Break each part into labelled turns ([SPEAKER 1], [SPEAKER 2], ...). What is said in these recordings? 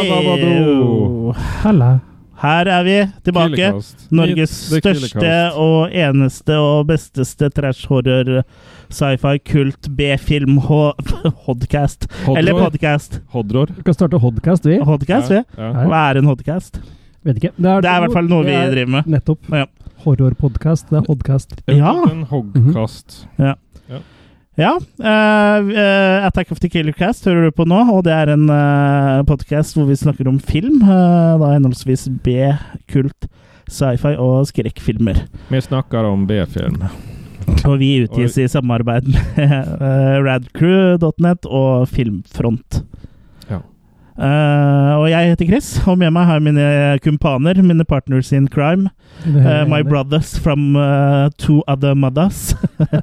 [SPEAKER 1] Ababado.
[SPEAKER 2] Halla.
[SPEAKER 1] Her er vi tilbake.
[SPEAKER 3] Killecast.
[SPEAKER 1] Norges
[SPEAKER 3] Det er
[SPEAKER 1] største
[SPEAKER 3] Killecast.
[SPEAKER 1] og eneste og besteste trash horror, sci-fi, kult, B-film, ho- hodcast.
[SPEAKER 3] Hodror.
[SPEAKER 1] Eller podcast.
[SPEAKER 3] Hodror.
[SPEAKER 2] Vi kan starte hodcast, vi.
[SPEAKER 1] Hodcast, vi?
[SPEAKER 3] Ja.
[SPEAKER 2] Ja.
[SPEAKER 1] Hva er en hodcast?
[SPEAKER 2] Vet ikke.
[SPEAKER 1] Det er i hvert fall noe vi driver med.
[SPEAKER 2] Nettopp.
[SPEAKER 1] Ja.
[SPEAKER 2] Horrorpodkast. Det er podkast.
[SPEAKER 1] Ja. Mhm.
[SPEAKER 3] En hoggkast.
[SPEAKER 1] Ja. eh, eh, Attack of the Killer Cast hører du på nå, og det er en uh, podkast hvor vi snakker om film. eh, da henholdsvis B, kult, sci-fi og skrekkfilmer.
[SPEAKER 3] Vi snakker om B-film.
[SPEAKER 1] Mhm. Og vi utgis i samarbeid med eh, radcrew.net og Filmfront.
[SPEAKER 3] Ja.
[SPEAKER 1] Eh, og jeg heter Chris, og med meg har jeg mine kumpaner, mine partners in crime. eh, my brothers from eh, two other mothers.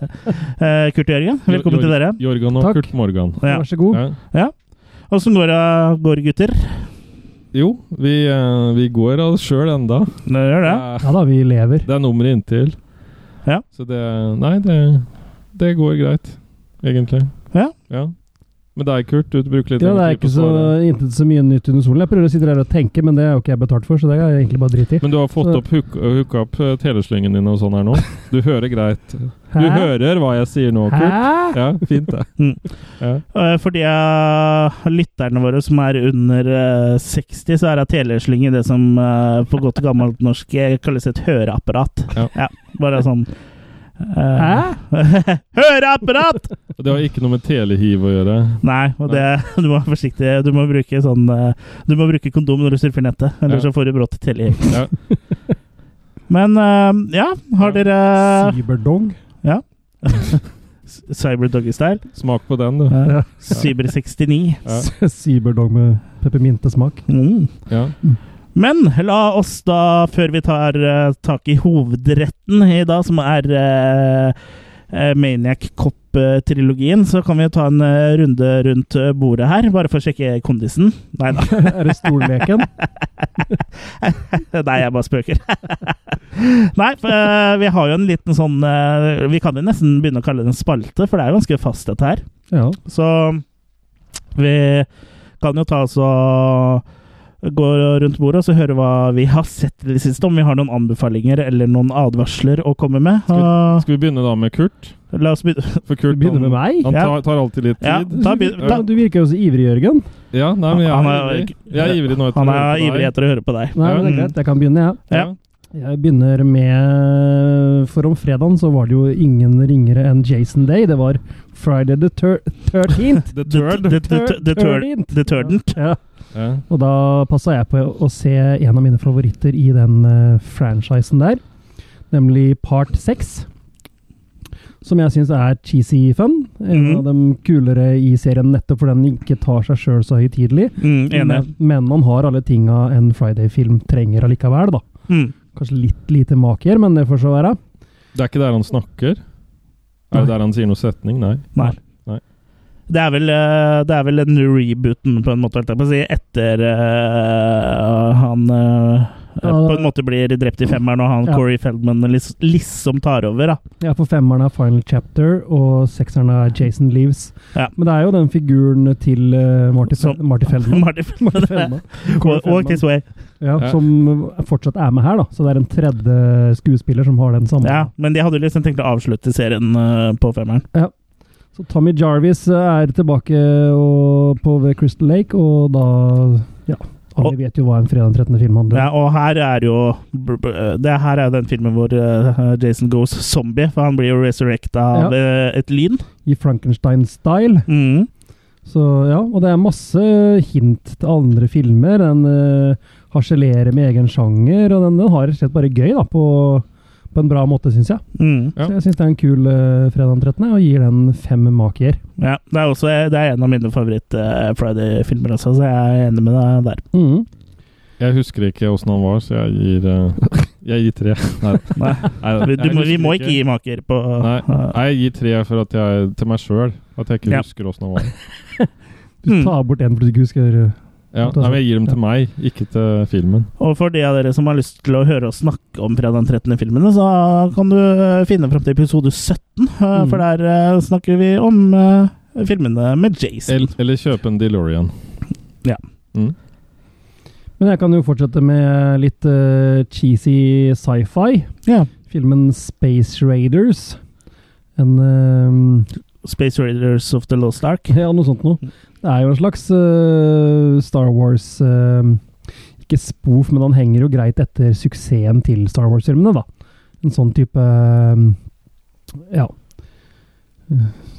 [SPEAKER 1] Eh, Kurt og Jørgen, velkommen til dere.
[SPEAKER 3] Jorgan og
[SPEAKER 2] Takk.
[SPEAKER 3] Kurt Morgan.
[SPEAKER 1] Ja.
[SPEAKER 2] Vær så god.
[SPEAKER 3] Ja.
[SPEAKER 1] Åssen går det, går det, gutter?
[SPEAKER 3] Jo, vi, eh, vi går av oss sjøl enda.
[SPEAKER 1] Det gjør det.
[SPEAKER 3] Eh,
[SPEAKER 2] Ja da, vi lever.
[SPEAKER 3] Det er nummeret inntil.
[SPEAKER 1] Ja.
[SPEAKER 3] Så det Nei, det, det går greit, egentlig.
[SPEAKER 1] Ja.
[SPEAKER 3] Men deg, Kurt, du bruker litt
[SPEAKER 2] Ja, det er
[SPEAKER 3] lengre tid
[SPEAKER 2] ikke
[SPEAKER 3] på
[SPEAKER 2] så,
[SPEAKER 3] å svare.
[SPEAKER 2] intet så mye nytt under solen. Jeg prøver å sitte her og tenke, men det er jo ikke jeg betalt for, så det er jeg egentlig bare drit i.
[SPEAKER 3] Men du har fått
[SPEAKER 2] Så-
[SPEAKER 3] opp hook- hooka opp eh, teleslyngen din og sånn her nå? Du hører greit. Du hører hva jeg sier nå, Kurt.
[SPEAKER 2] Hæ?
[SPEAKER 3] Ja, fint det.
[SPEAKER 1] Mm.
[SPEAKER 3] Ja.
[SPEAKER 1] Eh, For de av lytterne våre som er under eh, 60, så er det teleslynge det som eh, på godt gammelt norsk eh, kalles et høreapparat.
[SPEAKER 3] Ja.
[SPEAKER 1] bare sånn
[SPEAKER 2] Hæ?
[SPEAKER 1] eh, Høreapparat!
[SPEAKER 3] Og det har ikke noe med telehiv å gjøre.
[SPEAKER 1] Nei, og det, du må være forsiktig. Du må bruke sånn eh, Du må bruke kondom når du surfer nettet, ellers
[SPEAKER 3] Ja.
[SPEAKER 1] så får du brått telehiv.
[SPEAKER 3] Ja.
[SPEAKER 1] Men eh, ja, har
[SPEAKER 3] Ja.
[SPEAKER 1] dere
[SPEAKER 2] Eh, Cyberdong?
[SPEAKER 1] Cyberdoggystyle?
[SPEAKER 3] Smak på den, du.
[SPEAKER 1] Ja. Cyber69.
[SPEAKER 3] Ja.
[SPEAKER 2] Cyberdong med peppermintesmak.
[SPEAKER 1] Mm.
[SPEAKER 3] Ja.
[SPEAKER 1] Men la oss da, før vi tar eh, tak i hovedretten i dag, som er eh, eh, Maniac Cop-trilogien, så kan vi jo ta en eh, runde rundt eh, bordet her, bare for å sjekke kondisen. Nei da,
[SPEAKER 2] er det stolleken?
[SPEAKER 1] Nei, jeg bare spøker. Nei, for, eh, vi har jo en liten sånn eh, Vi kan jo nesten begynne å kalle det en spalte, for det er jo ganske fast, dette her.
[SPEAKER 2] Ja.
[SPEAKER 1] Så vi kan jo ta oss og gå rundt bordet og så høre hva vi har sett i det siste. Om vi har noen anbefalinger eller noen advarsler å komme med. Og
[SPEAKER 3] Skal vi begynne da med Kurt?
[SPEAKER 1] la oss begynne.
[SPEAKER 3] For
[SPEAKER 2] Du
[SPEAKER 3] Kurt
[SPEAKER 2] begynner
[SPEAKER 3] han,
[SPEAKER 2] med meg?
[SPEAKER 3] han
[SPEAKER 1] Ja.
[SPEAKER 3] tar, tar alltid litt
[SPEAKER 1] Ja.
[SPEAKER 3] tid.
[SPEAKER 1] Da begynner-
[SPEAKER 2] Ja, du virker jo så ivrig, Jørgen.
[SPEAKER 3] Ja, nei, men jeg
[SPEAKER 1] Han
[SPEAKER 3] er
[SPEAKER 1] er-
[SPEAKER 3] ivrig. Jeg er ivrig nå etter
[SPEAKER 1] Han
[SPEAKER 3] å høre
[SPEAKER 1] er
[SPEAKER 3] på deg.
[SPEAKER 1] ivrig etter å høre på deg.
[SPEAKER 2] Nei, men det er
[SPEAKER 1] Ja.
[SPEAKER 2] greit. Jeg kan begynne, jeg.
[SPEAKER 3] Ja.
[SPEAKER 2] Jeg begynner med For om fredagen så var det jo ingen ringere enn Jason Day. Det var Friday the thir- 13th.
[SPEAKER 3] The Turd.
[SPEAKER 1] The- the- the- the turd- The Turdent.
[SPEAKER 2] Ja.
[SPEAKER 3] Ja.
[SPEAKER 2] Og da passa jeg på å se en av mine favoritter i den eh, franchisen der, nemlig Part 6. Som jeg syns er cheesy fun. En
[SPEAKER 1] Mhm.
[SPEAKER 2] av de kulere i serien, nettopp fordi den ikke tar seg sjøl så høytidelig.
[SPEAKER 1] Mm, enig.
[SPEAKER 2] Men, men man har alle tinga en Friday-film trenger allikevel, da.
[SPEAKER 1] Mm.
[SPEAKER 2] Kanskje litt lite maker, men det får så være.
[SPEAKER 3] Det er ikke der han snakker? Er
[SPEAKER 2] Nei.
[SPEAKER 3] det der han sier noe setning? Nei.
[SPEAKER 1] Nei.
[SPEAKER 3] Nei.
[SPEAKER 1] Det er, vel, eh, det er vel den rebooten, på en måte, holdt jeg på å si, etter eh, han eh,
[SPEAKER 2] Ja,
[SPEAKER 1] på en måte blir drept i femmeren, og han
[SPEAKER 2] Ja.
[SPEAKER 1] Corey Feldman liss- liksom tar over. da.
[SPEAKER 2] Ja, for femmeren er Final Chapter, og sekseren er Jason Leaves.
[SPEAKER 1] Ja.
[SPEAKER 2] Men det er jo den figuren til eh, Marty, Fel
[SPEAKER 1] Som-
[SPEAKER 2] Marty Feldman.
[SPEAKER 1] Marty
[SPEAKER 2] Marty
[SPEAKER 1] Feldman.
[SPEAKER 2] Feldman.
[SPEAKER 1] Walk walk this way.
[SPEAKER 2] Ja,
[SPEAKER 3] Ja.
[SPEAKER 2] Som fortsatt er med her, da. Så det er en tredje skuespiller som har den samme.
[SPEAKER 1] Ja, men de hadde jo liksom tenkt å avslutte serien eh, på femmeren.
[SPEAKER 2] Så Tommy Jarvis eh, er tilbake og, på The Crystal Lake, og da Ja, alle
[SPEAKER 1] Og-
[SPEAKER 2] vet jo hva en fredag den 13. film handler
[SPEAKER 1] Ja,
[SPEAKER 2] om.
[SPEAKER 1] og her er jo br- br- det her er jo den filmen hvor eh, Jason goes zombie, for han blir jo resurrecta av eh, et lyn.
[SPEAKER 2] I Frankenstein-style.
[SPEAKER 1] Mm.
[SPEAKER 2] Så ja, og det er masse hint til andre filmer. Den eh, harselerer med egen sjanger, og den, den har rett og slett bare gøy, da, på, på en bra måte, syns jeg.
[SPEAKER 1] Mm.
[SPEAKER 3] Ja.
[SPEAKER 2] Så jeg syns det er en kul eh, fredag den 13., og gir den fem makier.
[SPEAKER 1] Ja, det er også det er en av mine favoritt-Friday-filmer, altså, så jeg er enig med deg der.
[SPEAKER 2] Mm.
[SPEAKER 3] Jeg husker ikke åssen han var, så jeg gir, eh, jeg gir tre. Nei.
[SPEAKER 1] Nei,
[SPEAKER 3] Nei,
[SPEAKER 1] vi, du,
[SPEAKER 3] jeg
[SPEAKER 1] må, vi
[SPEAKER 3] husker
[SPEAKER 1] må ikke gi maker på eh,
[SPEAKER 3] Nei. Nei, jeg gir tre for at jeg, til meg sjøl. At jeg ikke
[SPEAKER 1] Ja.
[SPEAKER 3] husker åssen han var.
[SPEAKER 2] Du
[SPEAKER 1] Mm.
[SPEAKER 2] tar bort en fordi du ikke husker eh,
[SPEAKER 3] Ja, nei, men Jeg gir dem til meg, ikke til filmen.
[SPEAKER 1] Og for de av dere som har lyst til å høre oss snakke om fra den 13. filmen, så kan du eh, finne fram til episode 17, eh,
[SPEAKER 2] Mm.
[SPEAKER 1] for der eh, snakker vi om eh, filmene med Jason.
[SPEAKER 3] Eller, eller kjøpe en DeLorean.
[SPEAKER 2] Men jeg kan jo fortsette med litt eh, cheesy sci-fi.
[SPEAKER 1] Ja.
[SPEAKER 2] Filmen Space Raiders. En eh,
[SPEAKER 1] Space Raiders of the Lost Ark.
[SPEAKER 2] Ja, noe sånt noe. Det er jo en slags eh, Star Wars eh, Ikke spoof, men han henger jo greit etter suksessen til Star Wars-filmene, da. En sånn type eh, Ja.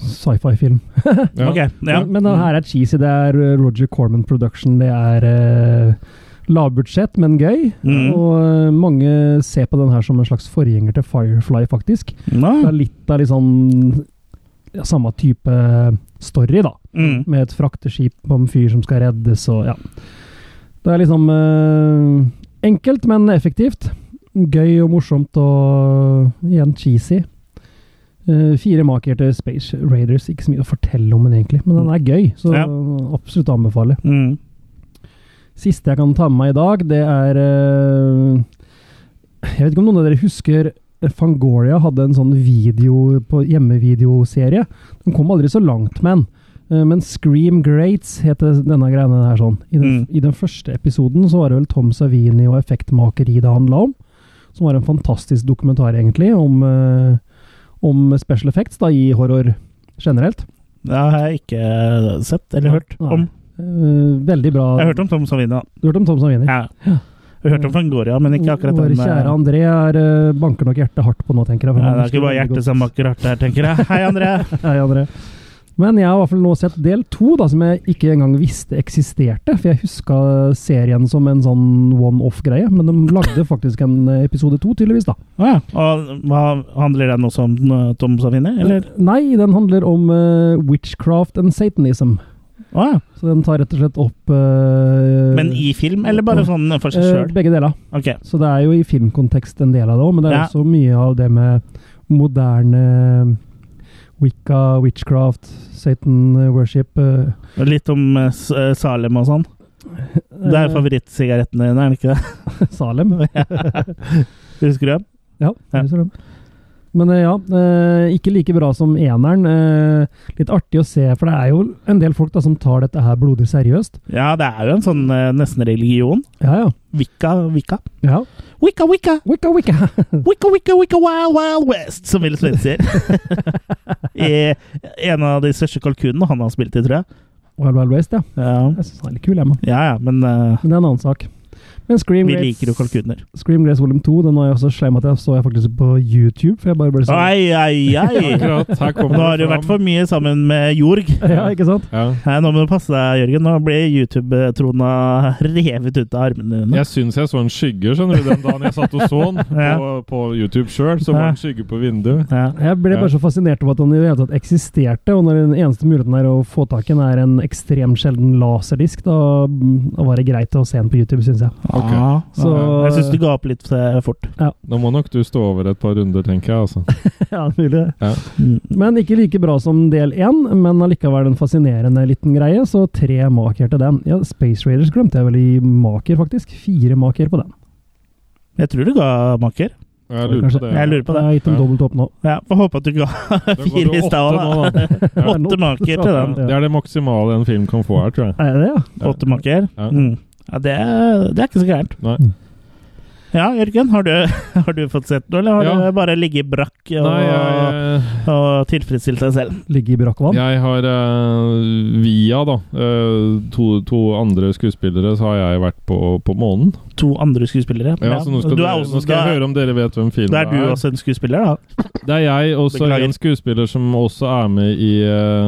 [SPEAKER 2] Sci-fi-film.
[SPEAKER 3] Ja.
[SPEAKER 1] Ok, ja.
[SPEAKER 2] Men, men den her er cheesy. Det er eh, Roger Corman Production. Det er eh, lavbudsjett, men gøy.
[SPEAKER 1] Mm.
[SPEAKER 2] Og eh, mange ser på den her som en slags forgjenger til Firefly, faktisk.
[SPEAKER 1] Nå.
[SPEAKER 2] Det er litt av litt sånn ja, samme type eh, story, da
[SPEAKER 1] Mm.
[SPEAKER 2] med et frakteskip på en fyr som skal reddes og ja. Det er liksom eh, enkelt, men effektivt. Gøy og morsomt og igjen cheesy. Eh, fire makere til Space Raiders. Ikke så mye å fortelle om den egentlig, men den er gøy. Så
[SPEAKER 1] Mm. Ja.
[SPEAKER 2] absolutt å anbefale.
[SPEAKER 1] Mm.
[SPEAKER 2] Siste jeg kan ta med meg i dag, det er eh, Jeg vet ikke om noen av dere husker eh, Fangoria hadde en sånn video på hjemmevideoserie. Den kom aldri så langt med den. Eh, Men Scream Greats heter denne greiene her sånn. I den,
[SPEAKER 1] Mm.
[SPEAKER 2] I den første episoden så var det vel Tom Savini og effektmakeri det handla om. Som var en fantastisk dokumentar, egentlig, om, eh, om special effects da, i horror generelt.
[SPEAKER 1] Det har jeg ikke eh, sett eller hørt
[SPEAKER 2] Nei.
[SPEAKER 1] om.
[SPEAKER 2] Eh, Veldig bra.
[SPEAKER 1] Jeg har hørt om Tom Savina.
[SPEAKER 2] Du hørte om Tom Savini?
[SPEAKER 1] Ja. Jeg har hørt om Fangoria, men ikke akkurat
[SPEAKER 2] Vår
[SPEAKER 1] den eh,
[SPEAKER 2] kjære André er, eh, banker nok hjertet hardt på nå, tenker jeg. for
[SPEAKER 1] Nei,
[SPEAKER 2] han
[SPEAKER 1] det er ikke bare
[SPEAKER 2] husker veldig
[SPEAKER 1] hjertet som
[SPEAKER 2] godt.
[SPEAKER 1] bakker hardt her, tenker jeg. Hei, André!
[SPEAKER 2] Hei, André. Men jeg har i hvert fall nå sett del to, da, som jeg ikke engang visste eksisterte. For jeg huska serien som en sånn one-off-greie, men de lagde faktisk en eh, episode to, tydeligvis. da.
[SPEAKER 1] Å ja. Og hva handler den også om eh, Tom Savini, eller?
[SPEAKER 2] Nei, den handler om eh, witchcraft and satanism.
[SPEAKER 1] Å ja.
[SPEAKER 2] Så den tar rett og slett opp eh,
[SPEAKER 1] Men i film, eller bare sånn for seg
[SPEAKER 2] eh,
[SPEAKER 1] sjøl?
[SPEAKER 2] Begge deler.
[SPEAKER 1] Ok.
[SPEAKER 2] Så det er jo i filmkontekst en del av det òg, men det er
[SPEAKER 1] Ja.
[SPEAKER 2] også mye av det med moderne eh, wicca, witchcraft, Satan worship eh,
[SPEAKER 1] Litt om eh, S- eh, Salem og sånn. Det er
[SPEAKER 2] eh,
[SPEAKER 1] favorittsigaretten din, er det ikke det?
[SPEAKER 2] Salem.
[SPEAKER 1] Husker du den?
[SPEAKER 2] Ja,
[SPEAKER 1] Ja.
[SPEAKER 2] jeg ser den. Men eh, ja, eh, ikke like bra som eneren. eh, Litt artig å se, for det er jo en del folk da som tar dette her blodig seriøst.
[SPEAKER 1] Ja, det er jo en sånn eh, nesten religion.
[SPEAKER 2] Ja, ja.
[SPEAKER 1] Wicca, wicca.
[SPEAKER 2] ja.
[SPEAKER 1] Wicca, wicca!
[SPEAKER 2] Wicca, wicca!
[SPEAKER 1] Wicca, wicca, wicca, wild, wild west, som Will Smith sier. I en av de største kalkunene han har spilt i, tror jeg.
[SPEAKER 2] Wild Wild West, ja.
[SPEAKER 1] Ja,
[SPEAKER 2] Jeg synes den er litt kul, jeg, mann.
[SPEAKER 1] ja, ja men eh,
[SPEAKER 2] Men det er en annen sak. Men Scream
[SPEAKER 1] vi
[SPEAKER 2] Rates-
[SPEAKER 1] liker jo kalkuner.
[SPEAKER 2] Scream Grace Volume 2, den var jeg også slem at jeg så jeg faktisk på YouTube. For jeg bare ble sånn
[SPEAKER 1] Ai, ai, ai!
[SPEAKER 3] Akkurat
[SPEAKER 1] Nå
[SPEAKER 3] her kommer
[SPEAKER 1] har du
[SPEAKER 3] det
[SPEAKER 1] vært
[SPEAKER 3] fram.
[SPEAKER 1] for mye sammen med Jorg.
[SPEAKER 2] Ja, ikke sant?
[SPEAKER 3] Ja.
[SPEAKER 1] Nei, nå må du passe deg, Jørgen. Nå blir YouTube-trona revet ut av armene dine.
[SPEAKER 3] Jeg syns jeg så en skygge skjønner du, den dagen jeg satt og så den
[SPEAKER 1] Ja.
[SPEAKER 3] på, på YouTube sjøl. Så var det en skygge på vinduet.
[SPEAKER 1] Ja.
[SPEAKER 2] Jeg ble bare så fascinert over at den i det hele tatt eksisterte, og når den eneste muligheten er å få tak i den er en ekstremt sjelden laserdisk, da, da var det greit å se den på YouTube, syns jeg.
[SPEAKER 3] Ok.
[SPEAKER 1] Ja,
[SPEAKER 2] Så,
[SPEAKER 1] ja. Jeg syns du ga opp litt eh, fort.
[SPEAKER 3] Nå må nok du stå over et par runder, tenker jeg. altså.
[SPEAKER 2] ja, mulig det.
[SPEAKER 1] Mm.
[SPEAKER 2] Men ikke like bra som del én, men allikevel en fascinerende liten greie, så tre maker til den. Ja, Space Raiders glemte jeg vel i maker, faktisk. Fire maker på den.
[SPEAKER 1] Jeg tror du ga makker.
[SPEAKER 3] Jeg lurer på det.
[SPEAKER 1] Jeg lurer på
[SPEAKER 2] Jeg
[SPEAKER 1] det.
[SPEAKER 2] har gitt dem
[SPEAKER 3] Ja.
[SPEAKER 2] dobbelt opp nå.
[SPEAKER 1] Ja, Får håpe at du ga
[SPEAKER 3] Da går
[SPEAKER 1] fire
[SPEAKER 3] det
[SPEAKER 1] i
[SPEAKER 3] åtte
[SPEAKER 1] stad.
[SPEAKER 3] nå,
[SPEAKER 1] da. Åtte maker til
[SPEAKER 3] Ja,
[SPEAKER 1] den.
[SPEAKER 3] Det er det maksimale en film kan få her, tror jeg.
[SPEAKER 2] Er det det, ja?
[SPEAKER 3] Ja.
[SPEAKER 1] Åtte makker.
[SPEAKER 3] Ja.
[SPEAKER 1] Mm. Ja, det, er- det er ikke så gærent.
[SPEAKER 3] Nei.
[SPEAKER 1] Ja, Jørgen, har du, har du fått sett noe, eller har
[SPEAKER 3] Ja.
[SPEAKER 1] du bare ligget brakk og,
[SPEAKER 3] Nei, jeg,
[SPEAKER 1] og tilfredsstilt deg selv?
[SPEAKER 2] Ligge i
[SPEAKER 1] Sånn.
[SPEAKER 2] brakkvann?
[SPEAKER 3] jeg har eh, via da, eh, to, to andre skuespillere, så har jeg vært på, på månen.
[SPEAKER 1] To andre skuespillere.
[SPEAKER 3] Ja, så nå skal,
[SPEAKER 1] du er
[SPEAKER 3] dere-
[SPEAKER 1] også,
[SPEAKER 3] nå skal jeg høre om dere vet hvem filmen
[SPEAKER 1] Da er du også en skuespiller, da?
[SPEAKER 3] Det er jeg, og så
[SPEAKER 1] Beklager.
[SPEAKER 3] en skuespiller som også er med i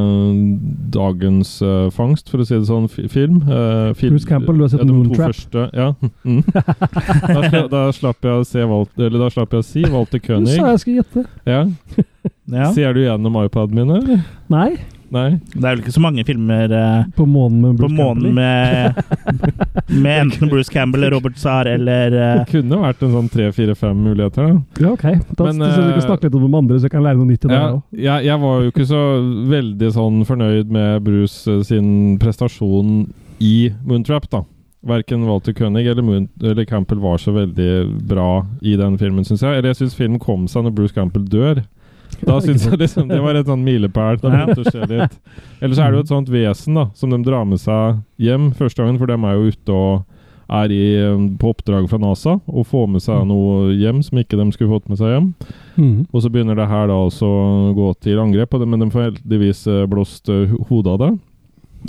[SPEAKER 3] eh, dagens eh, fangst, for å si det sånn, fi film. Eh, film-
[SPEAKER 2] Bruce Campbell, du har sett
[SPEAKER 3] ja, de to
[SPEAKER 2] Moontrap.
[SPEAKER 3] første, Ja. Mm. da, sla, da slapp jeg å se Walt, eller da slapp jeg å si Walter
[SPEAKER 2] Du
[SPEAKER 3] König.
[SPEAKER 2] sa jeg skulle gjette.
[SPEAKER 3] Ja.
[SPEAKER 1] Ja.
[SPEAKER 3] Ser du gjennom iPaden min, eller?
[SPEAKER 2] Nei.
[SPEAKER 3] Nei?
[SPEAKER 1] Det er vel ikke så mange filmer eh,
[SPEAKER 2] På månen med
[SPEAKER 1] på
[SPEAKER 2] Bruce Campbell.
[SPEAKER 1] månen med, med enten Bruce Campbell eller Robert Zahr eller eh,
[SPEAKER 3] Det kunne vært en sånn tre-fire-fem muligheter. da.
[SPEAKER 2] Ja, ok. Da
[SPEAKER 3] Men,
[SPEAKER 2] synes jeg du kan
[SPEAKER 3] eh,
[SPEAKER 2] snakke litt om de andre, så jeg kan lære noe nytt i dag
[SPEAKER 3] Ja,
[SPEAKER 2] òg.
[SPEAKER 3] jeg, jeg var jo ikke så veldig sånn fornøyd med Bruce eh, sin prestasjon i Moontrap, da. Verken Walter König eller, Moon, eller Campbell var så veldig bra i den filmen, syns jeg. Eller jeg syns filmen kom seg når Bruce Campbell dør. Da syns jeg liksom det var et sånn milepæl. Da
[SPEAKER 1] Ja.
[SPEAKER 3] begynte det å skje litt. Eller så er det jo et sånt vesen da, som de drar med seg hjem første gangen, for de er jo ute og er i, eh, på oppdrag fra NASA og får med seg
[SPEAKER 2] Mm.
[SPEAKER 3] noe hjem som ikke de skulle fått med seg hjem.
[SPEAKER 2] Mhm.
[SPEAKER 3] Og så begynner det her da også å gå til angrep, og det- men de får heldigvis eh, blåst eh, ho- hodet av det.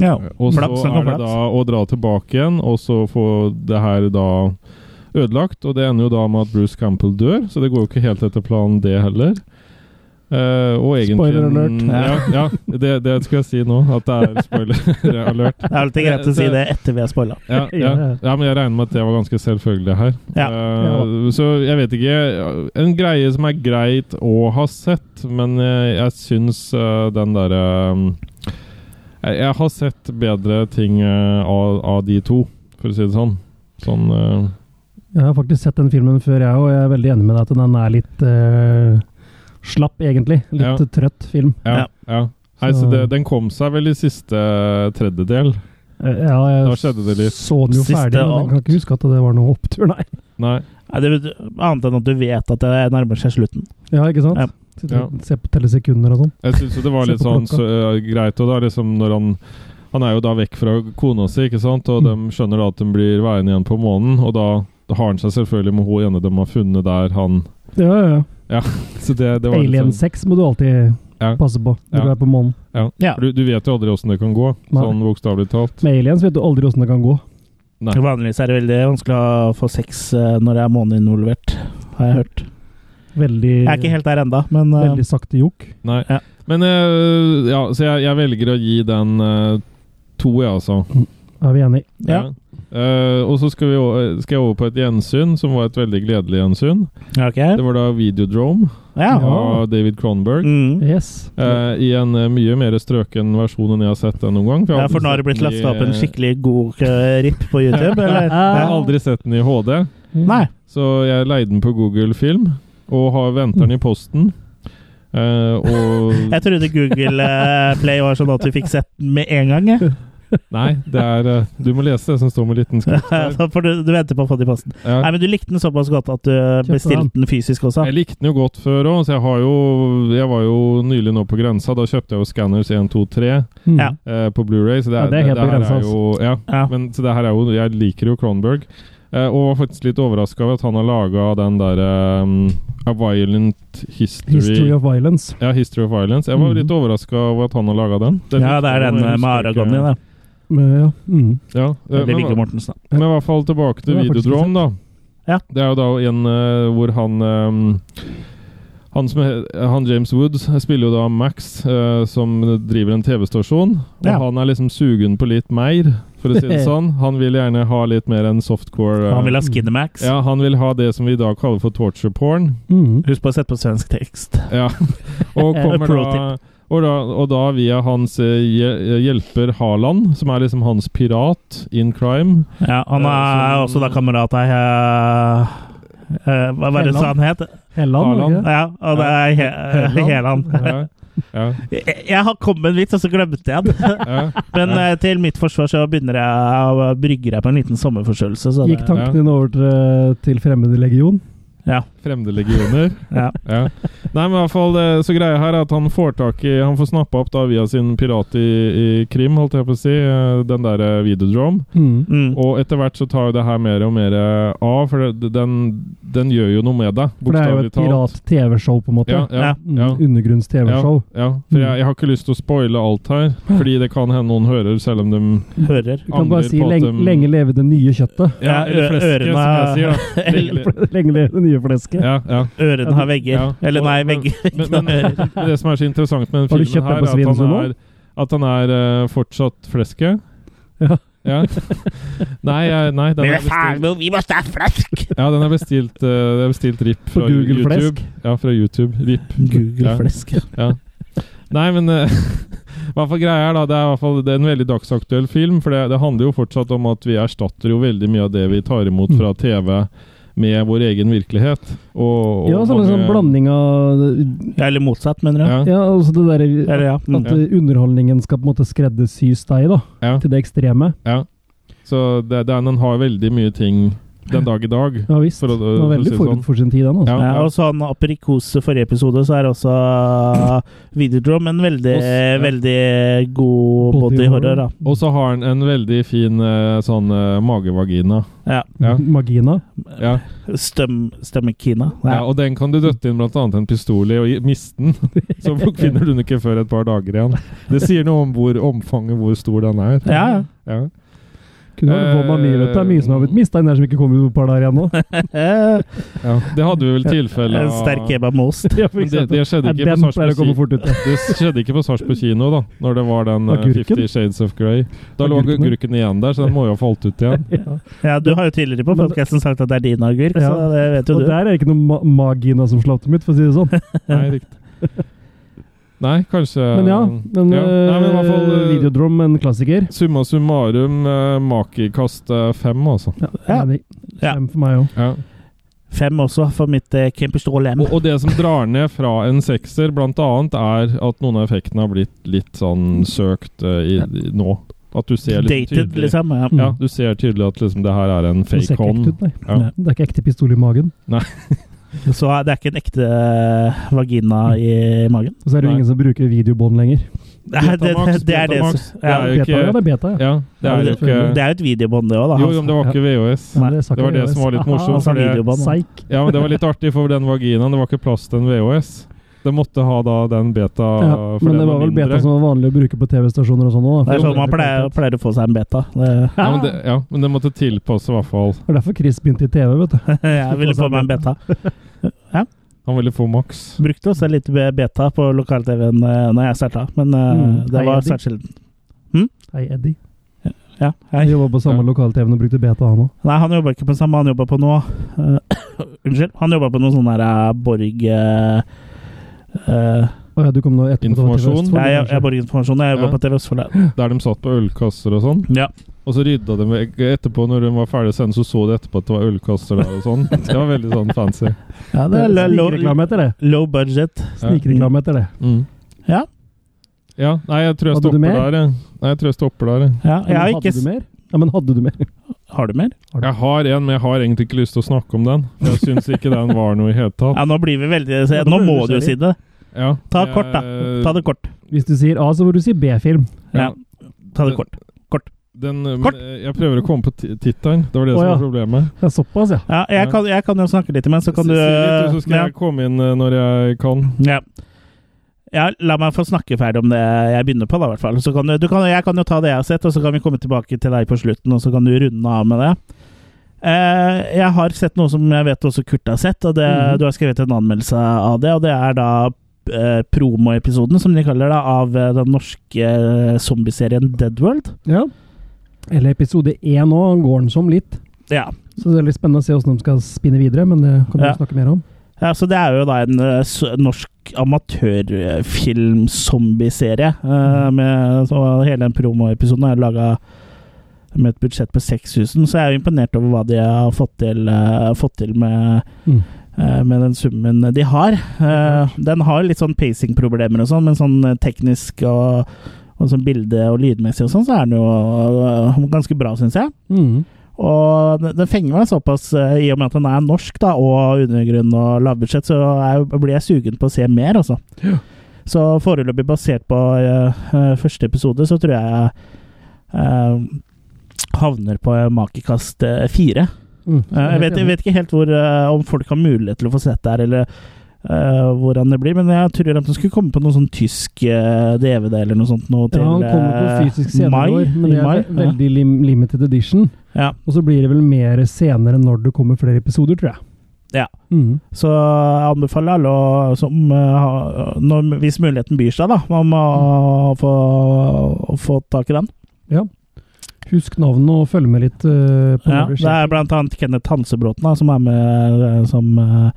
[SPEAKER 1] Ja.
[SPEAKER 3] Og så
[SPEAKER 1] Flaps,
[SPEAKER 3] er det
[SPEAKER 1] flaps.
[SPEAKER 3] da å dra tilbake igjen, og så få det her da ødelagt. Og det ender jo da med at Bruce Campbell dør, så det går jo ikke helt etter planen, det heller. Eh, og egentlig
[SPEAKER 2] Spoiler alert.
[SPEAKER 3] Ja, ja det, det skulle jeg si nå, at det er spoiler alert.
[SPEAKER 1] Det er alltid greit å si det etter vi har spoila.
[SPEAKER 3] Ja, ja. ja, men jeg regner med at det var ganske selvfølgelig her.
[SPEAKER 1] Ja.
[SPEAKER 3] Eh, så jeg vet ikke En greie som er greit å ha sett, men eh, jeg syns eh, den derre eh, jeg, jeg har sett bedre ting eh, av, av de to, for å si det sånn. Sånn eh,
[SPEAKER 2] Jeg har faktisk sett den filmen før, jeg òg. Jeg er veldig enig med deg at den er litt eh, slapp, egentlig. Litt
[SPEAKER 3] Ja.
[SPEAKER 2] trøtt film.
[SPEAKER 3] Ja.
[SPEAKER 1] Ja.
[SPEAKER 3] ja. Nei, så
[SPEAKER 2] Så-
[SPEAKER 3] det, den kom seg vel i siste tredjedel.
[SPEAKER 2] Eh, ja, jeg
[SPEAKER 3] Da skjedde det litt.
[SPEAKER 2] så den jo
[SPEAKER 1] Siste
[SPEAKER 2] ferdig, men jeg
[SPEAKER 1] alt.
[SPEAKER 2] kan ikke huske at det var noe opptur, nei.
[SPEAKER 3] Nei.
[SPEAKER 1] Nei, det betyr- Annet enn at du vet at det nærmer seg slutten.
[SPEAKER 2] Ja, ikke sant?
[SPEAKER 1] Ja.
[SPEAKER 2] Sitter
[SPEAKER 3] Ja.
[SPEAKER 2] og ser på telesekunder og sånn.
[SPEAKER 3] Jeg syns jo det var
[SPEAKER 2] Se
[SPEAKER 3] litt
[SPEAKER 2] på
[SPEAKER 3] sånn
[SPEAKER 2] klokka.
[SPEAKER 3] så, ja, greit. Og da liksom når han Han er jo da vekk fra kona si, ikke sant? Og de skjønner da at de blir værende igjen på månen. Og da har han seg selvfølgelig med hun ene de har funnet der han
[SPEAKER 2] Ja, ja, ja.
[SPEAKER 3] Så det, det var litt
[SPEAKER 2] Alien
[SPEAKER 3] sånn,
[SPEAKER 2] 6 må du alltid
[SPEAKER 3] Ja.
[SPEAKER 2] passe på når
[SPEAKER 3] Ja.
[SPEAKER 2] du er på månen.
[SPEAKER 3] ja.
[SPEAKER 1] Ja.
[SPEAKER 3] For Du, du vet jo aldri åssen det kan gå,
[SPEAKER 2] Nei.
[SPEAKER 3] sånn bokstavelig talt.
[SPEAKER 2] Med aliens vet du aldri åssen det kan gå.
[SPEAKER 3] Nei.
[SPEAKER 1] Vanligvis er det veldig vanskelig å få sex eh, når det er måne involvert, har jeg hørt.
[SPEAKER 2] Veldig,
[SPEAKER 1] Jeg er ikke helt der enda, men eh,
[SPEAKER 2] veldig sakte jokk.
[SPEAKER 3] Nei.
[SPEAKER 1] Ja.
[SPEAKER 3] Men eh, ja, så jeg, jeg velger å gi den eh, to, jeg, altså.
[SPEAKER 2] Er vi enige?
[SPEAKER 1] ja.
[SPEAKER 3] Eh, og så skal, vi, o- skal jeg over på et gjensyn, som var et veldig gledelig gjensyn.
[SPEAKER 1] Ok.
[SPEAKER 3] Det var da Videodrome
[SPEAKER 1] Ja.
[SPEAKER 3] av David Cronberg.
[SPEAKER 1] Mm.
[SPEAKER 2] Yes.
[SPEAKER 3] Eh, I en eh, mye mer strøken versjon enn jeg har sett den noen gang. jeg
[SPEAKER 1] Ja,
[SPEAKER 3] har
[SPEAKER 1] for
[SPEAKER 3] aldri
[SPEAKER 1] nå har det
[SPEAKER 3] sett
[SPEAKER 1] blitt
[SPEAKER 3] den
[SPEAKER 1] lasta
[SPEAKER 3] sånn i-
[SPEAKER 1] opp en skikkelig god eh, ripp på YouTube, eller?
[SPEAKER 3] Jeg har
[SPEAKER 1] Ja.
[SPEAKER 3] aldri sett den i HD,
[SPEAKER 2] Mm.
[SPEAKER 1] Nei.
[SPEAKER 3] så jeg leide den på Google Film, og har venter den i posten. Eh, og
[SPEAKER 1] Jeg trodde Google eh, Play var sånn at du fikk sett den med en gang. jeg.
[SPEAKER 3] Nei, det er eh, Du må lese det som står med liten skrift. der.
[SPEAKER 1] Så får du, du venter på å få det i posten. Nei,
[SPEAKER 3] Ja.
[SPEAKER 1] men du likte den såpass godt at du eh, bestilte den fysisk også.
[SPEAKER 3] Jeg likte den jo godt før òg, så jeg har jo Jeg var jo nylig nå på grensa. Da kjøpte jeg jo Scanners 1, 2, 3
[SPEAKER 2] Mm.
[SPEAKER 1] Ja.
[SPEAKER 3] eh, på Blu-ray, så det,
[SPEAKER 2] Ja,
[SPEAKER 3] er-
[SPEAKER 2] det er helt på
[SPEAKER 3] her
[SPEAKER 2] grensa,
[SPEAKER 3] jo ja,
[SPEAKER 1] Ja.
[SPEAKER 3] Men så det her er jo Jeg liker jo Cronberg. Eh, og var faktisk litt overraska over at han har laga den derre A Violent History,
[SPEAKER 2] History of violence.
[SPEAKER 3] Ja, History of Violence. Jeg var
[SPEAKER 2] Mhm.
[SPEAKER 3] litt overraska over at han har laga den. Den
[SPEAKER 1] Mm. Ja, det er
[SPEAKER 3] likte jeg,
[SPEAKER 1] den
[SPEAKER 3] men jeg
[SPEAKER 1] med
[SPEAKER 3] husker ikke-
[SPEAKER 1] Aragon i, det.
[SPEAKER 2] Men, ja. Mm.
[SPEAKER 3] Ja, eh,
[SPEAKER 1] Eller Viggo
[SPEAKER 3] men,
[SPEAKER 1] Mortensen. da.
[SPEAKER 3] men i hvert fall tilbake til
[SPEAKER 2] Den har jeg faktisk
[SPEAKER 3] Videodrome, da.
[SPEAKER 1] Ja.
[SPEAKER 3] Det er jo da en eh, hvor han eh, han, som, he- han James Woods spiller jo da Max, eh, som driver en TV-stasjon. Og
[SPEAKER 1] Ja.
[SPEAKER 3] han er liksom sugen på litt mer, for å si det sånn. Han vil gjerne ha litt mer enn softcore. eh,
[SPEAKER 1] Han vil ha Skinnermax.
[SPEAKER 3] ja, han vil ha det som vi i dag kaller for torture porn.
[SPEAKER 2] Mm.
[SPEAKER 1] Husk på å sette på svensk tekst.
[SPEAKER 3] Ja. Og kommer
[SPEAKER 1] Pro
[SPEAKER 3] da og da, og da via hans eh, hje- hjelper Haaland, som er liksom hans pirat in crime.
[SPEAKER 1] Ja, han er
[SPEAKER 3] Eh,
[SPEAKER 1] også
[SPEAKER 3] som-
[SPEAKER 1] da kamerat av eh, eh, Hva var det så
[SPEAKER 2] Helland.
[SPEAKER 1] han het?
[SPEAKER 2] Helland, var det ikke det?
[SPEAKER 1] Ja, og det er He- eh,
[SPEAKER 2] Helland.
[SPEAKER 1] Heland.
[SPEAKER 3] Ja, ja,
[SPEAKER 1] Jeg, jeg har kommet en vits, og så glemte jeg den.
[SPEAKER 3] ja.
[SPEAKER 1] Men eh, til mitt forsvar så begynner jeg å brygge jeg på en liten sommerforstørrelse. Så det,
[SPEAKER 2] Gikk tanken din over til, eh, til fremmede legion?
[SPEAKER 3] Fremmede legioner.
[SPEAKER 1] ja.
[SPEAKER 3] Ja. Nei, men i hvert fall, eh, så greia her er at han får tak i Han får snappa opp da via sin pirat i, i Krim, holdt jeg på å si, eh, den derre videodrome.
[SPEAKER 2] Mm.
[SPEAKER 1] Mm.
[SPEAKER 3] Og etter hvert så tar jo det her mer og mer eh, av, for det, den, den gjør jo noe med deg,
[SPEAKER 2] For det er jo
[SPEAKER 3] bokstavelig
[SPEAKER 2] et
[SPEAKER 3] talt.
[SPEAKER 2] pirat-TV-show, på en måte.
[SPEAKER 3] Ja, ja,
[SPEAKER 1] Ja.
[SPEAKER 2] Mm.
[SPEAKER 3] ja. Ja,
[SPEAKER 2] Undergrunns-TV-show.
[SPEAKER 3] ja, for jeg, jeg har ikke lyst til å spoile alt her, fordi det kan hende noen hører, selv om de
[SPEAKER 1] Hører.
[SPEAKER 2] Du kan bare
[SPEAKER 3] Angrer
[SPEAKER 2] si
[SPEAKER 3] på at
[SPEAKER 2] 'lenge,
[SPEAKER 3] de-
[SPEAKER 2] lenge leve det nye kjøttet'.
[SPEAKER 1] Ja,
[SPEAKER 3] eller
[SPEAKER 1] ø-
[SPEAKER 3] fleske, som jeg
[SPEAKER 1] ørene-
[SPEAKER 3] sier. da. Lenge-
[SPEAKER 2] lenge leve det nye flesket.
[SPEAKER 3] Ja, ja.
[SPEAKER 1] Ørene har vegger.
[SPEAKER 3] Ja.
[SPEAKER 1] Eller nei,
[SPEAKER 3] Og- men-
[SPEAKER 1] vegger.
[SPEAKER 3] Men, men det som er så interessant med den
[SPEAKER 2] Har du
[SPEAKER 3] filmen
[SPEAKER 2] kjøpt
[SPEAKER 3] her,
[SPEAKER 2] den
[SPEAKER 3] er
[SPEAKER 2] på
[SPEAKER 3] at han
[SPEAKER 2] Svinesund
[SPEAKER 3] er, at han er eh, fortsatt fleske.
[SPEAKER 2] Ja.
[SPEAKER 3] Nei, jeg- nei den, er bestilt,
[SPEAKER 1] vi må stå flesk!
[SPEAKER 3] ja, den er bestilt, eh, det er bestilt RIP
[SPEAKER 2] På
[SPEAKER 3] fra
[SPEAKER 2] Google
[SPEAKER 3] YouTube.
[SPEAKER 2] Flesk.
[SPEAKER 3] Ja, fra YouTube. RIP.
[SPEAKER 1] Google
[SPEAKER 3] Ja.
[SPEAKER 1] flesk.
[SPEAKER 3] Nei, men eh, hva for greia er da, det er i hvert fall det er en veldig dagsaktuell film. For det, det handler jo fortsatt om at vi erstatter jo veldig mye av det vi tar
[SPEAKER 2] Mm.
[SPEAKER 3] imot fra TV med vår egen virkelighet. Og, og
[SPEAKER 2] Ja, sånn en sånn
[SPEAKER 3] mange-
[SPEAKER 2] blanding av
[SPEAKER 1] Ja, eller motsatt, mener du?
[SPEAKER 3] Ja,
[SPEAKER 2] Ja, altså det
[SPEAKER 1] Eller
[SPEAKER 2] der
[SPEAKER 1] ja. Mm.
[SPEAKER 2] At eh, underholdningen skal på en måte skreddersys deg, da.
[SPEAKER 3] ja.
[SPEAKER 2] Til det ekstreme.
[SPEAKER 3] Ja. Så det, den, den har veldig mye ting den dag i dag.
[SPEAKER 2] Ja visst.
[SPEAKER 3] For å-
[SPEAKER 2] den var
[SPEAKER 3] for å si
[SPEAKER 2] veldig
[SPEAKER 3] det sånn.
[SPEAKER 2] forut for sin tid, den. Altså.
[SPEAKER 3] Ja,
[SPEAKER 1] Ja,
[SPEAKER 3] ja.
[SPEAKER 1] og sånn aprikose forrige episode, så er også Videodrome en veldig,
[SPEAKER 3] Oss, ja.
[SPEAKER 1] veldig god
[SPEAKER 2] Body
[SPEAKER 1] body
[SPEAKER 2] horror.
[SPEAKER 1] horror, da.
[SPEAKER 3] Og så har han en veldig fin eh, sånn eh, magevagina.
[SPEAKER 1] Ja.
[SPEAKER 3] Ja.
[SPEAKER 2] Magina.
[SPEAKER 3] Ja.
[SPEAKER 1] Stem, Stemmekina.
[SPEAKER 3] Ja,
[SPEAKER 1] Ja.
[SPEAKER 3] og den kan du døtte inn blant annet en pistol i og i- miste den. Så finner du den ikke før et par dager igjen. Det sier noe om hvor omfanget, hvor stor den er.
[SPEAKER 1] Ja, ja.
[SPEAKER 3] Ja.
[SPEAKER 2] Kunne holdt på med mye, vet du. Det er mye som har blitt mista der som ikke kommer ut på et par dager igjen nå.
[SPEAKER 1] Eh,
[SPEAKER 3] Ja. Det hadde vi vel tilfelle
[SPEAKER 1] En sterk kebabmost.
[SPEAKER 2] Ja, for
[SPEAKER 3] Men det,
[SPEAKER 2] eksempel.
[SPEAKER 3] det skjedde
[SPEAKER 2] Ja,
[SPEAKER 3] ikke
[SPEAKER 2] den
[SPEAKER 3] på
[SPEAKER 2] pleier å komme
[SPEAKER 3] Sarpsborg
[SPEAKER 2] fort ut. ja.
[SPEAKER 3] Det skjedde ikke på Sarpsborg kino, da, når det var den eh,
[SPEAKER 2] Agurken?
[SPEAKER 3] Fifty Shades of Grey. Da lå
[SPEAKER 2] Agurkene.
[SPEAKER 3] agurken igjen der, så den må jo ha falt ut igjen.
[SPEAKER 1] Ja, du har jo tidligere på
[SPEAKER 2] Men-
[SPEAKER 1] podkasten sagt at det er din agurk,
[SPEAKER 2] Ja.
[SPEAKER 1] så det vet jo
[SPEAKER 2] Og
[SPEAKER 1] du.
[SPEAKER 2] der er ikke noe ma magina som slapp dem ut, for å si det sånn.
[SPEAKER 3] Nei, riktig. Nei, kanskje
[SPEAKER 2] Men ja, men,
[SPEAKER 3] Ja. Nei, men i hvert fall,
[SPEAKER 2] eh,
[SPEAKER 3] eh,
[SPEAKER 2] Videodrom, en klassiker.
[SPEAKER 3] Summa summarum, uh, makikast eh, fem, altså.
[SPEAKER 2] Ja,
[SPEAKER 1] Ja.
[SPEAKER 2] enig.
[SPEAKER 1] Ja.
[SPEAKER 2] Fem for meg òg.
[SPEAKER 3] Ja.
[SPEAKER 1] Fem også, for mitt eh, Kemperstål M.
[SPEAKER 3] Og, og det som drar ned fra en sekser, blant annet, er at noen av effektene har blitt litt sånn søkt eh, i, i, nå. At du ser litt
[SPEAKER 1] Dated,
[SPEAKER 3] tydelig
[SPEAKER 1] liksom. Ja.
[SPEAKER 3] Ja, du ser tydelig at liksom det her er en
[SPEAKER 2] Det ser
[SPEAKER 3] fake
[SPEAKER 2] ikke
[SPEAKER 3] hånd.
[SPEAKER 2] ekte ut, nei.
[SPEAKER 3] Ja.
[SPEAKER 2] Det er ikke ekte pistol i magen.
[SPEAKER 1] Så det er ikke en ekte eh, vagina i magen.
[SPEAKER 2] Og så er det jo
[SPEAKER 3] Nei.
[SPEAKER 2] ingen som bruker videobånd lenger.
[SPEAKER 1] Nei, det, det, det er det som
[SPEAKER 3] Betamax. Det
[SPEAKER 1] ja.
[SPEAKER 3] er jo
[SPEAKER 2] Beta, ja,
[SPEAKER 3] ikke
[SPEAKER 2] det er beta, ja.
[SPEAKER 3] Ja, det er jo
[SPEAKER 1] det,
[SPEAKER 3] ikke
[SPEAKER 1] er jo et videobånd, det òg, da.
[SPEAKER 3] Jo, jo, men det var ikke VHS.
[SPEAKER 2] Men
[SPEAKER 3] Det
[SPEAKER 2] sa ikke
[SPEAKER 3] var det
[SPEAKER 2] VHS.
[SPEAKER 3] som var litt
[SPEAKER 2] Aha,
[SPEAKER 3] morsomt.
[SPEAKER 1] altså
[SPEAKER 3] For det,
[SPEAKER 1] videobånd.
[SPEAKER 2] Seik.
[SPEAKER 3] ja, men det var litt artig, for den vaginaen det var ikke plass til en VHS. Det måtte ha da den beta
[SPEAKER 2] Ja,
[SPEAKER 3] for
[SPEAKER 2] men
[SPEAKER 3] den
[SPEAKER 2] det var
[SPEAKER 3] var
[SPEAKER 2] vel
[SPEAKER 3] mindre.
[SPEAKER 2] beta som var vanlig å bruke på TV-stasjoner og sånn òg.
[SPEAKER 1] Det er sånn man pleier, pleier å få seg en beta. Det,
[SPEAKER 3] ja, men det, ja, men det måtte tilpasse i hvert fall.
[SPEAKER 2] Det var derfor Chris begynte i TV, vet du.
[SPEAKER 1] jeg ville få meg en beta.
[SPEAKER 3] Han ville få maks.
[SPEAKER 1] Brukte også litt be- beta på lokal-TV-en eh, når jeg starta, men eh,
[SPEAKER 2] Mm.
[SPEAKER 1] det
[SPEAKER 2] Hei,
[SPEAKER 1] var
[SPEAKER 2] Eddie.
[SPEAKER 1] svært sjelden.
[SPEAKER 2] Hei, Eddie.
[SPEAKER 1] Ja,
[SPEAKER 2] Han
[SPEAKER 1] hei.
[SPEAKER 2] jobba på samme
[SPEAKER 3] Ja.
[SPEAKER 2] lokal-TV-en og brukte beta, han òg.
[SPEAKER 1] Nei, han jobba ikke på det samme, han jobba på noe eh, Unnskyld. Han jobba på noe sånn der eh, Borg eh, eh,
[SPEAKER 2] Å ja, du kom nå etterpå. til
[SPEAKER 3] Informasjon.
[SPEAKER 2] Østfold,
[SPEAKER 1] jeg, jeg,
[SPEAKER 2] kanskje?
[SPEAKER 1] jeg Borg-informasjon. Jeg jobba
[SPEAKER 3] Ja.
[SPEAKER 1] på TV Østfold. ja.
[SPEAKER 3] Der de satt på ølkasser og sånn.
[SPEAKER 1] Ja.
[SPEAKER 3] Og så rydda de vekk etterpå, når de var ferdig å sende, så så de etterpå at det var ølkasser der og sånn. Det var veldig sånn fancy.
[SPEAKER 1] ja, det
[SPEAKER 2] Det
[SPEAKER 1] er
[SPEAKER 2] er
[SPEAKER 1] lo- lo-
[SPEAKER 2] Snikreklame etter det.
[SPEAKER 1] low budget.
[SPEAKER 2] Snikreklame etter det.
[SPEAKER 3] Mm.
[SPEAKER 1] Ja.
[SPEAKER 3] Ja, nei, jeg tror jeg
[SPEAKER 2] Hadde du
[SPEAKER 3] stopper der,
[SPEAKER 2] mer?
[SPEAKER 3] jeg. Nei, jeg tror jeg stopper der, jeg.
[SPEAKER 1] Ja, jeg
[SPEAKER 2] Men
[SPEAKER 1] har
[SPEAKER 2] hadde
[SPEAKER 1] ikke
[SPEAKER 2] du
[SPEAKER 1] s-
[SPEAKER 2] mer? Ja, men hadde du mer?
[SPEAKER 1] Har du mer?
[SPEAKER 3] Jeg har en, men jeg har egentlig ikke lyst til å snakke om den. Jeg syns ikke den var noe i hele tatt.
[SPEAKER 1] Ja, nå blir vi veldig
[SPEAKER 2] Ja,
[SPEAKER 1] Nå
[SPEAKER 2] da blir
[SPEAKER 1] må
[SPEAKER 2] vi
[SPEAKER 1] du jo si det.
[SPEAKER 3] Ja,
[SPEAKER 1] Ta
[SPEAKER 3] jeg-
[SPEAKER 1] kort, da.
[SPEAKER 3] Eh,
[SPEAKER 1] Ta det kort.
[SPEAKER 2] Hvis du sier A, så får du si B-film.
[SPEAKER 1] Ja. Ta det kort.
[SPEAKER 3] Den,
[SPEAKER 1] Kort.
[SPEAKER 3] men, eh, jeg prøver å komme på ti- tittelen. Det var det
[SPEAKER 2] Å,
[SPEAKER 3] som
[SPEAKER 2] ja.
[SPEAKER 3] var problemet.
[SPEAKER 2] Det er såpass, ja.
[SPEAKER 1] Ja, jeg,
[SPEAKER 3] Ja.
[SPEAKER 1] kan, jeg kan jo snakke litt imens, så kan
[SPEAKER 3] Si-
[SPEAKER 1] du
[SPEAKER 3] si litt, og så skal
[SPEAKER 1] ja.
[SPEAKER 3] jeg komme inn eh, når jeg kan.
[SPEAKER 1] Ja. ja. La meg få snakke ferdig om det jeg begynner på, da, i hvert fall. Så kan du, du kan, jeg kan jo ta det jeg har sett, og så kan vi komme tilbake til deg på slutten, og så kan du runde av med det. Eh, jeg har sett noe som jeg vet også Kurt har sett, og det,
[SPEAKER 2] Mhm.
[SPEAKER 1] du har skrevet en anmeldelse av det. Og det er da eh, promoepisoden, som de kaller det, av eh, den norske eh, zombieserien Deadworld.
[SPEAKER 2] ja. Eller episode én òg, går den som litt.
[SPEAKER 1] Ja.
[SPEAKER 2] Så det er litt spennende å se hvordan de skal spinne videre, men det kan vi
[SPEAKER 1] Ja.
[SPEAKER 2] jo snakke mer om.
[SPEAKER 1] Ja, så Det er jo da en eh, s- norsk amatørfilm-zombieserie. eh, med- så Hele den promoepisoden er laga med et budsjett på 6000, så jeg er jo imponert over hva de har fått til, eh, fått til med,
[SPEAKER 2] Mm.
[SPEAKER 1] eh, med den summen de har. Eh, den har litt sånn pacing-problemer og sånn, men sånn eh, teknisk og, og sånn bilde- og lydmessig og sånn, så er den jo eh, ganske bra, syns jeg.
[SPEAKER 2] Mm.
[SPEAKER 1] Og den den fenger meg såpass, eh, i og med at den er norsk da, og undergrunn og lavbudsjett, så er, jeg- blir jeg sugen på å se mer, altså.
[SPEAKER 2] Ja.
[SPEAKER 1] Så foreløpig basert på eh, eh, første episode, så tror jeg eh, havner på makekast eh, fire.
[SPEAKER 2] Mm.
[SPEAKER 1] Eh, jeg, vet, jeg vet ikke helt hvor, eh, om folk har mulighet til å få sett det her, eller eh, hvordan det blir, men jeg tror de skulle komme på noen sånn tysk eh, DVD eller noe sånt nå til
[SPEAKER 2] Ja, han kommer på
[SPEAKER 1] eh,
[SPEAKER 2] fysisk senere
[SPEAKER 1] mai.
[SPEAKER 2] i år, men
[SPEAKER 1] i
[SPEAKER 2] det er
[SPEAKER 1] mai,
[SPEAKER 2] ve- veldig lim limited edition.
[SPEAKER 1] Ja.
[SPEAKER 2] Og så blir det vel mer senere når det kommer flere episoder, tror jeg.
[SPEAKER 1] Ja.
[SPEAKER 2] Mm.
[SPEAKER 1] Så jeg anbefaler alle å, som, eh, ha- når, hvis muligheten byr seg, da, om å få, å få tak i den.
[SPEAKER 2] Husk navnet og følg med litt. eh, på
[SPEAKER 1] Ja,
[SPEAKER 2] når det
[SPEAKER 1] det
[SPEAKER 2] skjer.
[SPEAKER 1] er blant annet Kenneth Hansebråten da, som er med eh, som eh,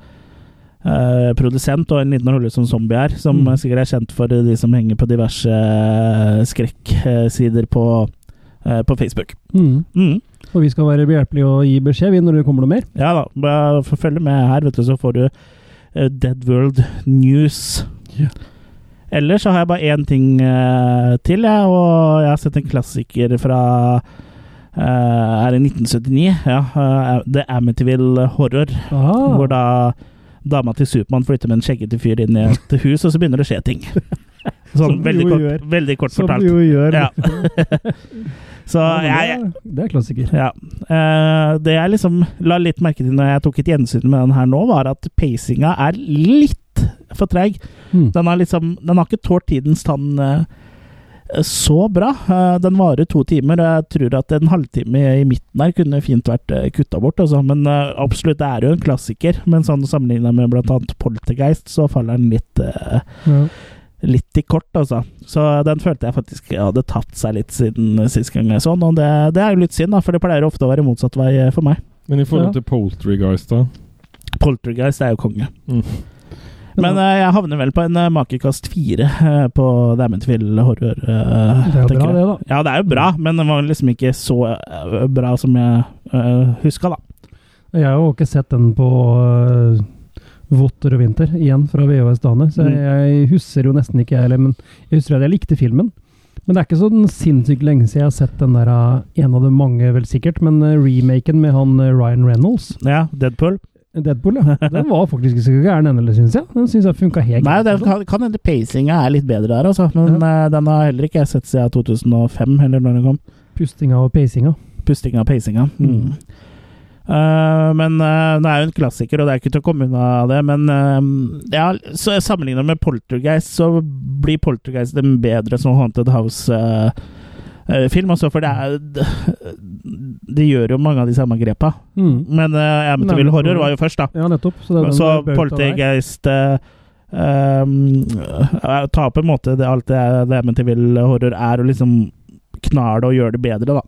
[SPEAKER 1] eh, produsent, og en liten rolle som zombie her, som eh,
[SPEAKER 2] Mm.
[SPEAKER 1] sikkert er kjent for de som henger på diverse eh, skrekksider på, eh, på Facebook.
[SPEAKER 2] Mm.
[SPEAKER 1] Mm.
[SPEAKER 2] Og vi skal være behjelpelige og gi beskjed vi, når det kommer noe mer.
[SPEAKER 1] Ja da, bare få følge med her, vet du, så får du eh, Dead World News.
[SPEAKER 2] Ja.
[SPEAKER 1] Ellers så har jeg bare én ting eh, til, jeg, og jeg har sett en klassiker fra eh, er i 1979. Ja, eh, The Amityville Horror.
[SPEAKER 2] Ah,
[SPEAKER 1] Hvor da dama til Supermann flytter med en skjeggete fyr inn i et hus, og så begynner det å skje ting. Sånn
[SPEAKER 2] Som du
[SPEAKER 1] veldig
[SPEAKER 2] jo
[SPEAKER 1] kort,
[SPEAKER 2] gjør.
[SPEAKER 1] veldig kort
[SPEAKER 2] som
[SPEAKER 1] fortalt.
[SPEAKER 2] du jo gjør.
[SPEAKER 1] Ja. Så
[SPEAKER 2] Ja, men det
[SPEAKER 1] jeg,
[SPEAKER 2] er- det er klassiker.
[SPEAKER 1] ja. Eh, det jeg liksom la litt merke til når jeg tok et gjensyn med den her nå, var at pacinga er litt for treig.
[SPEAKER 2] Mm.
[SPEAKER 1] Den har liksom Den har ikke tålt tidens tann eh, så bra. Eh, Den varer to timer, og jeg tror at en halvtime i midten her kunne fint vært eh, kutta bort. Altså. Men eh, absolutt, det er jo en klassiker. Men sånn sammenligna med bl.a. Poltergeist, så faller den litt eh,
[SPEAKER 2] Ja.
[SPEAKER 1] litt i kort, altså. Så den følte jeg faktisk hadde tatt seg litt siden sist gang jeg så den, og det, det er jo litt synd, da, for det pleier ofte å være motsatt vei for meg.
[SPEAKER 3] Men i forhold
[SPEAKER 2] Ja.
[SPEAKER 3] til Poltergeist, da?
[SPEAKER 1] Poltergeist er jo konge.
[SPEAKER 3] Mm.
[SPEAKER 1] Men eh, jeg havner vel på en eh, makekast fire eh, på Dammentville horror. eh,
[SPEAKER 2] det er jo
[SPEAKER 1] tenker jeg.
[SPEAKER 2] bra, det, da.
[SPEAKER 1] Ja, det er jo bra, men den var liksom ikke så eh, bra som jeg uh, huska, da.
[SPEAKER 2] Jeg har jo ikke sett den på øh, Votter og vinter, igjen fra VHS Dane, så
[SPEAKER 1] Mm.
[SPEAKER 2] jeg, jeg husker jo nesten ikke jeg heller, men jeg husker at jeg likte filmen. Men det er ikke sånn sinnssykt lenge siden jeg har sett den der, øh, en av de mange vel sikkert, men øh, remaken med han øh, Ryan Reynolds,
[SPEAKER 1] Ja, Deadpool.
[SPEAKER 2] Deadpool, ja. Den var faktisk ikke så gæren ennå, synes jeg. Den synes jeg funket helt
[SPEAKER 1] Nei, det
[SPEAKER 2] greit.
[SPEAKER 1] kan kan hende pacinga er litt bedre der, altså. Men eh, den har heller ikke jeg sett siden 2005, eller når den kom.
[SPEAKER 2] Pustinga og pacinga.
[SPEAKER 1] Pustinga og peisinga.
[SPEAKER 2] Mm.
[SPEAKER 1] Mm. Eh, men eh, det er jo en klassiker, og det er ikke til å komme unna det. Men eh, ja, så sammenligna med Poltergeist, så blir Poltergeist den bedre som Haunted eh, House-film. også, Altså, for det er De gjør jo mange av de samme grepa.
[SPEAKER 2] Mm.
[SPEAKER 1] Men uh, Amityville Horror var jo først, da.
[SPEAKER 2] Ja, nettopp. Så, det er den
[SPEAKER 1] Så
[SPEAKER 2] jeg bauta der.
[SPEAKER 1] Poltergeist uh, um, tar på en måte det, alt det, det Amityville Horror er, og liksom knar det og gjør det bedre, da.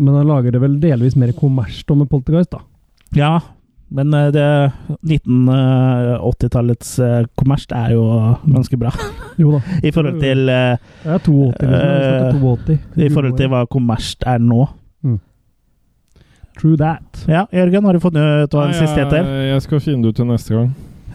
[SPEAKER 2] Men han lager det vel delvis mer kommersielt da, med Poltergeist, da.
[SPEAKER 1] Ja, men eh, det 1980-tallets eh, kommers det er jo ganske bra
[SPEAKER 2] Jo da,
[SPEAKER 1] i
[SPEAKER 3] Mm.
[SPEAKER 1] forhold til, eh,
[SPEAKER 2] det er 82, liksom. Jeg har snakket 82.
[SPEAKER 1] i forhold til hva kommers er nå.
[SPEAKER 2] True that.
[SPEAKER 1] Ja, Jørgen, har du funnet ut hva den
[SPEAKER 3] Nei,
[SPEAKER 1] siste heter?
[SPEAKER 3] Jeg, jeg skal finne det ut til neste gang.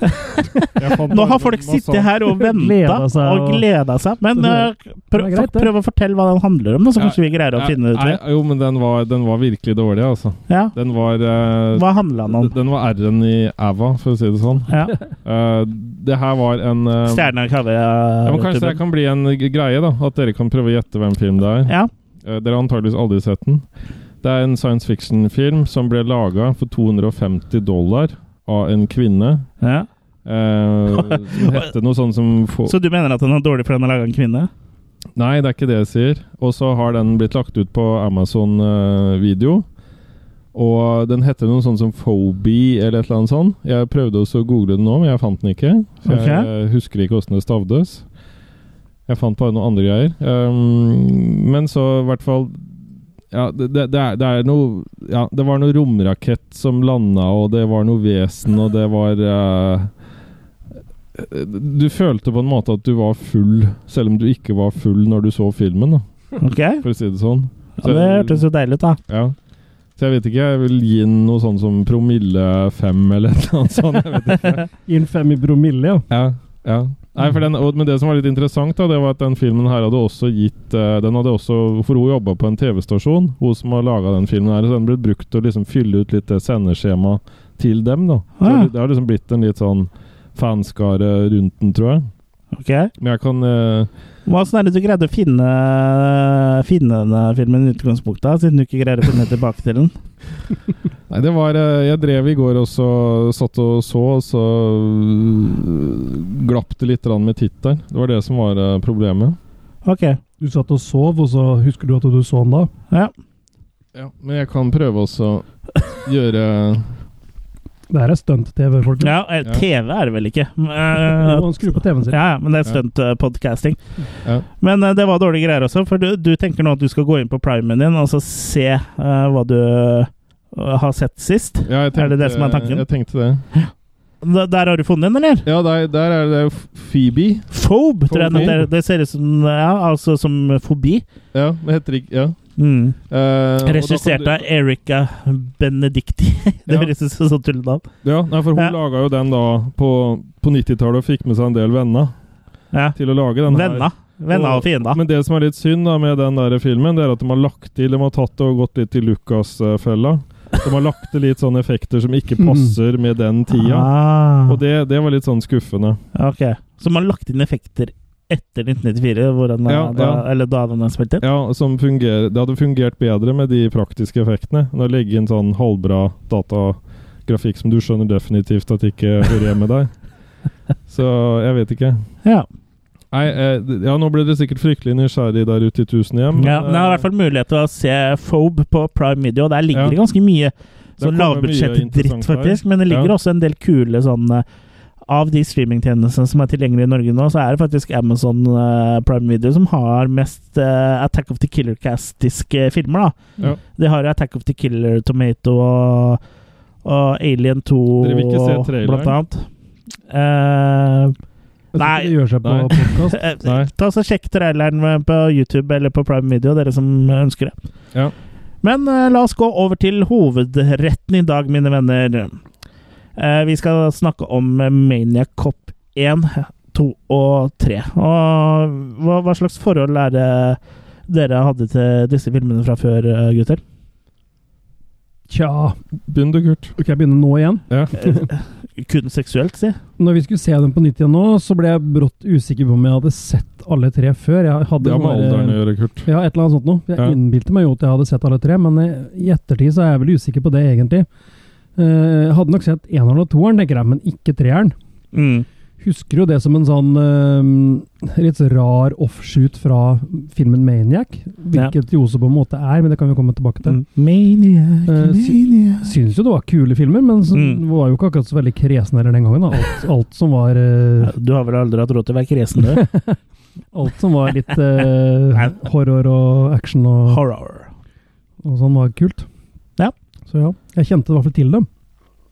[SPEAKER 3] Jeg fant
[SPEAKER 1] Nå
[SPEAKER 3] bare
[SPEAKER 1] har
[SPEAKER 3] den
[SPEAKER 1] folk
[SPEAKER 3] masse-
[SPEAKER 1] sittet her og venta
[SPEAKER 2] Gleda seg
[SPEAKER 1] og
[SPEAKER 2] og-
[SPEAKER 1] gleda seg, men eh, prøv,
[SPEAKER 2] Det er greit, det.
[SPEAKER 1] prøv å fortelle hva den handler om, da, så
[SPEAKER 3] Ja,
[SPEAKER 1] kanskje vi greier å
[SPEAKER 3] Nei,
[SPEAKER 1] finne det ut.
[SPEAKER 3] nei, Jo, men den var, den var virkelig dårlig, altså.
[SPEAKER 1] Ja,
[SPEAKER 3] Den var eh,
[SPEAKER 1] Hva handla den om?
[SPEAKER 3] Den var R-en i æva, for å si det sånn.
[SPEAKER 1] Ja.
[SPEAKER 3] Eh, det her var en eh,
[SPEAKER 1] Stjerna eh,
[SPEAKER 3] ja, men Kanskje det
[SPEAKER 1] Kaveh.
[SPEAKER 3] kan bli en g- greie, da. At dere kan prøve å gjette hvem film det er.
[SPEAKER 1] Ja,
[SPEAKER 3] Eh, dere har antageligvis aldri sett den. Det er en science fiction-film som ble laga for 250 dollar av en kvinne.
[SPEAKER 1] ja.
[SPEAKER 3] eh, som hette noe sånn som få-
[SPEAKER 1] Så du mener at den er dårlig fordi den er laga av en kvinne?
[SPEAKER 3] Nei, det er ikke det jeg sier. Og så har den blitt lagt ut på Amazon eh, video. Og den heter noe sånt som Phobe eller et eller annet sånt. Jeg prøvde også å google den nå, men jeg fant den ikke. For jeg eh, husker ikke åssen det stavdes. Jeg fant bare noen andre greier. Ehm, men så i hvert fall ja det, det, det, er, det er noe Ja, det var noe romrakett som landa, og det var noe vesen, og det var eh, du følte på en måte at du var full, selv om du ikke var full når du så filmen, da,
[SPEAKER 1] Ok? Ja,
[SPEAKER 3] for å si det sånn.
[SPEAKER 1] det hørtes jo deilig ut, da.
[SPEAKER 3] Ja. Så jeg vet ikke, jeg vil gi den noe sånn som promille fem eller et eller annet sånt. Jeg vet ikke.
[SPEAKER 2] Inn fem i promille, ja.
[SPEAKER 3] Ja, ja. Nei, for den, og, men det som var litt interessant, da, det var at den filmen her hadde også gitt eh, Den hadde også For hun jobba på en TV-stasjon, hun som har laga den filmen her, så den ble brukt til å liksom fylle ut litt det sendeskjemaet til dem, da. Så
[SPEAKER 1] Ah.
[SPEAKER 3] det har liksom blitt en litt sånn fanskare rundt den, tror jeg.
[SPEAKER 1] Ok?
[SPEAKER 3] Men jeg kan eh,
[SPEAKER 1] Hvordan er det du greide å finne, finne denne filmen i utgangspunktet, da, siden du ikke greier å finne tilbake til den?
[SPEAKER 3] Nei, det var eh, Jeg drev i går og så satt og så, og så øh, glapp det litt grann med tittelen. Det var det som var eh, problemet.
[SPEAKER 1] Ok.
[SPEAKER 2] Du satt og sov, og så husker du at du så den da?
[SPEAKER 1] Ja.
[SPEAKER 3] Ja, Men jeg kan prøve også å gjøre
[SPEAKER 2] Det her er stunt-TV, folkens.
[SPEAKER 1] ja, eh,
[SPEAKER 3] Ja.
[SPEAKER 1] TV er det vel ikke. Men,
[SPEAKER 2] Jo,
[SPEAKER 1] eh,
[SPEAKER 2] Han skrur på TV-en sin.
[SPEAKER 1] Ja, ja, men det er
[SPEAKER 3] Ja.
[SPEAKER 1] stunt-podcasting.
[SPEAKER 3] Ja.
[SPEAKER 1] Men eh, det var dårlige greier også, for du, du tenker nå at du skal gå inn på primen din og så se eh, hva du eh, har sett sist.
[SPEAKER 3] ja, jeg
[SPEAKER 1] Er det det som er tanken?
[SPEAKER 3] Jeg tenkte det.
[SPEAKER 1] Da- Der har du funnet den, eller?
[SPEAKER 3] Ja, der, der er det jo F- Phoebe.
[SPEAKER 1] Phobe, tror jeg den
[SPEAKER 3] Phobe.
[SPEAKER 1] heter. Det ser ut som Ja, altså som fobi.
[SPEAKER 3] Ja, det heter ikke Ja.
[SPEAKER 1] Mm.
[SPEAKER 3] Eh, og da kan
[SPEAKER 1] Regissert
[SPEAKER 3] du-
[SPEAKER 1] av Erika Benedicti. Det
[SPEAKER 3] Ja.
[SPEAKER 1] høres ut som sånn tullete navn.
[SPEAKER 3] Ja, nei, for hun
[SPEAKER 1] Ja.
[SPEAKER 3] laga jo den da på, på 90-tallet og fikk med seg en del venner
[SPEAKER 1] Ja.
[SPEAKER 3] til å lage den her.
[SPEAKER 1] Venna. Venner og fiender.
[SPEAKER 3] Men det som er litt synd da med den der filmen, det er at de har lagt til De har tatt det og gått litt i Lucas-fella. De har lagt til litt sånne effekter som ikke passer med den tida.
[SPEAKER 1] Mm. Ah,
[SPEAKER 3] Og det, det var litt sånn skuffende.
[SPEAKER 1] ok. Så man har lagt inn effekter etter 1994, hvor den,
[SPEAKER 3] Ja,
[SPEAKER 1] da,
[SPEAKER 3] ja.
[SPEAKER 1] eller da den er spilt inn?
[SPEAKER 3] Ja, som fungerer, Det hadde fungert bedre med de praktiske effektene enn å legge inn sånn halvbra datagrafikk som du skjønner definitivt at ikke hører hjemme der. Så jeg vet ikke.
[SPEAKER 1] Ja.
[SPEAKER 3] Nei, eh, d- ja, nå ble dere sikkert fryktelig nysgjerrig der ute i tusen hjem. eh,
[SPEAKER 1] ja men jeg har i hvert fall mulighet til å se Fobe på prime video. Der ligger
[SPEAKER 3] Ja.
[SPEAKER 1] det ganske mye sånn
[SPEAKER 3] kommer mye
[SPEAKER 1] lavbudsjett-dritt,
[SPEAKER 3] interessant der.
[SPEAKER 1] faktisk. Men det ligger
[SPEAKER 3] Ja.
[SPEAKER 1] også en del kule sånn eh, Av de streamingtjenestene som er tilgjengelige i Norge nå, så er det faktisk Amazon eh, prime video som har mest eh, Attack of the Killer Cast-iske filmer, da.
[SPEAKER 3] Ja.
[SPEAKER 1] De har jo Attack of the Killer Tomato og, og Alien 2
[SPEAKER 3] Dere vil ikke se traileren?
[SPEAKER 1] blant annet. Eh,
[SPEAKER 2] Jeg tror
[SPEAKER 1] Nei.
[SPEAKER 2] ikke Det gjør seg på
[SPEAKER 3] Nei.
[SPEAKER 2] podcast.
[SPEAKER 1] Eh,
[SPEAKER 3] Nei.
[SPEAKER 1] Ta så Sjekk traileren på YouTube eller på Prime Video, dere som ønsker det.
[SPEAKER 3] Ja.
[SPEAKER 1] Men eh, la oss gå over til hovedretten i dag, mine venner. Eh, vi skal snakke om eh, Maniac Cop 1, 2 og 3. Og hva, hva slags forhold er det dere hadde til disse filmene fra før, eh, gutter?
[SPEAKER 2] Tja,
[SPEAKER 3] Begynn du, Kurt.
[SPEAKER 2] skal jeg begynne nå igjen?
[SPEAKER 3] Ja.
[SPEAKER 1] Kun seksuelt, si.
[SPEAKER 2] Når vi skulle se dem på nytt igjen nå, så ble jeg brått usikker på om jeg hadde sett alle tre før. Jeg hadde
[SPEAKER 3] Det har med
[SPEAKER 2] sånn der-
[SPEAKER 3] alderen
[SPEAKER 1] eh,
[SPEAKER 3] å gjøre, Kurt.
[SPEAKER 2] Ja, et eller annet sånt noe. Jeg
[SPEAKER 3] Ja.
[SPEAKER 2] innbilte meg jo at jeg hadde sett alle tre, men eh, i ettertid så er jeg vel usikker på det, egentlig. Eh, hadde nok sett eneren og toeren, tenker jeg, men ikke treeren. Husker jo det som en sånn eh, litt rar offshoot fra filmen Maniac, hvilket det jo også på en måte er, men det kan vi komme tilbake
[SPEAKER 3] Mm.
[SPEAKER 2] til.
[SPEAKER 1] Maniac,
[SPEAKER 2] Eh, sy-
[SPEAKER 1] maniac
[SPEAKER 2] Synes jo det var kule filmer, men så,
[SPEAKER 1] Mm.
[SPEAKER 2] var jo ikke akkurat så veldig kresen heller den gangen. Da. Alt, alt som var eh,
[SPEAKER 1] Du har vel aldri hatt råd til å være kresen, du?
[SPEAKER 2] Alt som var litt eh,
[SPEAKER 1] Nei.
[SPEAKER 2] horror og action og,
[SPEAKER 1] Horror.
[SPEAKER 2] og sånn var kult.
[SPEAKER 1] Ja.
[SPEAKER 2] Så ja, jeg kjente i hvert fall til dem.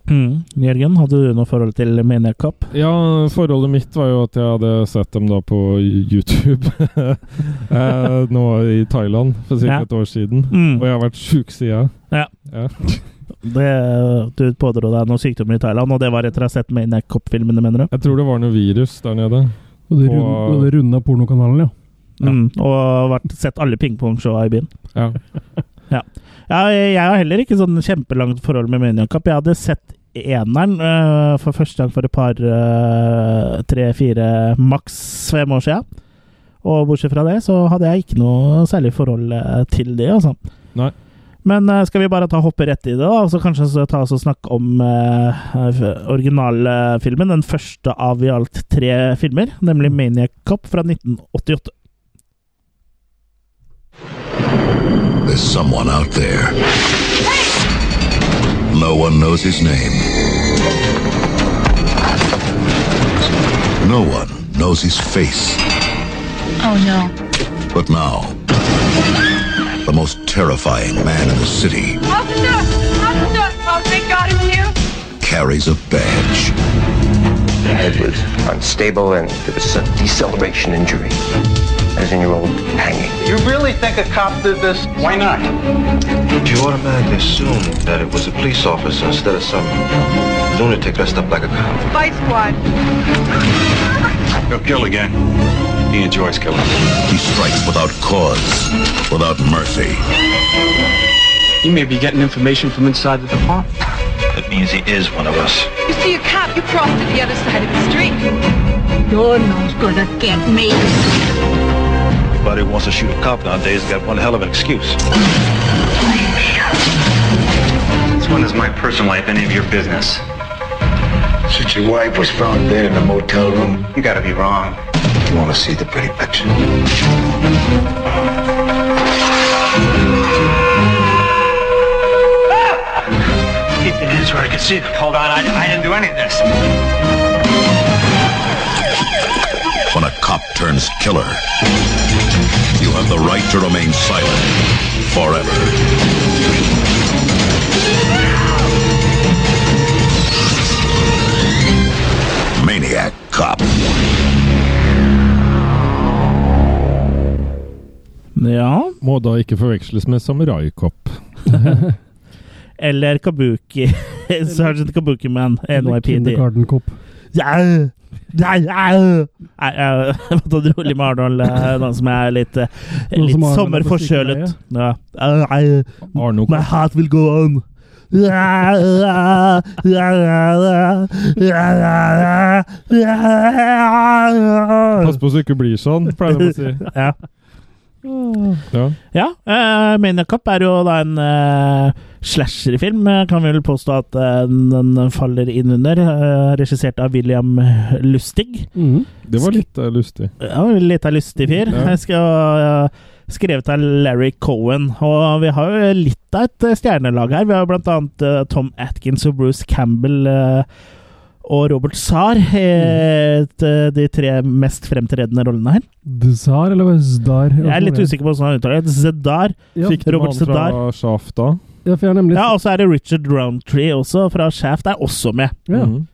[SPEAKER 1] Mm. Jørgen, hadde du noe forhold til Maniac Cop?
[SPEAKER 3] Ja, forholdet mitt var jo at jeg hadde sett dem da på YouTube. eh, nå i Thailand for ca.
[SPEAKER 1] Ja.
[SPEAKER 3] et år siden. Og
[SPEAKER 1] Mm.
[SPEAKER 3] jeg har vært sjuk siden.
[SPEAKER 1] Ja.
[SPEAKER 3] Ja.
[SPEAKER 1] Det, du pådro deg noen sykdommer i Thailand, og det var etter å ha sett Maniac Cop-filmene, mener du?
[SPEAKER 3] Jeg tror det var noe virus der nede.
[SPEAKER 2] Og det
[SPEAKER 3] På-
[SPEAKER 2] rund- og det runde av pornokanalen, ja.
[SPEAKER 3] Ja.
[SPEAKER 1] Mm. Og vært, sett alle pingpongshowa i byen.
[SPEAKER 3] Ja.
[SPEAKER 1] Ja, jeg har heller ikke sånn kjempelangt forhold med Maniac Cop. Jeg hadde sett eneren øh, for første gang for et par øh, tre-fire, maks fem år siden. Og bortsett fra det så hadde jeg ikke noe særlig forhold eh, til det, altså.
[SPEAKER 3] Nei.
[SPEAKER 1] Men eh, skal vi bare ta hoppe rett i det, da? Og så kanskje så ta oss og snakke om eh, f- originalfilmen. Den første av i alt tre filmer, nemlig Maniac Cop fra 1988.
[SPEAKER 4] There's someone out there. No one knows his name. No one knows his face.
[SPEAKER 5] Oh no.
[SPEAKER 4] But now, the most terrifying man in the city
[SPEAKER 5] Officer! Officer! Oh, thank God it's you!
[SPEAKER 4] carries a badge.
[SPEAKER 6] The head was unstable and there was a deceleration injury, as in your old hanging.
[SPEAKER 7] You really think a cop did this? Why not?
[SPEAKER 8] You automatically assume that it was a police officer instead of some lunatic dressed up like a cop.
[SPEAKER 5] Fight squad.
[SPEAKER 8] He'll kill again. He enjoys killing.
[SPEAKER 4] He strikes without cause, without mercy.
[SPEAKER 9] You may be getting information from inside the department.
[SPEAKER 8] That means he is one of us.
[SPEAKER 5] You see a cop, you cross to the other side of the street. You're not gonna get me.
[SPEAKER 8] Anybody who wants to shoot a cop nowadays has got one hell of an excuse. This one is my personal life, any of your business.
[SPEAKER 4] Since your wife was found dead in a motel room,
[SPEAKER 8] You gotta be wrong.
[SPEAKER 4] you want to see the pretty picture?
[SPEAKER 8] Keep your hands where I can see them. Hold on, I, I didn't do any of this.
[SPEAKER 4] When a cop turns killer, you have the right to remain silent forever. Maniac Cop.
[SPEAKER 1] Ja.
[SPEAKER 3] Må da ikke forveksles med Samurai Cop.
[SPEAKER 1] Eller Kabuki. Sergeant Kabuki Man,
[SPEAKER 2] Eller
[SPEAKER 1] NYPD.
[SPEAKER 2] Kindergarten Cop.
[SPEAKER 1] Ja. Nei, au! Nei, au. Jeg måtte dro litt med Arnold, eh, noen som er litt, eh,
[SPEAKER 2] Noen
[SPEAKER 1] litt
[SPEAKER 2] som Arnold er
[SPEAKER 1] sommerforkjølet.
[SPEAKER 2] på
[SPEAKER 1] Ja. Au, au.
[SPEAKER 3] Arno
[SPEAKER 1] My heart will go on.
[SPEAKER 3] Pass på så du ikke blir sånn, pleier de å si.
[SPEAKER 1] Ja.
[SPEAKER 3] Ja.
[SPEAKER 1] Ja, uh, Maniac Cop er jo da en eh, slasherfilm, eh, kan vi vel påstå at eh, den faller inn under. eh, regissert av William Lustig.
[SPEAKER 2] Mhm.
[SPEAKER 3] Det var litt eh, lustig.
[SPEAKER 1] Ja, Litt av lystig fyr.
[SPEAKER 3] Ja.
[SPEAKER 1] Jeg skal, eh, skrevet av Larry Cohen. Og vi har jo litt av et eh, stjernelag her. Vi har blant annet eh, Tom Atkins og Bruce Campbell. eh, og Robert Zahr, eh, t- de tre mest fremtredende rollene her.
[SPEAKER 2] Dzar eller Zdar?
[SPEAKER 1] Jeg er litt usikker på hvordan han uttaler det. Zedar.
[SPEAKER 2] Ja,
[SPEAKER 3] Fikk du
[SPEAKER 1] Robert
[SPEAKER 3] han fra
[SPEAKER 1] Sedar.
[SPEAKER 3] Shaft da?
[SPEAKER 2] ja, for jeg har nemlig
[SPEAKER 1] Ja, og så er det Richard Roundtree også, fra Shaft, er også med.
[SPEAKER 2] ja.
[SPEAKER 3] Mhm.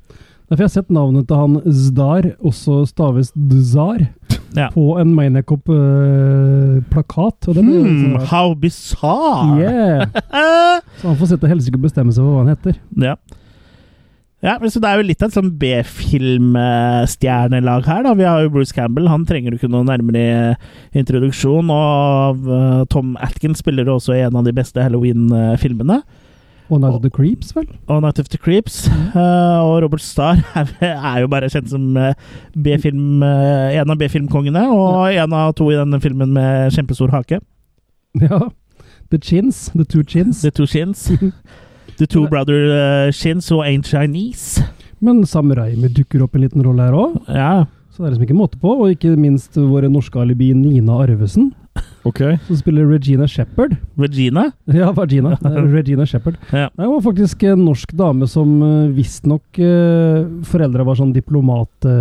[SPEAKER 2] Derfor har jeg sett navnet til han Zdar, også staves Dzar,
[SPEAKER 1] Ja.
[SPEAKER 2] på en Minecop-plakat.
[SPEAKER 1] Hmm, how bizarre!
[SPEAKER 2] liksom- yeah. Så han får sette helsike og bestemme seg for hva han heter.
[SPEAKER 1] Ja. Ja, men så Det er jo litt av et sånn B-filmstjernelag her. da. Vi har jo Bruce Campbell, han trenger jo ikke noe nærmere introduksjon. Og eh, Tom Atkins spiller jo også i en av de beste Halloween-filmene.
[SPEAKER 2] One Night of the Creeps, vel?
[SPEAKER 1] Og Night of the Creeps. Eh, og Robert Starr er, er jo bare kjent som eh, B-film, eh, en av B-filmkongene, og en av to i denne filmen med kjempestor hake.
[SPEAKER 2] Ja. The Chins. The Two Chins.
[SPEAKER 1] The Two Shins. The Two Brother eh, Shins who Ain't Chinese.
[SPEAKER 2] Men Sam Raimi dukker opp en liten rolle her òg,
[SPEAKER 1] Ja.
[SPEAKER 2] så det er liksom ikke måte på. Og ikke minst våre norske alibi Nina Arvesen,
[SPEAKER 3] Ok.
[SPEAKER 2] som spiller Regina Shepherd.
[SPEAKER 1] Regina.
[SPEAKER 2] Ja, Vagina. Eh, Regina Shepherd.
[SPEAKER 1] Ja.
[SPEAKER 2] Det var faktisk en norsk dame som eh, visstnok eh, foreldra var sånn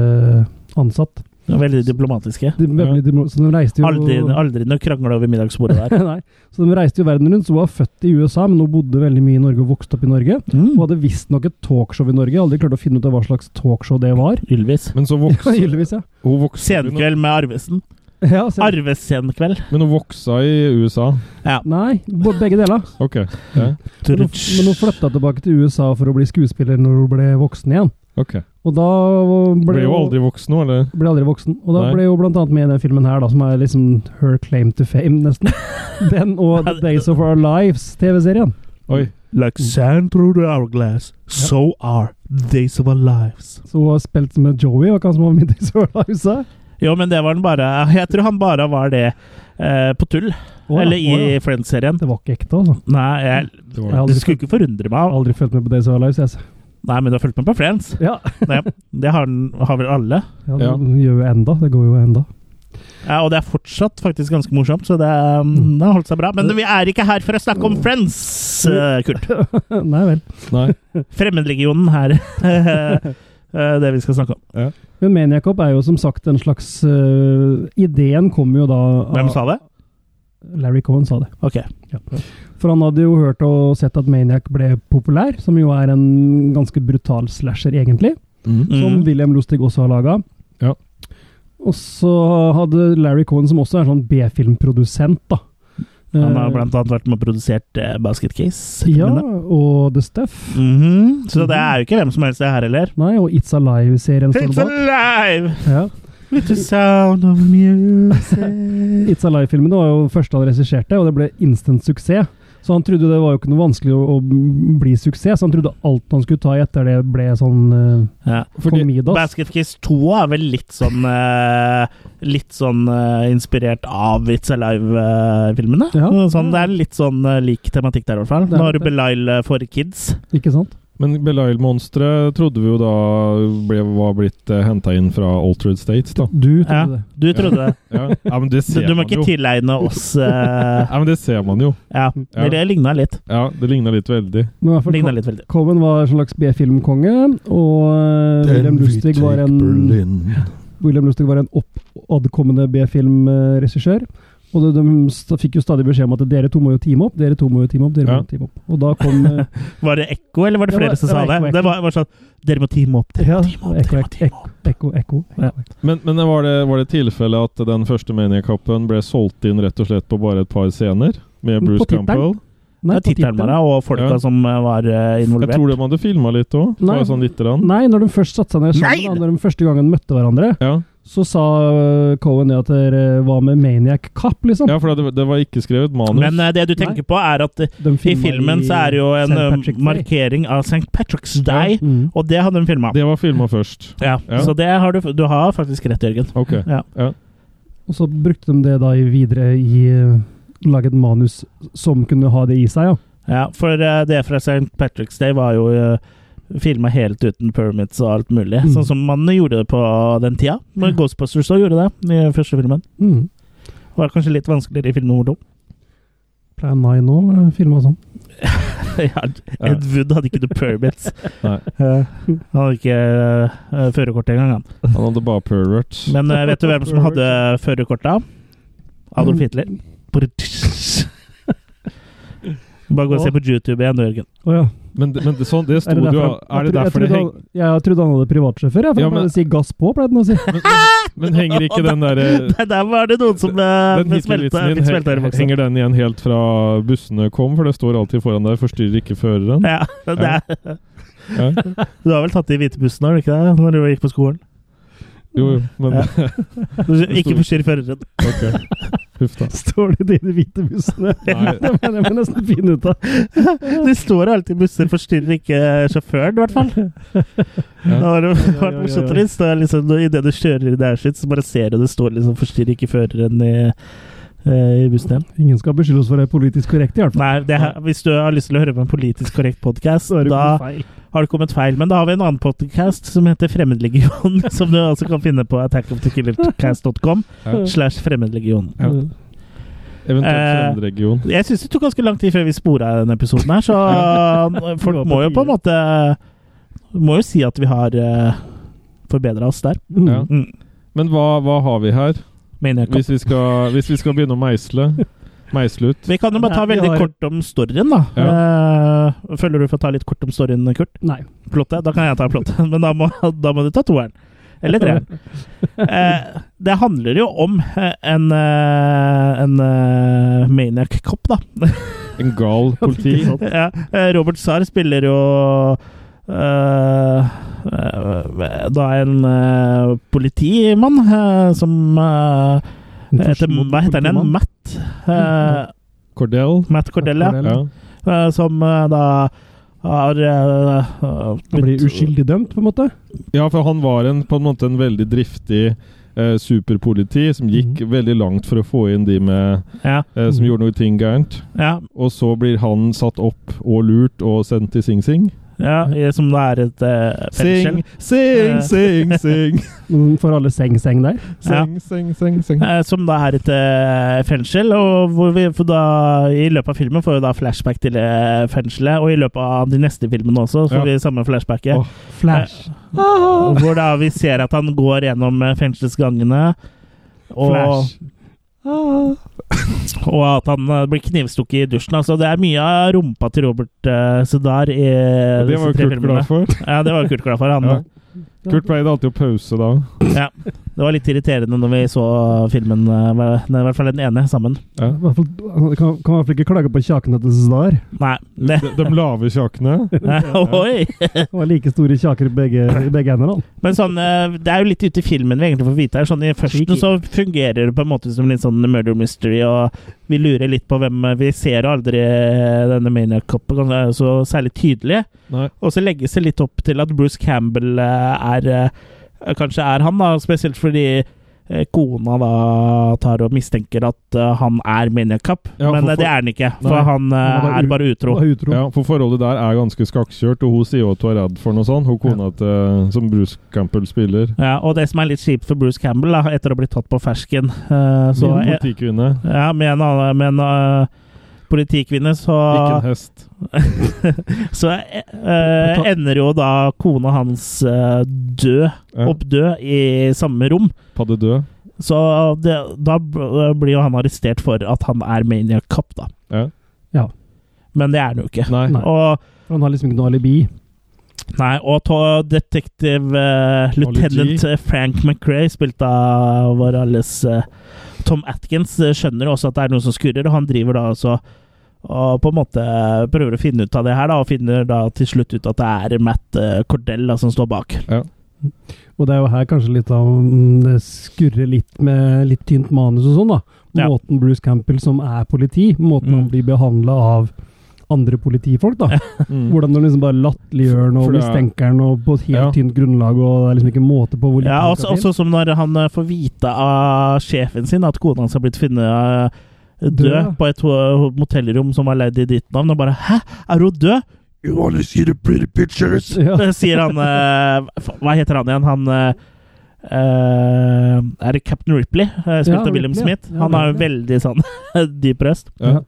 [SPEAKER 2] diplomatansatt.
[SPEAKER 1] De er Veldig diplomatiske.
[SPEAKER 2] Så de reiste jo
[SPEAKER 1] Aldri, aldri noe krangle over middagsbordet der.
[SPEAKER 2] Nei. Så de reiste jo verden rundt, så hun var født i USA, men hun bodde veldig mye i Norge og vokste opp i Norge.
[SPEAKER 1] Mm.
[SPEAKER 2] Hun hadde visstnok et talkshow i Norge, jeg aldri klarte å finne ut av hva slags talkshow det var.
[SPEAKER 1] Ylvis.
[SPEAKER 3] Men så
[SPEAKER 2] Ja,
[SPEAKER 3] voksa
[SPEAKER 2] Gyldigvis, ja.
[SPEAKER 3] hun voksa,
[SPEAKER 1] Senkveld med Arvesen.
[SPEAKER 2] ja så-
[SPEAKER 1] Arvesenkveld.
[SPEAKER 3] Men hun voksa i USA.
[SPEAKER 1] Ja.
[SPEAKER 2] Nei, bo- begge deler.
[SPEAKER 3] Ok. Ja.
[SPEAKER 2] Men hun, men hun flytta tilbake til USA for å bli skuespiller når hun ble voksen igjen.
[SPEAKER 3] ok.
[SPEAKER 2] Og da
[SPEAKER 3] Ble
[SPEAKER 2] ble
[SPEAKER 3] jo
[SPEAKER 2] hun
[SPEAKER 3] aldri voksen nå, eller?
[SPEAKER 2] ble aldri voksen. Og da
[SPEAKER 3] Nei.
[SPEAKER 2] ble hun blant annet med i den filmen her, da, som er liksom her claim to fame, nesten. Den og The Days of Our Lives-TV-serien.
[SPEAKER 3] Oi.
[SPEAKER 1] Like sand through the hourglass, so are days of our lives.
[SPEAKER 2] Så hun har spilt med Joey, og hva som var med i Days of Our Lives? da?
[SPEAKER 1] Jo, men det var den bare Jeg tror han bare var det eh, på tull.
[SPEAKER 2] Å, ja,
[SPEAKER 1] Eller
[SPEAKER 2] å,
[SPEAKER 1] i
[SPEAKER 2] ja.
[SPEAKER 1] Friends-serien.
[SPEAKER 2] Det var ikke ekte, altså.
[SPEAKER 1] Nei, jeg,
[SPEAKER 3] Det var
[SPEAKER 2] Jeg har
[SPEAKER 1] det
[SPEAKER 2] aldri,
[SPEAKER 1] skulle ikke forundre
[SPEAKER 2] jeg har
[SPEAKER 1] meg.
[SPEAKER 2] aldri følt med på Days of Our Lives. Jeg. altså.
[SPEAKER 1] Nei, men du har fulgt med på Friends?
[SPEAKER 2] Ja.
[SPEAKER 1] Det, det har, den- har vel alle?
[SPEAKER 2] ja, det
[SPEAKER 3] Ja.
[SPEAKER 2] gjør jo enda. Det går jo enda.
[SPEAKER 1] Ja, og det er fortsatt faktisk ganske morsomt, så det, um, det har holdt seg bra. Men vi er ikke her for å snakke om Friends, eh, Kurt.
[SPEAKER 2] Nei vel.
[SPEAKER 3] Nei.
[SPEAKER 1] Fremmedlegionen er eh, det vi skal snakke om.
[SPEAKER 2] Men Maniacop er jo som sagt en slags øh, Ideen kom jo da av-
[SPEAKER 1] Hvem sa det?
[SPEAKER 2] Larry Cohen sa det.
[SPEAKER 1] Ok.
[SPEAKER 2] For han hadde jo hørt og sett at Maniac ble populær, som jo er en ganske brutal slasher, egentlig.
[SPEAKER 3] Mhm.
[SPEAKER 2] som
[SPEAKER 1] Mm.
[SPEAKER 2] William Lustig også har laga.
[SPEAKER 3] Ja.
[SPEAKER 2] Og så hadde Larry Cohen, som også er sånn B-filmprodusent, da.
[SPEAKER 1] Han har
[SPEAKER 2] Eh,
[SPEAKER 1] blant annet vært med og produsert eh, Basket Case.
[SPEAKER 2] Ja, og The Stuff.
[SPEAKER 1] Mhm, Så det er jo ikke hvem som helst det her heller.
[SPEAKER 2] Nei, og It's Alive-serien står det
[SPEAKER 1] It's
[SPEAKER 2] bak.
[SPEAKER 1] alive
[SPEAKER 2] Ja.
[SPEAKER 1] with the sound of music.
[SPEAKER 2] It's Alive-filmen var jo første han regisserte, og det ble instant suksess. Så han trodde det var jo ikke noe vanskelig å, å bli suksess, så han trodde alt han skulle ta i etter det ble sånn uh,
[SPEAKER 1] Ja.
[SPEAKER 3] Fordi,
[SPEAKER 2] Comidas.
[SPEAKER 1] Basket Case 2 er vel litt sånn eh, Litt sånn eh, inspirert av It's Alive-filmene.
[SPEAKER 2] Ja.
[SPEAKER 1] Sånn, det er litt sånn eh, lik tematikk der, i hvert fall.
[SPEAKER 2] Det er
[SPEAKER 1] Når
[SPEAKER 2] det.
[SPEAKER 1] Belial eh, får kids.
[SPEAKER 2] Ikke sant?
[SPEAKER 3] men Belial-monsteret trodde vi jo da ble, var blitt uh, henta inn fra Altered States, da.
[SPEAKER 2] Du trodde
[SPEAKER 1] Ja,
[SPEAKER 2] det.
[SPEAKER 1] du trodde det.
[SPEAKER 3] Ja, ja men det
[SPEAKER 1] Så
[SPEAKER 3] ser
[SPEAKER 1] du må
[SPEAKER 3] man
[SPEAKER 1] ikke
[SPEAKER 3] jo.
[SPEAKER 1] tilegne oss eh,
[SPEAKER 3] Ja, men det ser man jo.
[SPEAKER 1] Ja, men det ligna litt.
[SPEAKER 3] Ja, det ligna litt veldig.
[SPEAKER 2] Men i hvert fall
[SPEAKER 1] Ligna litt veldig.
[SPEAKER 2] Cohen var en slags B-filmkonge, og eh, William Lustig var en William Lustig var en oppadkommende B-filmregissør. Og de, de sta- fikk jo stadig beskjed om at dere to må jo teame opp, dere to må jo teame opp, dere
[SPEAKER 3] Ja.
[SPEAKER 2] må jo teame opp. Og da kom eh,
[SPEAKER 1] Var det ekko, eller var det
[SPEAKER 2] Det var-
[SPEAKER 1] flere som
[SPEAKER 2] det
[SPEAKER 1] sa
[SPEAKER 2] var
[SPEAKER 1] det?
[SPEAKER 2] ekko, ekko.
[SPEAKER 1] Det var, var sånn Dere må teame opp, dere
[SPEAKER 2] ja,
[SPEAKER 1] må teame opp, dere
[SPEAKER 2] Ekko,
[SPEAKER 1] må
[SPEAKER 2] ekko,
[SPEAKER 1] teame opp.
[SPEAKER 2] ekko, ekko,
[SPEAKER 1] Ja.
[SPEAKER 2] ekko.
[SPEAKER 3] Men, men var det, var det tilfelle at den første Maniac-kappen ble solgt inn rett og slett på bare et par scener? Med
[SPEAKER 2] På
[SPEAKER 3] Bruce
[SPEAKER 2] tittelen.
[SPEAKER 3] Campbell?
[SPEAKER 1] Det er tittelen bare, og folka
[SPEAKER 3] Ja.
[SPEAKER 1] som eh, var eh,
[SPEAKER 3] Jeg tror
[SPEAKER 1] involvert.
[SPEAKER 3] de hadde filma litt òg.
[SPEAKER 2] Nei.
[SPEAKER 3] Sånn lite grann.
[SPEAKER 2] Nei, når de først satte seg ned sammen,
[SPEAKER 1] Nei!
[SPEAKER 2] da, når de første gangen møtte hverandre,
[SPEAKER 3] Ja.
[SPEAKER 2] så sa øh, Cohen det at dere var med Maniac Cop, liksom.
[SPEAKER 3] ja, for det, det var ikke skrevet manus.
[SPEAKER 1] Men eh, det du tenker på, er at eh, i
[SPEAKER 2] De filmet
[SPEAKER 1] filmen så er det jo en
[SPEAKER 2] St.
[SPEAKER 1] eh,
[SPEAKER 2] Patrick's Day.
[SPEAKER 1] markering av St. Patrick's Day,
[SPEAKER 2] Mm.
[SPEAKER 1] og det hadde de filma.
[SPEAKER 3] det var filma først.
[SPEAKER 1] Ja.
[SPEAKER 3] Ja.
[SPEAKER 1] Så det har du, du har faktisk rett, Jørgen.
[SPEAKER 3] Ok.
[SPEAKER 1] Ja.
[SPEAKER 2] Og så brukte de det da i videre i øh, Lage et manus som kunne ha det i seg, ja.
[SPEAKER 1] Ja, for eh, det fra St. Patrick's Day var jo uh, filma helt uten permits og alt mulig.
[SPEAKER 2] Mm.
[SPEAKER 1] Sånn som man gjorde det på den tida. Men Ghostbusters også gjorde det i første filmen.
[SPEAKER 2] Mm.
[SPEAKER 1] Det var kanskje litt vanskeligere i film nummer to.
[SPEAKER 2] Plan 9 nå, øh, filma sånn.
[SPEAKER 1] ja, Ed Wood hadde ikke the permits.
[SPEAKER 3] Nei.
[SPEAKER 1] Eh, han hadde ikke eh, førerkort engang, han.
[SPEAKER 3] Han hadde bare perverts.
[SPEAKER 1] Men eh, vet du hvem som hadde førerkortet? av? Adolf Hitler. Bare gå og se på YouTube igjen, Jørgen.
[SPEAKER 2] Å ja.
[SPEAKER 3] Men, men det, sånn, det sto
[SPEAKER 2] Er det
[SPEAKER 3] jo
[SPEAKER 2] derfor,
[SPEAKER 3] Er det
[SPEAKER 2] jeg
[SPEAKER 3] derfor
[SPEAKER 2] trodde-
[SPEAKER 3] det heng,
[SPEAKER 2] jeg, trodde han- jeg trodde han hadde privatsjåfør, jeg. For
[SPEAKER 3] Ja,
[SPEAKER 2] han
[SPEAKER 3] men-
[SPEAKER 2] pleide å si 'gass på', pleide han å si.
[SPEAKER 3] men, men henger ikke den derre
[SPEAKER 1] Nei, der var det noen som eh,
[SPEAKER 3] Den
[SPEAKER 1] smelta
[SPEAKER 3] Hitler-vitsen din,
[SPEAKER 1] fikk smelta i
[SPEAKER 3] he-
[SPEAKER 1] boksen.
[SPEAKER 3] henger den igjen helt fra bussene kom? For det står alltid foran der 'forstyrr ikke føreren'.
[SPEAKER 1] Ja, det
[SPEAKER 3] Ja.
[SPEAKER 1] er.
[SPEAKER 3] Ja.
[SPEAKER 1] Du har vel tatt de hvite bussene, har du ikke det? Når du gikk på skolen?
[SPEAKER 3] Jo, jo, men
[SPEAKER 1] Ja. Du, ikke
[SPEAKER 3] sto-
[SPEAKER 1] forstyrr føreren.
[SPEAKER 3] Ok. Huff da.
[SPEAKER 2] Står det i de hvite bussene?
[SPEAKER 3] Nei.
[SPEAKER 2] det må jeg må nesten finne ut av.
[SPEAKER 1] Det står alltid i busser 'forstyrr ikke sjåføren', i hvert fall. Det
[SPEAKER 3] Ja.
[SPEAKER 1] har jo
[SPEAKER 2] ja,
[SPEAKER 1] vært
[SPEAKER 2] ja,
[SPEAKER 1] morsomt
[SPEAKER 2] ja.
[SPEAKER 1] litt. så det er Liksom, Idet du kjører i det her sitt, så bare ser du det står liksom 'forstyrr ikke føreren' i, eh, i bussen igjen.
[SPEAKER 2] Ingen skal beskylde oss for å være politisk korrekte, i hvert fall.
[SPEAKER 1] Nei, det her, hvis du har lyst til å høre på en politisk korrekt podkast,
[SPEAKER 2] Så er det
[SPEAKER 1] da
[SPEAKER 2] feil.
[SPEAKER 1] har det kommet feil. Men da har vi en annen podkast som heter Fremmedlegion, som du altså kan finne på attackofthekillercast.com
[SPEAKER 3] Ja.
[SPEAKER 1] slash fremmedlegion.
[SPEAKER 3] Ja. Eventuelt
[SPEAKER 1] Eh,
[SPEAKER 3] Fremmedregion.
[SPEAKER 1] Jeg syns det tok ganske lang tid før vi spora denne episoden her, så folk må jo på en måte eh, Må jo si at vi har uh, forbedra oss der.
[SPEAKER 2] Mm.
[SPEAKER 3] Ja.
[SPEAKER 1] Mm.
[SPEAKER 3] Men hva, hva har vi her?
[SPEAKER 1] Mener jeg ikke.
[SPEAKER 3] Hvis vi skal, hvis vi skal begynne å meisle Meisle ut.
[SPEAKER 1] Vi kan jo bare ta
[SPEAKER 2] Nei, vi
[SPEAKER 1] veldig
[SPEAKER 2] har-
[SPEAKER 1] kort om storyen, da. Eh, føler du får ta litt kort om storyen, Kurt?
[SPEAKER 2] Nei.
[SPEAKER 1] Plottet? Da kan jeg ta plottet, men da må, da må du ta toeren. Eller treeren. Eh, det handler jo om eh, en, eh, en eh, maniac cop, da.
[SPEAKER 3] En gal politi.
[SPEAKER 1] ja, eh, Robert Sarr spiller jo eh, eh, da en eh, politimann eh, som eh, heter, Hva heter han igjen? Matt. eh,
[SPEAKER 3] Cordell.
[SPEAKER 1] Matt Cordell, ja.
[SPEAKER 3] Ja.
[SPEAKER 1] Eh, som eh, da har eh, eh,
[SPEAKER 2] Han blir
[SPEAKER 1] blitt-
[SPEAKER 2] uskyldig dømt, på en måte?
[SPEAKER 3] Ja, for han var en, på en måte en veldig driftig eh, superpoliti som gikk
[SPEAKER 1] Mhm.
[SPEAKER 3] veldig langt for å få inn de med,
[SPEAKER 1] Ja,
[SPEAKER 3] eh, som gjorde noe ting gærent.
[SPEAKER 1] ja,
[SPEAKER 3] Og så blir han satt opp og lurt og sendt til Sing Sing.
[SPEAKER 1] ja, i- som det er et eh, fengsel.
[SPEAKER 3] Sing, sing,
[SPEAKER 1] Eh.
[SPEAKER 3] sing, sing.
[SPEAKER 2] Mm, For alle seng-seng der?
[SPEAKER 1] Ja.
[SPEAKER 3] Sing, sing, seng, seng.
[SPEAKER 1] Eh, Som da er et eh, fengsel, og hvor vi får da, i løpet av filmen får vi da flashback til eh, fengselet. Og i løpet av de neste filmene også får
[SPEAKER 3] Ja.
[SPEAKER 1] vi samme flashbacket.
[SPEAKER 3] Åh.
[SPEAKER 2] Flash.
[SPEAKER 1] Og Hvor da vi ser at han går gjennom eh, fengselsgangene. Og, Ah.
[SPEAKER 2] Flash.
[SPEAKER 1] og at han eh, blir knivstukket i dusjen. Altså, det er mye av rumpa til Robert uh, Sudar i
[SPEAKER 3] Og det var
[SPEAKER 1] disse
[SPEAKER 3] jo
[SPEAKER 1] tre
[SPEAKER 3] Kurt
[SPEAKER 1] filmene.
[SPEAKER 3] glad for.
[SPEAKER 1] Ja, det var jo Kurt glad for. Han,
[SPEAKER 3] Ja. Kurt pleide alltid å pause da.
[SPEAKER 1] Ja. Det var litt irriterende når vi så filmen, eh, hver- nei, i hvert fall den ene, sammen.
[SPEAKER 3] Ja.
[SPEAKER 2] I hvert fall, han kan kan i hvert fall ikke klage på kjakene til Zdar.
[SPEAKER 1] Nei.
[SPEAKER 3] De,
[SPEAKER 1] Det,
[SPEAKER 3] de lave kjakene.
[SPEAKER 1] oi!
[SPEAKER 2] Han har like store kjaker i begge, i begge hender. han.
[SPEAKER 1] Men sånn, eh, det er jo litt ute i filmen vi egentlig får vite her. Sånn, I førsten så fungerer det på en måte som litt sånn murder mystery, og vi lurer litt på hvem eh, Vi ser aldri eh, denne maniac copen han er jo så særlig tydelig.
[SPEAKER 3] Nei.
[SPEAKER 1] Og så legges det litt opp til at Bruce Campbell eh, er eh, Kanskje er han, da. Spesielt fordi eh, kona da tar og mistenker at eh, han er maniac cop,
[SPEAKER 3] Ja,
[SPEAKER 1] men
[SPEAKER 3] for-
[SPEAKER 1] eh, det er han ikke. For
[SPEAKER 3] Nei.
[SPEAKER 1] han eh,
[SPEAKER 2] Han er
[SPEAKER 1] er
[SPEAKER 2] u-
[SPEAKER 1] bare utro.
[SPEAKER 2] Han er utro.
[SPEAKER 3] Ja, for forholdet der er ganske skakkjørt, og hun sier jo at hun er redd for noe sånt. Hun kona til, eh, som Bruce Campbell spiller.
[SPEAKER 1] Ja, og det som er litt kjipt for Bruce Campbell, da, etter å ha blitt tatt på fersken eh, så,
[SPEAKER 3] Min politikvinne.
[SPEAKER 1] Ja, med en, annen- med en eh, politikvinne så,
[SPEAKER 3] Ikke en hest.
[SPEAKER 1] så eh, eh, ender jo da kona hans eh, død,
[SPEAKER 3] Ja.
[SPEAKER 1] oppdød, i samme rom.
[SPEAKER 3] Padde død.
[SPEAKER 1] Så det, da b- blir jo han arrestert for at han er maniac cop, da.
[SPEAKER 3] Ja.
[SPEAKER 1] Men det er han jo ikke.
[SPEAKER 3] Nei.
[SPEAKER 2] Nei.
[SPEAKER 1] Og,
[SPEAKER 2] For han har liksom ikke noe alibi.
[SPEAKER 1] nei, og to, detektiv eh, lieutenant
[SPEAKER 3] G.
[SPEAKER 1] eh, Frank McRae, spilt av vår alles eh, Tom Atkins, eh, skjønner også at det er noe som skurrer, og han driver da altså Og på en måte prøver å finne ut av det her, da, og finner da til slutt ut at det er Matt eh, Cordell da, som står bak.
[SPEAKER 2] Og det er jo her kanskje litt av mm, Det skurrer litt med litt tynt manus og sånn, da.
[SPEAKER 1] Ja.
[SPEAKER 2] Måten Bruce Campbell, som er politi, måten han
[SPEAKER 1] Mm.
[SPEAKER 2] blir behandla av andre politifolk, da.
[SPEAKER 3] Mm.
[SPEAKER 2] Hvordan de liksom bare latterliggjør han og
[SPEAKER 3] For det er-
[SPEAKER 2] mistenker han og på et helt
[SPEAKER 3] Ja. altså,
[SPEAKER 2] tynt grunnlag, og det er liksom ikke måte på hvor lite
[SPEAKER 1] Ja,
[SPEAKER 2] han
[SPEAKER 1] også,
[SPEAKER 2] skal til.
[SPEAKER 1] også som når han eh, får vite av sjefen sin at kona hans har blitt funnet eh, død
[SPEAKER 2] Død, ja.
[SPEAKER 1] på et ho- motellrom som var leid i ditt navn, og bare 'hæ, er hun død?'
[SPEAKER 4] You want to see the pretty pictures?
[SPEAKER 2] Ja.
[SPEAKER 1] Det sier han eh, f- Hva heter han igjen? Han eh, eh, Er det Captain Ripley, eh, spilt
[SPEAKER 2] Ja,
[SPEAKER 1] av William
[SPEAKER 2] Ripley, ja.
[SPEAKER 1] Smith?
[SPEAKER 2] Ja,
[SPEAKER 1] Han har jo
[SPEAKER 2] Ripley.
[SPEAKER 1] veldig sånn dyp røst.
[SPEAKER 3] Ja.
[SPEAKER 2] Ja.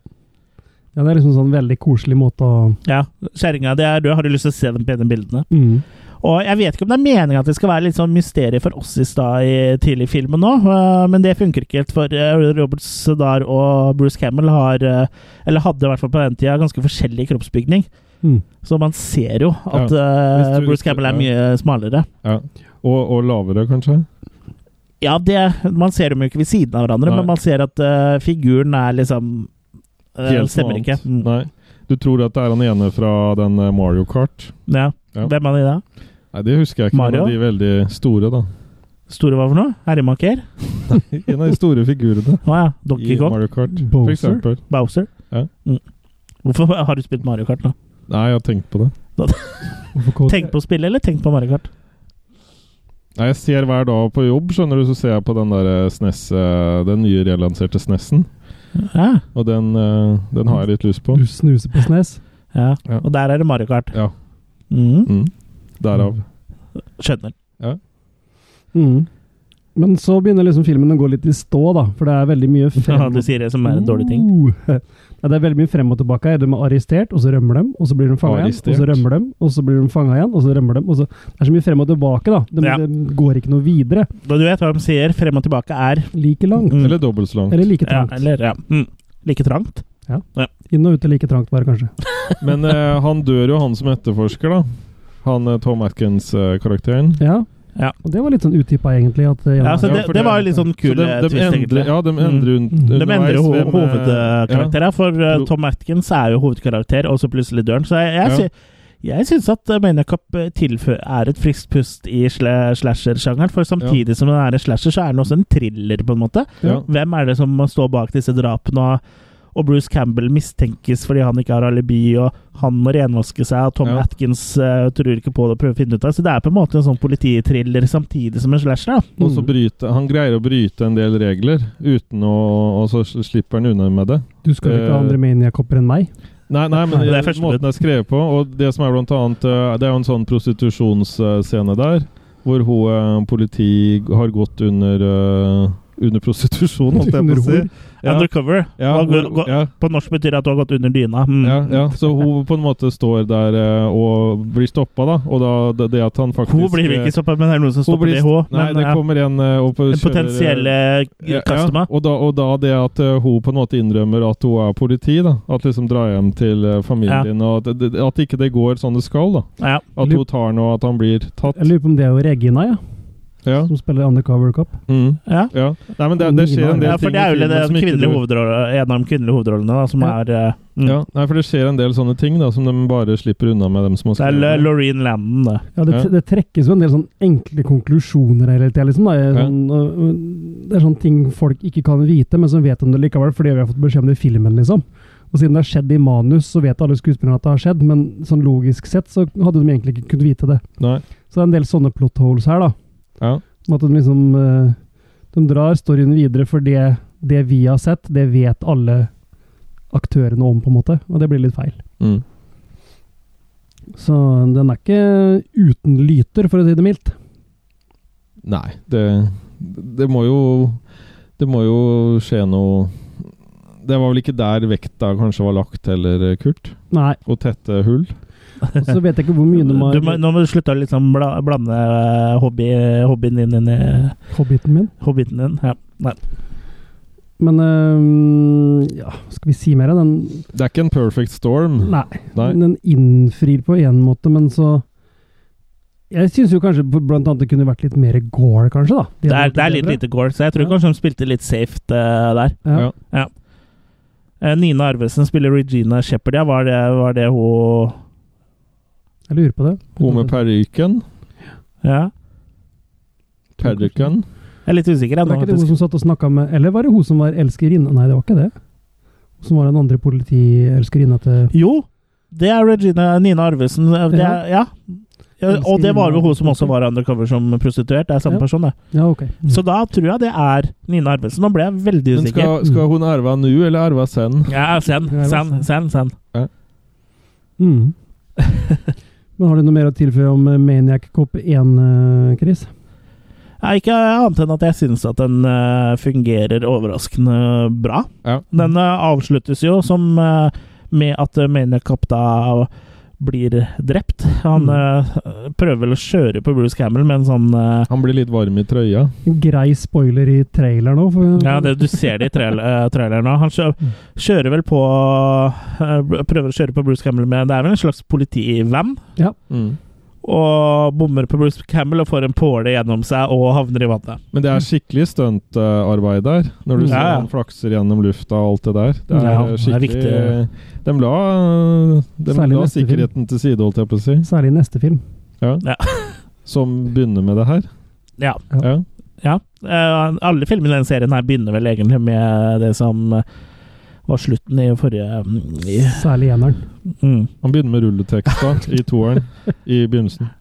[SPEAKER 2] ja, det er liksom sånn veldig koselig måte å
[SPEAKER 1] Ja. 'Kjerringa di er død, har du lyst til å se de pene bildene?'
[SPEAKER 2] mm.
[SPEAKER 1] Og jeg vet ikke om det er meningen at det skal være litt sånn mysterium for oss i stad i tidlig i filmen nå, øh, men det funker ikke helt, for øh, Robert Sedar og Bruce Campbell har øh, Eller hadde i hvert fall på den tida ganske forskjellig kroppsbygning,
[SPEAKER 2] Mm.
[SPEAKER 1] så man ser jo at
[SPEAKER 3] Hvis
[SPEAKER 1] øh,
[SPEAKER 3] du-
[SPEAKER 1] Bruce Campbell er mye smalere.
[SPEAKER 3] Og, og lavere, kanskje?
[SPEAKER 1] Ja, det, man ser dem jo ikke ved siden av hverandre,
[SPEAKER 3] Nei.
[SPEAKER 1] men man ser at øh, figuren er liksom øh,
[SPEAKER 3] Helt
[SPEAKER 1] Stemmer
[SPEAKER 3] noe
[SPEAKER 1] ikke.
[SPEAKER 3] annet.
[SPEAKER 1] Mm.
[SPEAKER 3] Nei. Du tror at det er han ene fra den eh, Mario Kart?
[SPEAKER 1] Ja.
[SPEAKER 3] Ja.
[SPEAKER 1] Hvem er det da?
[SPEAKER 3] Nei, det husker jeg ikke.
[SPEAKER 1] Mario?
[SPEAKER 3] Men de er veldig store, da.
[SPEAKER 1] Store hva for noe? Herremaker?
[SPEAKER 3] En av de store figurene
[SPEAKER 1] Å ja. Donkey
[SPEAKER 3] i
[SPEAKER 1] Kong?
[SPEAKER 3] Mario Kart, for
[SPEAKER 2] Bowser?
[SPEAKER 3] eksempel.
[SPEAKER 1] Bowser?
[SPEAKER 3] Ja.
[SPEAKER 1] Mm. Hvorfor har du spilt Mario Kart nå?
[SPEAKER 3] Nei, jeg har tenkt på det.
[SPEAKER 2] Hvorfor kåt-
[SPEAKER 1] Tenk på å spille, eller tenk på Mario Kart?
[SPEAKER 3] Nei, Jeg ser hver dag på jobb, skjønner du, så ser jeg på den der eh, SNES, eh, den nye relanserte SNES-en.
[SPEAKER 1] Ja.
[SPEAKER 3] Og den, eh, den har jeg litt lyst på.
[SPEAKER 2] Du snuser på snes.
[SPEAKER 1] ja.
[SPEAKER 3] Ja.
[SPEAKER 1] Og der er det Mario Kart.
[SPEAKER 3] Ja.
[SPEAKER 1] Mm.
[SPEAKER 3] Mm. Derav.
[SPEAKER 1] Skjønner.
[SPEAKER 2] Mm. Men så begynner liksom filmen å gå litt i stå, da. For det er veldig mye frem
[SPEAKER 1] Ja, du sier det som er en dårlig
[SPEAKER 3] Mm.
[SPEAKER 1] ting.
[SPEAKER 2] Uh. Ja, det er veldig mye frem og tilbake. her. De er arrestert, og så rømmer de. Og så blir de fanga igjen, og
[SPEAKER 3] Arrestert.
[SPEAKER 2] så rømmer de. Og så blir de fanga igjen, og så rømmer de. Og så det er så mye frem og tilbake, da. De,
[SPEAKER 1] Ja.
[SPEAKER 2] de går ikke noe videre.
[SPEAKER 1] Da du vet hva de sier, frem og tilbake er
[SPEAKER 2] Like langt.
[SPEAKER 1] Mm.
[SPEAKER 3] Eller dobbelt så langt.
[SPEAKER 2] Eller like
[SPEAKER 1] ja,
[SPEAKER 2] trangt.
[SPEAKER 1] eller, ja. Mm. Like trangt.
[SPEAKER 2] Inn og ut er like trangt, bare, kanskje.
[SPEAKER 3] Men eh, han dør jo, han som etterforsker, da. Han eh, Tom Atkins-karakteren.
[SPEAKER 2] Ja.
[SPEAKER 1] Ja.
[SPEAKER 2] Og det var litt sånn utdypa, egentlig. At, eh,
[SPEAKER 1] Ja,
[SPEAKER 2] ja,
[SPEAKER 1] så
[SPEAKER 3] Ja,
[SPEAKER 1] det,
[SPEAKER 3] for
[SPEAKER 1] det
[SPEAKER 3] det-
[SPEAKER 1] var jo litt sånn kul
[SPEAKER 3] de,
[SPEAKER 1] eh,
[SPEAKER 3] de
[SPEAKER 1] twist, egentlig.
[SPEAKER 3] endrer, ja, de endrer un
[SPEAKER 2] Mm.
[SPEAKER 1] De endrer
[SPEAKER 3] underveis
[SPEAKER 1] ho
[SPEAKER 3] hvem, eh,
[SPEAKER 1] hovedkarakterer, for eh,
[SPEAKER 3] Pro-
[SPEAKER 1] Tom Atkins er jo hovedkarakter, og så plutselig dør han. Så jeg, jeg,
[SPEAKER 3] Ja.
[SPEAKER 1] sy jeg syns at eh, Maniac Cop eh, tilfø- er et friskt pust i sla- slasher-sjangeren. For samtidig som den er en slasher, så er den også en thriller, på en måte.
[SPEAKER 3] Ja.
[SPEAKER 1] Hvem er det som står bak disse drapene? Og, og Bruce Campbell mistenkes fordi han ikke har alibi, og han må renvaske seg, og Tom
[SPEAKER 3] Ja.
[SPEAKER 1] Atkins eh, tror ikke på det og prøver å finne ut av det. Så det er på en måte en sånn politithriller samtidig som en slasher. da.
[SPEAKER 3] Og så
[SPEAKER 2] Mm.
[SPEAKER 3] bryte, han greier å bryte en del regler, uten å, og så slipper han unna med det.
[SPEAKER 2] du skal jo ikke ha
[SPEAKER 3] eh,
[SPEAKER 2] andre maniakopper enn meg.
[SPEAKER 3] Nei, nei men
[SPEAKER 1] Nei, det er
[SPEAKER 3] det er
[SPEAKER 1] første
[SPEAKER 3] måten det er skrevet på. Og det som er blant annet eh, Det er jo en sånn prostitusjonsscene der, hvor hun eh, politi har gått under eh, under prostitusjon, holdt jeg på å si.
[SPEAKER 2] Under hor.
[SPEAKER 3] Ja,
[SPEAKER 1] Undercover.
[SPEAKER 3] ja,
[SPEAKER 1] Og gå-
[SPEAKER 3] hvor-
[SPEAKER 1] gå-
[SPEAKER 3] ja,
[SPEAKER 1] På norsk betyr det at du har gått under dyna. Mm.
[SPEAKER 3] ja, ja. Så hun på en måte står der eh, og blir stoppa, da. Og da det- det at han faktisk
[SPEAKER 1] Hun blir vel
[SPEAKER 3] eh,
[SPEAKER 1] ikke stoppa, men det er noen som
[SPEAKER 3] hun
[SPEAKER 1] stopper
[SPEAKER 3] blir
[SPEAKER 1] det, hun.
[SPEAKER 3] st- Nei,
[SPEAKER 1] Men
[SPEAKER 3] det
[SPEAKER 1] ja,
[SPEAKER 3] kommer en eh, og på-
[SPEAKER 1] den
[SPEAKER 3] kjører-
[SPEAKER 1] potensielle
[SPEAKER 3] Ja, ja.
[SPEAKER 1] eh, customer.
[SPEAKER 3] Og, da, og da det at eh, hun på en måte innrømmer at hun er politi, da. At liksom dra hjem til eh, familien, og at, det- at ikke det går sånn det skal, da.
[SPEAKER 1] Ja.
[SPEAKER 3] At hun tar nå at han blir tatt.
[SPEAKER 2] Jeg lurer på om det er jo Regina, ja.
[SPEAKER 3] Ja.
[SPEAKER 2] Som spiller undercover cop.
[SPEAKER 3] Mm.
[SPEAKER 1] Ja.
[SPEAKER 3] ja. Nei, men det, det skjer en del
[SPEAKER 1] ja, for
[SPEAKER 3] ting
[SPEAKER 1] det er jo det-
[SPEAKER 3] i filmen som
[SPEAKER 1] det
[SPEAKER 3] ikke
[SPEAKER 1] kvinnelige
[SPEAKER 3] du-
[SPEAKER 1] hovedrolle- en av de kvinnelige hovedrollene da, som
[SPEAKER 2] Ja.
[SPEAKER 1] er eh, mm.
[SPEAKER 3] Ja, nei, for det skjer en del sånne ting da, som de bare slipper unna med, dem som har
[SPEAKER 1] Det er
[SPEAKER 3] skrevet
[SPEAKER 1] L-
[SPEAKER 3] det.
[SPEAKER 1] Laureen Landon, det.
[SPEAKER 2] Ja, det,
[SPEAKER 3] Ja.
[SPEAKER 2] det trekkes jo en del sånn enkle konklusjoner hele tida. Liksom, da. Jeg-
[SPEAKER 3] Ja.
[SPEAKER 2] sånn, øh, øh, det er sånne ting folk ikke kan vite, men som vet om det likevel fordi vi har fått beskjed om det i filmen. liksom. Og Siden det har skjedd i manus, så vet alle skuespillerne at det har skjedd, men sånn logisk sett så hadde de egentlig ikke kunnet vite det.
[SPEAKER 3] Nei.
[SPEAKER 2] Så det er en del sånne plot holes her. da.
[SPEAKER 3] Ja.
[SPEAKER 2] Om At de liksom øh, De drar storyen videre for det, det vi har sett, det vet alle aktørene om, på en måte. Og det blir litt feil.
[SPEAKER 3] Mm.
[SPEAKER 2] Så den er ikke uten lyter, for å si det mildt.
[SPEAKER 3] Nei, det, det må jo Det må jo skje noe Det var vel ikke der vekta kanskje var lagt heller, Kurt?
[SPEAKER 2] Nei.
[SPEAKER 3] Å tette hull?
[SPEAKER 2] Og så vet jeg ikke hvor mye de
[SPEAKER 1] Du må,
[SPEAKER 2] har
[SPEAKER 1] nå må du slutte å liksom bla, blande eh, hobby, hobbyen din inn i
[SPEAKER 2] Hobbiten min.
[SPEAKER 1] hobbiten din. Ja. Nei.
[SPEAKER 2] Men øhm, ja, skal vi si mer? Den,
[SPEAKER 3] Det er ikke en perfect storm.
[SPEAKER 2] nei,
[SPEAKER 3] Nei.
[SPEAKER 2] den innfrir på én måte, men så Jeg syns jo kanskje b- blant annet det kunne vært litt mer gore, kanskje. da.
[SPEAKER 1] Det, er,
[SPEAKER 2] hadde
[SPEAKER 1] det er
[SPEAKER 2] vært
[SPEAKER 1] litt
[SPEAKER 2] bedre.
[SPEAKER 1] lite gore, så jeg tror
[SPEAKER 2] Ja.
[SPEAKER 1] kanskje de spilte litt safe eh, der.
[SPEAKER 2] Ja.
[SPEAKER 3] Ja.
[SPEAKER 1] Eh, Nina Arvesen spiller Regina Shepherd, ja. Var det, var det hun
[SPEAKER 2] Jeg lurer på det.
[SPEAKER 3] Hun med parykken.
[SPEAKER 1] Ja.
[SPEAKER 3] Parykken.
[SPEAKER 1] Jeg er litt usikker
[SPEAKER 2] Det
[SPEAKER 1] ennå,
[SPEAKER 2] er ikke det hun
[SPEAKER 1] faktisk.
[SPEAKER 2] som satt og snakket med Eller var det hun som var elskerinne? Nei, det var ikke det. Hun som var den andre politielskerinna til
[SPEAKER 1] Jo, det er Regina Nina Arvesen. eh, Det er, ja. ja. Og det var jo hun som også var undercover som prostituert. Det er samme
[SPEAKER 2] Ja.
[SPEAKER 1] person, det.
[SPEAKER 2] Ja, ok. Mm.
[SPEAKER 1] Så da tror jeg det er Nina Arvesen. Nå ble jeg veldig
[SPEAKER 3] Men
[SPEAKER 1] usikker.
[SPEAKER 3] skal, skal hun erve nå, eller erve sen?
[SPEAKER 1] Ja, send, send, send. send.
[SPEAKER 2] Mm. Men har du noe mer å tilføye om eh, Maniac Cop 1, eh, Chris?
[SPEAKER 1] Nei, ikke annet enn at jeg syns at den eh, fungerer overraskende bra.
[SPEAKER 3] Ja.
[SPEAKER 1] Den eh, avsluttes jo som eh, med at uh, Maniac da blir drept. Han eh, prøver vel å kjøre på Bruce Campbell med en sånn eh,
[SPEAKER 3] Han blir litt varm i trøya.
[SPEAKER 2] En grei spoiler i traileren nå. For,
[SPEAKER 1] Ja, det, du ser det i trail, eh, traileren nå. Han kjø, kjører vel på eh, Prøver å kjøre på Bruce Campbell med Det er vel en slags politivam?
[SPEAKER 3] Mm.
[SPEAKER 1] Og bommer på Bruce Campbell og får en påle gjennom seg og havner i vannet.
[SPEAKER 3] Men det er skikkelig stuntarbeid der. Når du
[SPEAKER 1] Ja,
[SPEAKER 3] ser
[SPEAKER 1] ja.
[SPEAKER 3] han flakser gjennom lufta og alt det der. Det er
[SPEAKER 1] Ja, det er
[SPEAKER 3] skikkelig
[SPEAKER 1] viktig.
[SPEAKER 3] De la, de
[SPEAKER 2] Særlig
[SPEAKER 3] la
[SPEAKER 2] neste film.
[SPEAKER 3] sikkerheten til side, holdt jeg på å si.
[SPEAKER 2] Særlig i neste film.
[SPEAKER 3] Ja.
[SPEAKER 1] Ja.
[SPEAKER 3] Som begynner med det her.
[SPEAKER 1] Ja.
[SPEAKER 3] Ja.
[SPEAKER 1] Ja. eh, alle filmene i den serien her begynner vel egentlig med det som eh, var slutten i forrige i-
[SPEAKER 2] Særlig eneren.
[SPEAKER 1] mm.
[SPEAKER 3] Han begynner med rulleteksta i toeren i begynnelsen.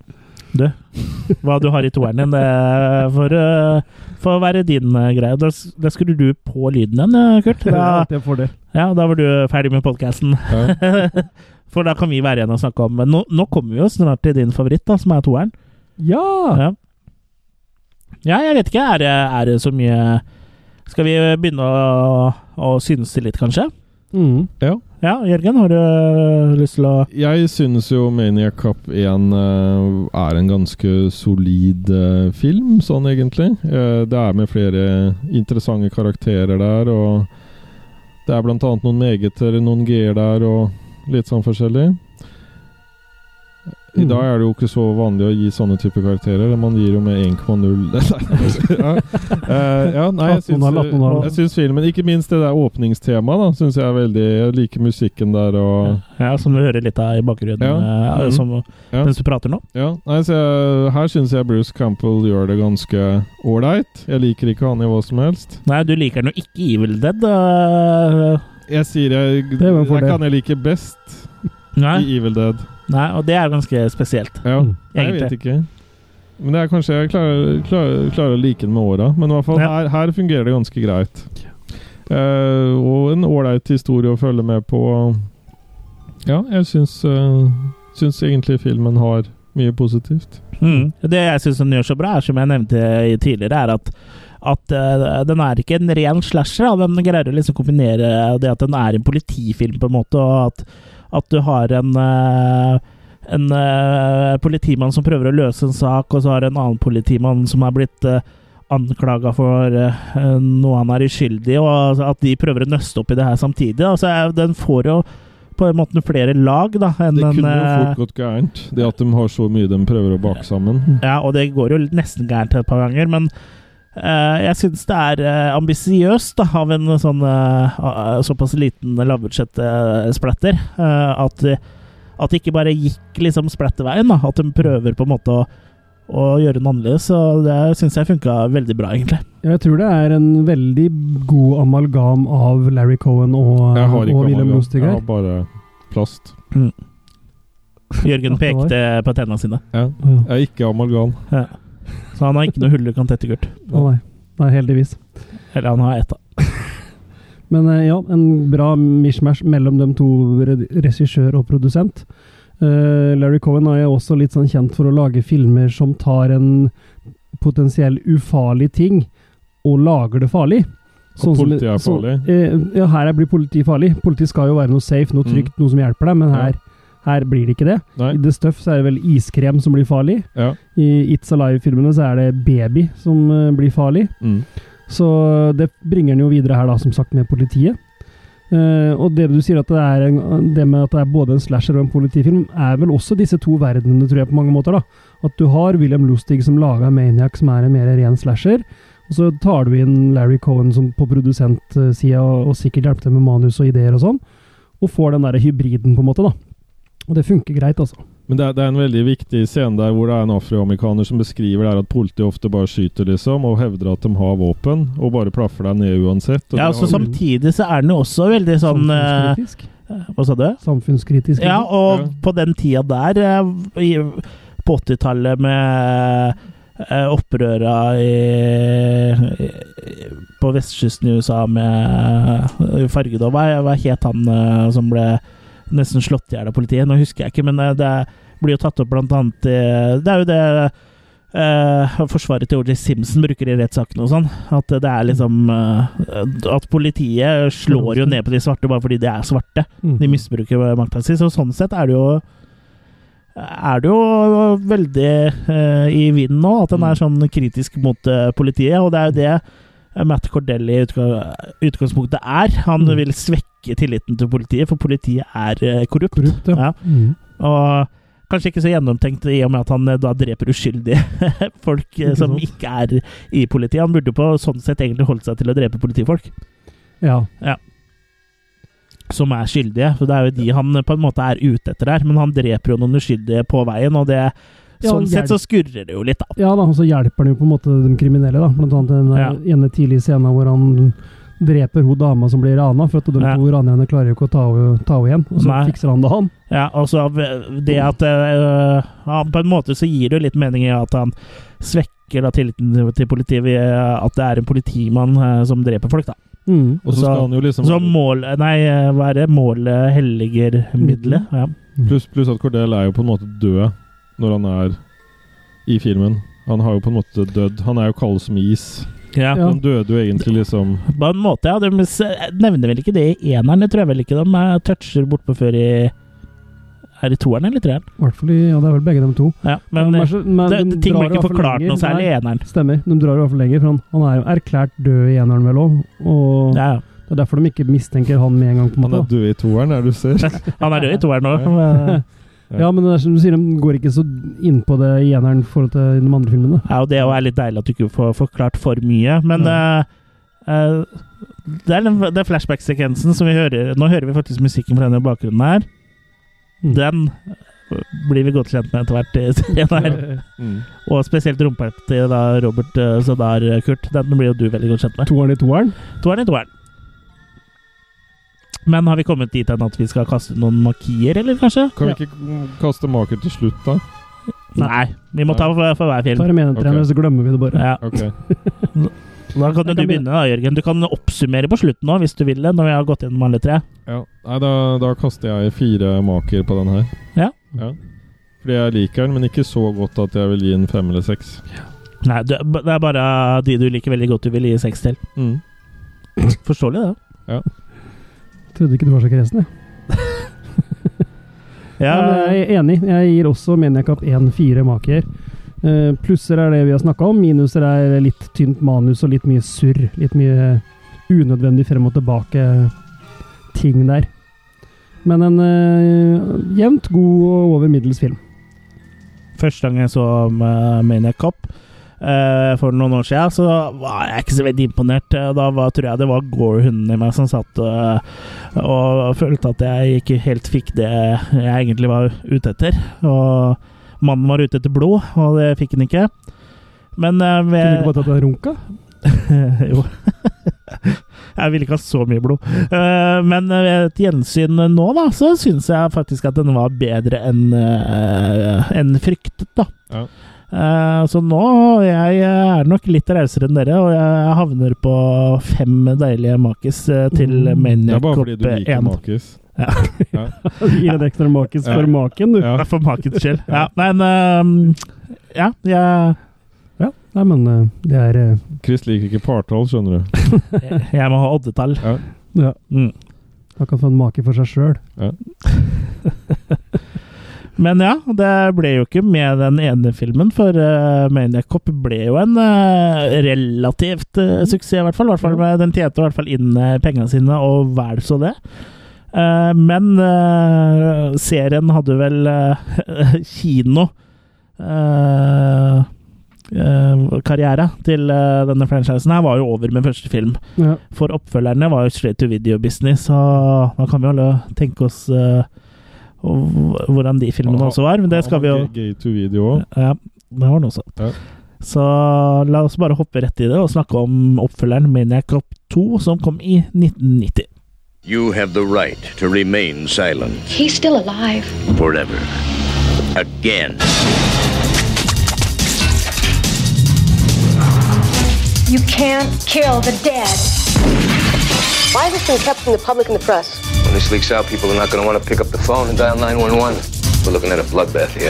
[SPEAKER 1] Hva du har i toeren din, det får, eh, får være din eh, greie. Da, s- da skrur du på lyden igjen, eh, Kurt. Da,
[SPEAKER 2] Det er en fordel.
[SPEAKER 1] ja, da var du ferdig med podkasten.
[SPEAKER 3] Ja.
[SPEAKER 1] For da kan vi være igjen og snakke om Men nå, nå kommer vi jo snart til din favoritt, da, som er toeren.
[SPEAKER 2] Ja!
[SPEAKER 1] Ja. ja, jeg vet ikke. Er det, er det så mye Skal vi begynne å, å synse litt, kanskje?
[SPEAKER 2] Mm.
[SPEAKER 3] ja.
[SPEAKER 1] Ja, Jørgen, har du øh, lyst til å
[SPEAKER 3] Jeg synes jo Maniac Cup 1 eh, er en ganske solid eh, film, sånn egentlig. Eh, det er med flere interessante karakterer der, og det er blant annet noen megeter, noen g-er der, og litt sånn forskjellig. I
[SPEAKER 2] Mm.
[SPEAKER 3] dag er det jo ikke så vanlig å gi sånne type karakterer. Man gir jo med 1,0 ja. Eh, ja, nei, jeg
[SPEAKER 2] 18,0, 18,0.
[SPEAKER 3] syns- jeg syns filmen Ikke minst det der åpningstemaet, da, syns jeg er veldig Jeg liker musikken der og
[SPEAKER 1] Ja, som du hører litt av i bakgrunnen
[SPEAKER 3] Ja.
[SPEAKER 1] eh,
[SPEAKER 3] Mhm.
[SPEAKER 1] som,
[SPEAKER 3] Ja.
[SPEAKER 1] mens du prater nå.
[SPEAKER 3] Ja, nei, så jeg, Her syns jeg Bruce Campbell gjør det ganske ålreit. Jeg liker ikke han i hva som helst.
[SPEAKER 1] Nei, du liker den jo ikke i Evil Dead. eh,
[SPEAKER 3] Jeg sier jeg, det
[SPEAKER 2] er jo en
[SPEAKER 3] er
[SPEAKER 2] fordel.
[SPEAKER 3] ikke han jeg liker best
[SPEAKER 1] nei.
[SPEAKER 3] i Evil Dead.
[SPEAKER 1] nei, og det er ganske spesielt.
[SPEAKER 3] Ja,
[SPEAKER 2] Mm.
[SPEAKER 3] nei, jeg vet ikke. Men det er kanskje jeg klarer, klarer, klarer å like den med åra. Men i hvert fall
[SPEAKER 1] Ja.
[SPEAKER 3] her, her fungerer det ganske greit. Eh, og en ålreit historie å følge med på. Ja, jeg syns, eh, syns egentlig filmen har mye positivt.
[SPEAKER 1] Mm. Det jeg syns den gjør så bra, er som jeg nevnte i tidligere, er at at eh, den er ikke en ren slasher. Da. Den greier å liksom kombinere det at den er en politifilm, på en måte, og at, at du har en eh, en eh, politimann som prøver å løse en sak, og så har du en annen politimann som er blitt uh, anklaga for eh, noe han er uskyldig i, og altså at de prøver å nøste opp i det her samtidig. Da. Så er- den får jo på en måte flere lag da, enn
[SPEAKER 3] Det
[SPEAKER 1] en
[SPEAKER 3] kunne jo
[SPEAKER 1] eh,
[SPEAKER 3] fort gått gærent, det at de har så mye de prøver å bake sammen.
[SPEAKER 2] Mm.
[SPEAKER 1] ja, og det går jo nesten gærent et par ganger, men eh, jeg syns det er uh, ambisiøst da, av en sånn eh, eh, såpass liten lavbudsjett-splatter. eh, at, det- at det ikke bare gikk liksom splatterveien, da. At de prøver på en måte å, å gjøre noe annerledes. Og det syns jeg funka veldig bra, egentlig.
[SPEAKER 2] Jeg tror det er en veldig god amalgam av Larry Cohen og,
[SPEAKER 3] Jeg har ikke
[SPEAKER 2] og William
[SPEAKER 3] amalgam. Jeg
[SPEAKER 2] Mostiger.
[SPEAKER 3] har bare plast.
[SPEAKER 1] Jørgen
[SPEAKER 2] At det var.
[SPEAKER 1] pekte på tenna sine.
[SPEAKER 2] Ja.
[SPEAKER 3] Jeg er ikke amalgam.
[SPEAKER 1] Ja. Så han har ikke noe hull du kan tette, Kurt.
[SPEAKER 2] Å nei. nei, heldigvis.
[SPEAKER 1] Eller han har ett, da.
[SPEAKER 2] Men eh, ja, en bra mishmash mellom de to re- regissør og produsent. Eh, Larry Cohen er jo også litt sånn kjent for å lage filmer som tar en potensiell ufarlig ting og lager det farlig.
[SPEAKER 3] Og
[SPEAKER 2] som-
[SPEAKER 3] politiet er
[SPEAKER 2] sånn-
[SPEAKER 3] farlig.
[SPEAKER 2] eh, ja, her er- blir politiet farlig. Politiet skal jo være noe safe, noe trygt, noe som hjelper deg, men her, her blir det ikke det.
[SPEAKER 3] Mm. Nei.
[SPEAKER 2] I The Stuff så er det vel iskrem som blir farlig.
[SPEAKER 3] Ja.
[SPEAKER 2] I It's Alive-filmene så er det baby som eh, blir farlig.
[SPEAKER 3] Mm.
[SPEAKER 2] Så eh, det bringer den jo videre her, da, som sagt, med politiet. Eh, og det du sier at det er en, det med at det er både en slasher og en politifilm, er vel også disse to verdenene, tror jeg, på mange måter. da. At du har William Lustig som laga Maniac, som er en mer ren slasher, Og så tar du inn Larry Cohen som på produsentsida, og, og sikkert hjelper til med manus og ideer og sånn. Og får den derre hybriden, på en måte, da. Og det funker greit, altså.
[SPEAKER 3] Men det er, det er en veldig viktig scene der hvor det er en afroamerikaner som beskriver det her at politiet ofte bare skyter, liksom, og hevder at de har våpen, og bare plaffer deg ned uansett. Og
[SPEAKER 1] Ja,
[SPEAKER 3] det
[SPEAKER 1] altså
[SPEAKER 3] har-
[SPEAKER 1] Samtidig så er den jo også veldig sånn eh,
[SPEAKER 2] Samfunnskritisk.
[SPEAKER 1] Hva sa du?
[SPEAKER 2] Samfunnskritisk.
[SPEAKER 1] Ja, og
[SPEAKER 3] Ja.
[SPEAKER 1] på den tida der, eh, i- på 80-tallet med eh, opprøra i, i, på vestkysten i USA med eh, fargede og hva, hva het han eh, som ble nesten slått i hjel av politiet? Nå husker jeg ikke, men eh, det blir jo tatt opp blant annet i Det er jo det eh, forsvaret til O.J. Simpson bruker i rettssakene og sånn. At det er liksom eh, At politiet slår jo ned på de svarte bare fordi de er svarte.
[SPEAKER 2] Mm.
[SPEAKER 1] De misbruker makta si. Så sånn sett er det jo er det jo veldig eh, i vinden nå, at den
[SPEAKER 2] Mm.
[SPEAKER 1] er sånn kritisk mot eh, politiet. Og det er jo det Matt Cordell i utga- utgangspunktet er. Han
[SPEAKER 2] Mm.
[SPEAKER 1] vil svekke tilliten til politiet, for politiet er eh, korrupt.
[SPEAKER 2] Korrupt,
[SPEAKER 1] Ja.
[SPEAKER 2] ja. Mm.
[SPEAKER 1] Og kanskje ikke så gjennomtenkt i og med at han eh, da dreper uskyldige folk eh,
[SPEAKER 2] Ikke
[SPEAKER 1] som
[SPEAKER 2] sant.
[SPEAKER 1] ikke er i politiet. Han burde på sånn sett egentlig holdt seg til å drepe politifolk
[SPEAKER 2] ja.
[SPEAKER 1] som er skyldige. For det er jo de han på en måte er ute etter her, men han dreper jo noen uskyldige på veien, og det
[SPEAKER 2] Ja,
[SPEAKER 1] Sånn
[SPEAKER 2] hjelp.
[SPEAKER 1] sett så skurrer det jo litt, da.
[SPEAKER 2] Ja da, og så hjelper han jo på en måte de kriminelle, da. Blant annet den
[SPEAKER 1] Ja.
[SPEAKER 2] ene tidlige scenen hvor han dreper hun dama som blir rana, for at de
[SPEAKER 1] Ja.
[SPEAKER 2] to ranerne klarer jo ikke å ta henne ta henne igjen. Og så
[SPEAKER 1] Nei.
[SPEAKER 2] fikser han det, han.
[SPEAKER 1] Ja, og så av- eh, det at øh, han På en måte så gir det jo litt mening i at han svekker da tilliten til politiet ved eh, at det er en politimann øh, som dreper folk, da.
[SPEAKER 2] Mm.
[SPEAKER 3] Og så skal han jo liksom
[SPEAKER 1] Så mål Nei, øh, hva er det? Målet helliger middelet. Ja.
[SPEAKER 3] Pluss pluss at Cordell er jo på en måte død når han er i filmen. Han har jo på en måte dødd. Han er jo kald som is.
[SPEAKER 1] Ja.
[SPEAKER 2] Ja.
[SPEAKER 3] Han døde jo egentlig liksom
[SPEAKER 1] På en måte, ja. De s- eh, nevner vel ikke det i eneren. Det tror jeg vel ikke de øh, toucher bortpå før i Er det toeren eller treeren?
[SPEAKER 2] I hvert fall i Ja, det er vel begge de to.
[SPEAKER 1] Ja, men,
[SPEAKER 2] de er så- men
[SPEAKER 1] det,
[SPEAKER 2] de
[SPEAKER 1] det, ting ble
[SPEAKER 2] drar i hvert
[SPEAKER 1] ikke
[SPEAKER 2] fall
[SPEAKER 1] forklart
[SPEAKER 2] lenger.
[SPEAKER 1] noe særlig i
[SPEAKER 2] Nei,
[SPEAKER 1] eneren.
[SPEAKER 2] Stemmer. De drar i hvert fall lenger, for han, han er jo erklært død i eneren, vel òg. Og
[SPEAKER 1] Ja, ja.
[SPEAKER 2] det er derfor de ikke mistenker han med en gang. på en
[SPEAKER 3] Han
[SPEAKER 2] måte.
[SPEAKER 3] er
[SPEAKER 2] da.
[SPEAKER 3] død i toeren, er det du ser.
[SPEAKER 1] Han er død i toeren òg.
[SPEAKER 3] død.
[SPEAKER 2] Ja, men det er som du sier, de går ikke så inn på det i eneren i forhold til de andre filmene.
[SPEAKER 1] Ja, og det er litt deilig at du ikke får forklart for mye, men eh, eh, det er den, den flashback-sekvensen som vi hører Nå hører vi faktisk musikken fra denne bakgrunnen her.
[SPEAKER 2] Mm.
[SPEAKER 1] Den eh, blir vi godt kjent med etter hvert i serien her.
[SPEAKER 3] Mm.
[SPEAKER 1] Og spesielt rumpa til da Robert eh, Sadar, eh, Kurt. Den blir jo du veldig godt kjent med.
[SPEAKER 2] Toeren i toeren.
[SPEAKER 1] Toeren i toeren. Men har vi kommet dit hen at vi skal kaste noen makier, eller kanskje?
[SPEAKER 3] Kan vi ikke kaste maker til slutt, da?
[SPEAKER 1] Nei. Vi må ta for, for hver film.
[SPEAKER 2] Tar dem en etter
[SPEAKER 3] Ok.
[SPEAKER 2] en, så glemmer vi det bare.
[SPEAKER 1] Ja.
[SPEAKER 3] Ok.
[SPEAKER 1] Da kan jo
[SPEAKER 2] Jeg
[SPEAKER 1] du
[SPEAKER 2] kan
[SPEAKER 1] begynne, da, Jørgen. Du kan oppsummere på slutten nå, hvis du vil det, når vi har gått gjennom alle tre.
[SPEAKER 3] Ja. Nei, da, da kaster jeg fire maker på den her.
[SPEAKER 1] Ja.
[SPEAKER 3] Fordi jeg liker den, men ikke så godt at jeg vil gi den fem eller seks.
[SPEAKER 1] Nei, du, det er bare de du liker veldig godt du vil gi seks til.
[SPEAKER 3] Mm.
[SPEAKER 1] Forståelig, det.
[SPEAKER 2] Trodde ikke du var så kresen, jeg.
[SPEAKER 1] Ja,
[SPEAKER 2] Ja, men eh, jeg er enig. Jeg gir også Maniacup 1 fire maker. Eh, Plusser er det vi har snakka om. Minuser er litt tynt manus og litt mye surr. Litt mye unødvendig frem og tilbake-ting der. Men en eh, jevnt god og over middels film.
[SPEAKER 1] Første gang jeg så eh, Maniac Cop eh, for noen år siden, så var jeg ikke så veldig imponert. Eh, Da var, tror jeg det var Gore-hunden i meg som satt eh, og følte at jeg ikke helt fikk det jeg egentlig var ute etter. Og mannen var ute etter blod, og det fikk han ikke. Men eh,
[SPEAKER 2] Kunne
[SPEAKER 1] ved,
[SPEAKER 2] ikke bare tatt deg runka?
[SPEAKER 1] Eh, jo. jeg ville ikke ha så mye blod. Eh, men ved et gjensyn nå, da, så syns jeg faktisk at den var bedre enn eh, enn fryktet, da.
[SPEAKER 3] Ja.
[SPEAKER 1] Eh, så nå jeg er nok litt rausere enn dere, og jeg havner på fem deilige makis eh, til
[SPEAKER 2] Mm.
[SPEAKER 3] Det er
[SPEAKER 1] Maniac
[SPEAKER 3] bare
[SPEAKER 1] Cop
[SPEAKER 3] fordi du liker
[SPEAKER 1] 1.
[SPEAKER 3] makis.
[SPEAKER 2] Gi en ekstra makis
[SPEAKER 3] Ja.
[SPEAKER 2] for maken, du.
[SPEAKER 3] Ja.
[SPEAKER 1] Ja, For makens skyld. ja. Men eh, ja, jeg,
[SPEAKER 2] Ja, Nei, men eh, det er eh,
[SPEAKER 3] Chris liker ikke partall, skjønner du.
[SPEAKER 1] jeg må ha oddetall.
[SPEAKER 2] Ja,
[SPEAKER 1] Mm.
[SPEAKER 2] han kan få en make for seg sjøl.
[SPEAKER 1] Men ja, det ble jo ikke med den ene filmen, for eh, Maniac Cop ble jo en eh, relativt eh, suksess, i hvert fall. I hvert fall med, den tjente i hvert fall inn eh, pengene sine, og vel så det. Eh, men eh, serien hadde vel eh, kino eh, eh, karriere til eh, denne franchisen her var jo over med første film.
[SPEAKER 2] Ja.
[SPEAKER 1] For oppfølgerne var jo straight to video business, og da kan vi jo alle tenke oss eh, hv- hvordan de filmene også var. Men det skal vi jo
[SPEAKER 3] Gay to video òg.
[SPEAKER 1] Ja, det var den også.
[SPEAKER 3] Ja.
[SPEAKER 1] Så la oss bare hoppe rett i det og snakke om oppfølgeren Maniac Cop 2, som kom i 1990.
[SPEAKER 4] You have the right to remain silent
[SPEAKER 5] He's still alive.
[SPEAKER 4] forever. Again.
[SPEAKER 5] You can't kill the dead.
[SPEAKER 10] Why has this been kept from the public and the press?
[SPEAKER 6] When this leaks out, people are not going to want to pick up the phone and dial 911. We're looking at a bloodbath here.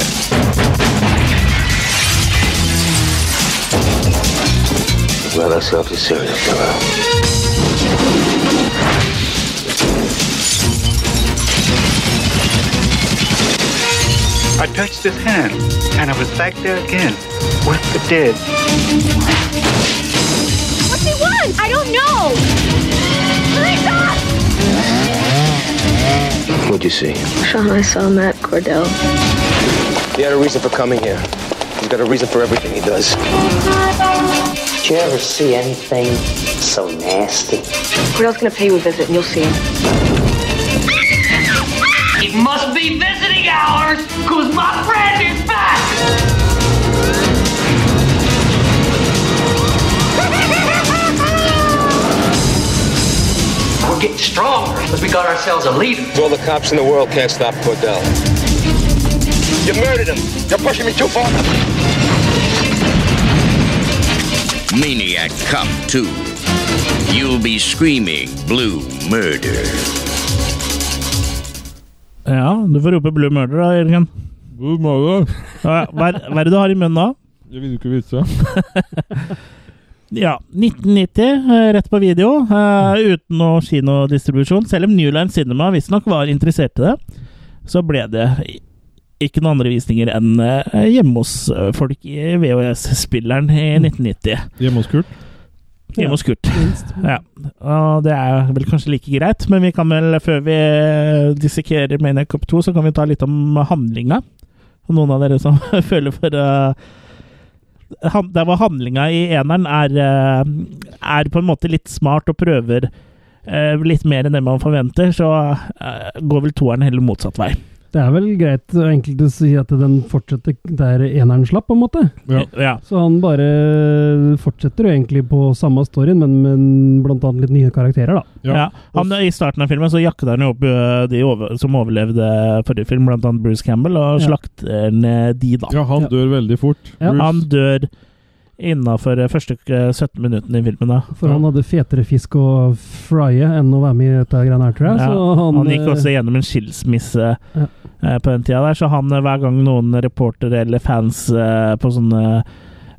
[SPEAKER 6] We've got ourselves a serial killer.
[SPEAKER 7] I touched his hand, and I was back there again with the dead.
[SPEAKER 5] What's he want? I don't know. Hurry up!
[SPEAKER 6] What'd you see?
[SPEAKER 10] Sean, I saw Matt Cordell.
[SPEAKER 6] He had a reason for coming here. He's got a reason for everything he does.
[SPEAKER 10] Did you ever see anything so nasty? Cordell's gonna pay you a visit and you'll see him.
[SPEAKER 5] It must be visiting hours, cause my friend is back!
[SPEAKER 7] We're getting stronger because we got ourselves a leader.
[SPEAKER 6] All the cops in the world can't stop Cordell. You murdered him. You're pushing me too far.
[SPEAKER 4] Maniac Cop 2. You'll be screaming blue murder.
[SPEAKER 1] Ja, du får rope 'Blue Murder' da, Jørgen.
[SPEAKER 3] God morgen!
[SPEAKER 1] Ja, Hva er hva er det du har i munnen nå?
[SPEAKER 3] Jeg vil ikke vite.
[SPEAKER 1] Ja, 1990, eh, rett på video, eh, uten noe kinodistribusjon. Selv om New Line Cinema visstnok var interessert i det, så ble det i- ikke noen andre visninger enn eh, hjemme hos eh, folk i VHS-spilleren i 1990.
[SPEAKER 3] Hjemme hos Kurt.
[SPEAKER 1] Hjemme hos Kurt. Ja. Og det er vel kanskje like greit, men vi kan vel, før vi eh, dissekerer Maniac Cop 2, så kan vi ta litt om handlinga. Og noen av dere som føler for eh, han, Der hvor handlinga i eneren er, eh, er på en måte litt smart og prøver eh, litt mer enn det man forventer, så eh, går vel toeren heller motsatt vei.
[SPEAKER 2] Det er vel greit og enkelt å si at den fortsetter der eneren slapp, på en måte.
[SPEAKER 3] Ja.
[SPEAKER 1] ja.
[SPEAKER 2] Så han bare fortsetter jo egentlig på samme storyen, men med blant annet litt nye karakterer, da.
[SPEAKER 1] Ja.
[SPEAKER 3] Ja.
[SPEAKER 1] Han, I starten av filmen så jakter han jo opp eh, de over, som overlevde forrige film, blant annet Bruce Campbell, og
[SPEAKER 2] Ja.
[SPEAKER 1] slakter ned de, da.
[SPEAKER 3] Ja, han
[SPEAKER 2] Ja.
[SPEAKER 3] dør veldig fort.
[SPEAKER 2] Ja,
[SPEAKER 3] Bruce.
[SPEAKER 1] Han dør innafor første eh, 17 minuttene i filmen, da.
[SPEAKER 2] For han hadde fetere fisk å frye enn å være med i dette greiene her, tror jeg.
[SPEAKER 1] Ja,
[SPEAKER 2] Så han, eh,
[SPEAKER 1] han, gikk også gjennom en skilsmisse
[SPEAKER 2] Ja.
[SPEAKER 1] eh, på den tida der, så han eh, hver gang noen reportere eller fans eh, på sånne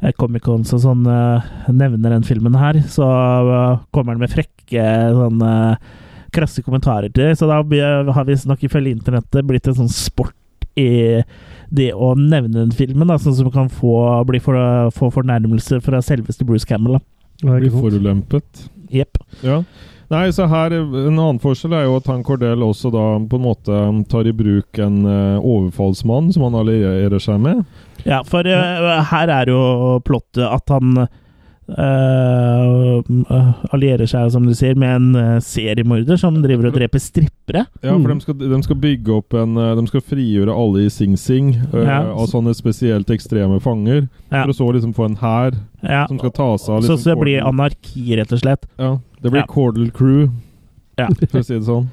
[SPEAKER 1] eh, Comic-Cons og sånn eh, nevner den filmen her, så eh, kommer han med frekke eh, sånne eh, krasse kommentarer til det. Så da blir- eh, har visstnok ifølge internettet blitt en sånn sport i det å nevne den filmen, da, sånn som kan få, bli for, få fornærmelser fra selveste Bruce Campbell. da.
[SPEAKER 2] Det var
[SPEAKER 3] Blir
[SPEAKER 2] ikke sant.
[SPEAKER 3] forulempet.
[SPEAKER 1] Jepp.
[SPEAKER 3] Ja. Nei, så her En annen forskjell er jo at han Cordell også da på en måte tar i bruk en eh, overfallsmann som han allierer seg med.
[SPEAKER 1] Ja, for eh, her er jo plottet at han eh, allierer seg, som du sier, med en eh, seriemorder som driver og dreper strippere.
[SPEAKER 3] Ja, for
[SPEAKER 2] Mm.
[SPEAKER 3] de skal, de skal bygge opp en eh, De skal frigjøre alle i Sing Sing eh,
[SPEAKER 1] Ja.
[SPEAKER 3] av sånne spesielt ekstreme fanger.
[SPEAKER 1] Ja.
[SPEAKER 3] For å så liksom få en hær
[SPEAKER 1] Ja.
[SPEAKER 3] som skal ta seg
[SPEAKER 1] Så,
[SPEAKER 3] av liksom,
[SPEAKER 1] så det sånn blir
[SPEAKER 3] Cordell-
[SPEAKER 1] anarki, rett og slett.
[SPEAKER 3] ja, Det blir
[SPEAKER 1] Ja.
[SPEAKER 3] Cordell Crew,
[SPEAKER 1] Ja.
[SPEAKER 3] for å si det sånn.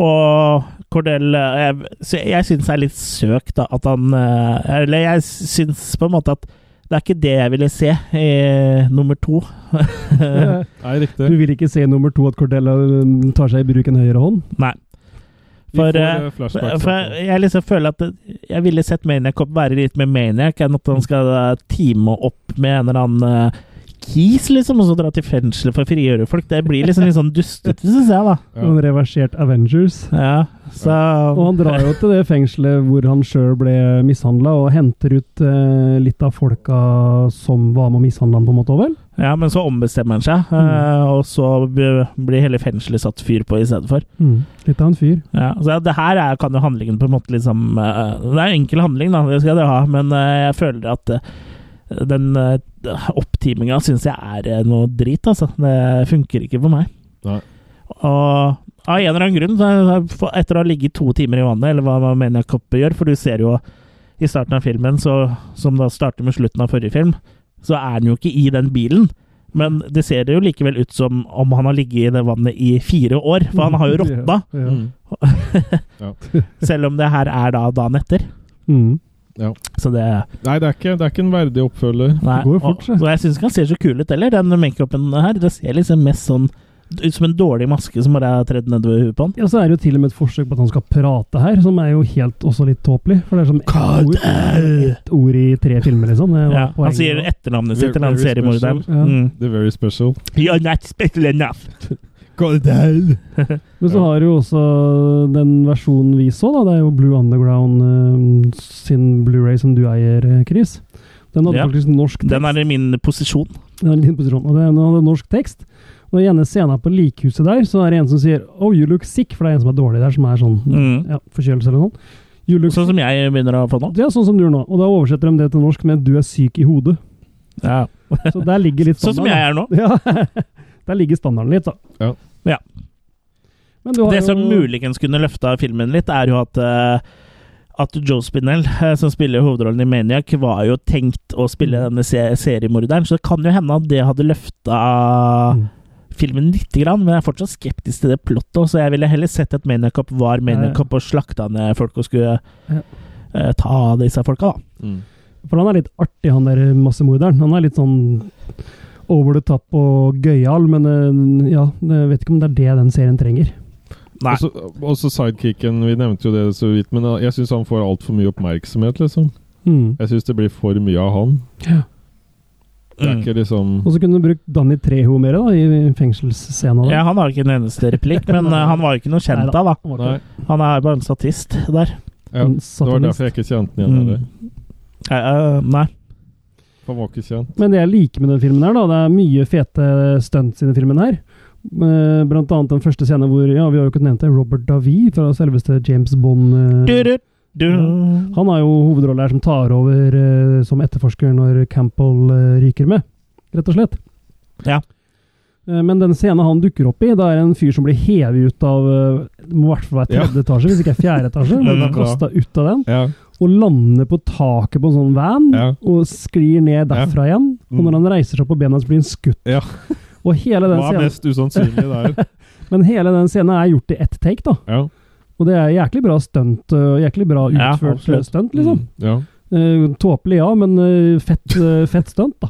[SPEAKER 1] Og Cordell eh, Jeg, så jeg syns det er litt søkt, da, at han eh, Eller jeg syns på en måte at det er ikke det jeg ville se i eh, nummer to.
[SPEAKER 2] Ja.
[SPEAKER 3] Nei, riktig.
[SPEAKER 2] Du vil ikke se nummer to at Cordella um, tar seg i bruk en høyre hånd?
[SPEAKER 1] Nei.
[SPEAKER 3] Vi får
[SPEAKER 1] eh,
[SPEAKER 3] eh, flashbacks.
[SPEAKER 1] For jeg, jeg liksom føler at det- jeg ville sett Maniac opp være litt mer Maniac enn at han skal eh, teame opp med en eller annen eh, kis, liksom, og så dra til fengselet for å frigjøre folk. Det blir liksom litt sånn dustete, syns jeg, da.
[SPEAKER 3] Ja.
[SPEAKER 2] En reversert Avengers.
[SPEAKER 1] Ja, så
[SPEAKER 2] Og han drar jo til det fengselet hvor han sjøl ble mishandla, og henter ut eh, litt av folka som var med å mishandle han, på en måte òg, vel?
[SPEAKER 1] Ja, men så ombestemmer han seg, eh, og så b- blir hele fengselet satt fyr på i stedet for.
[SPEAKER 2] Mm. Litt av en fyr.
[SPEAKER 1] Ja, så det her er, kan jo handlingen på en måte liksom eh, Det er enkel handling, da, det skal det ha, men eh, jeg føler at eh, den uh, opptiminga syns jeg er eh, noe drit, altså. Det funker ikke for meg.
[SPEAKER 3] Nei.
[SPEAKER 1] Og av en eller annen grunn, så- for- etter å ha ligget to timer i vannet, eller hva man mener Koppe gjør, for du ser jo i starten av filmen, så, som da starter med slutten av forrige film, så er han jo ikke i den bilen. Men det ser jo likevel ut som om han har ligget i det vannet i fire år, for han har jo råtna.
[SPEAKER 2] Ja, ja.
[SPEAKER 3] Mm. Ja.
[SPEAKER 1] Selv om det her er da dagen etter.
[SPEAKER 2] Mm.
[SPEAKER 3] Ja.
[SPEAKER 1] Så det
[SPEAKER 3] Nei, det er, ikke, det er ikke en verdig oppfølger.
[SPEAKER 1] Nei,
[SPEAKER 2] Det går jo
[SPEAKER 1] og,
[SPEAKER 2] fort, så.
[SPEAKER 1] og jeg syns ikke han ser så kul ut heller, den makeupen her. Det ser liksom mest sånn ut som en dårlig maske som bare er tredd nedover huet på han.
[SPEAKER 2] Ja, så er det jo til og med et forsøk på at han skal prate her, som er jo helt også litt tåpelig. For det er som
[SPEAKER 1] God
[SPEAKER 2] ett ord,
[SPEAKER 1] damn.
[SPEAKER 2] ett ord i tre filmer, liksom. Det var
[SPEAKER 1] Ja, han
[SPEAKER 2] poenget.
[SPEAKER 1] sier etternavnet sitt til han
[SPEAKER 3] Very special.
[SPEAKER 1] seriemorderen.
[SPEAKER 2] Ja.
[SPEAKER 1] Mm.
[SPEAKER 3] The Very Special.
[SPEAKER 1] You're not special enough.
[SPEAKER 2] Men så
[SPEAKER 3] Ja.
[SPEAKER 2] har du jo også den versjonen vi så, da. Det er jo Blue Underground eh, sin Blu-ray som du eier, eh, Chris. Den hadde
[SPEAKER 1] Ja.
[SPEAKER 2] faktisk norsk tekst.
[SPEAKER 1] Den er i min posisjon.
[SPEAKER 2] Den er litt på tråden, og den hadde norsk tekst. Og i ene scenen på likhuset der, så er det en som sier Oh, you look sick, for det er en som er dårlig der, som er sånn
[SPEAKER 1] Mm.
[SPEAKER 2] ja, forkjølelse eller noe. You look
[SPEAKER 1] Sånn som jeg begynner å få nå.
[SPEAKER 2] Det er sånn som du gjør nå, og da oversetter de det til norsk med 'du er syk i hodet'.
[SPEAKER 1] Ja.
[SPEAKER 2] Så der ligger litt
[SPEAKER 1] Sånn som jeg er nå.
[SPEAKER 2] Ja, Der ligger standarden litt, da.
[SPEAKER 3] Ja.
[SPEAKER 1] Ja.
[SPEAKER 2] Men du har
[SPEAKER 1] Det
[SPEAKER 2] jo-
[SPEAKER 1] som muligens kunne løfta filmen litt, er jo at eh, at Joe Spinell, eh, som spiller hovedrollen i Maniac, var jo tenkt å spille denne se seriemorderen, så det kan jo hende at det hadde løfta
[SPEAKER 2] Mm.
[SPEAKER 1] filmen lite grann, men jeg er fortsatt skeptisk til det plottet. også. Jeg ville heller sett at Maniac Cop var Maniac Cop og slakta ned folk og skulle
[SPEAKER 2] Ja.
[SPEAKER 1] eh, ta disse folka, da.
[SPEAKER 2] For han er litt artig, han der massemorderen. Han er litt sånn over the top og gøyal, men eh, ja, jeg vet ikke om det er det den serien trenger.
[SPEAKER 1] Nei.
[SPEAKER 3] Også, også sidekicken, vi nevnte jo det så vidt, men eh, jeg syns han får altfor mye oppmerksomhet, liksom.
[SPEAKER 2] Mm.
[SPEAKER 3] Jeg syns det blir for mye av han.
[SPEAKER 2] Ja.
[SPEAKER 3] Det er
[SPEAKER 1] Mm.
[SPEAKER 3] ikke liksom
[SPEAKER 2] Og så kunne du brukt Danny Treho mer, da, i fengselsscenen.
[SPEAKER 1] Ja, han har ikke en eneste replikk, men eh, han var jo ikke noe kjent av, da.
[SPEAKER 3] Nei.
[SPEAKER 1] Han er bare en statist der.
[SPEAKER 3] Ja,
[SPEAKER 2] En
[SPEAKER 3] det var
[SPEAKER 2] satanist.
[SPEAKER 3] derfor jeg ikke kjente den igjen.
[SPEAKER 1] Mm.
[SPEAKER 3] eller?
[SPEAKER 1] Eh, eh, nei.
[SPEAKER 3] For han var ikke kjent.
[SPEAKER 2] Men det jeg liker med den filmen her, da, det er mye fete stunts i den filmen her. Eh, Blant annet den første scenen hvor ja, vi har jo ikke nevnt det, Robert Davi fra selveste James Bond. eh,
[SPEAKER 1] Du, du, du.
[SPEAKER 2] Han har jo hovedrolle her som tar over eh, som etterforsker når Campbell eh, ryker med, rett og slett.
[SPEAKER 1] Ja.
[SPEAKER 2] Eh, Men den scenen han dukker opp i, da er det en fyr som blir hevet ut av eh, Det må i hvert fall være tredje etasje, hvis ikke er fjerde etasje.
[SPEAKER 1] Mm.
[SPEAKER 2] Men kasta ut av den,
[SPEAKER 3] Ja,
[SPEAKER 2] og lander på taket på en sånn van,
[SPEAKER 3] Ja.
[SPEAKER 2] og sklir ned derfra igjen. Og
[SPEAKER 3] Mm.
[SPEAKER 2] når han reiser seg opp på bena, så blir han skutt.
[SPEAKER 3] Ja.
[SPEAKER 2] Og hele den
[SPEAKER 3] Hva er
[SPEAKER 2] scenen,
[SPEAKER 3] mest usannsynlig der?
[SPEAKER 2] men hele den scenen er gjort i ett take, da.
[SPEAKER 3] Ja.
[SPEAKER 2] Og det er jæklig bra stunt, og jæklig bra
[SPEAKER 1] Ja,
[SPEAKER 2] utført
[SPEAKER 1] absolutt.
[SPEAKER 2] eh, stunt, liksom.
[SPEAKER 3] ja.
[SPEAKER 2] Eh, Tåpelig, ja, men eh, fett, eh, fett stunt, da.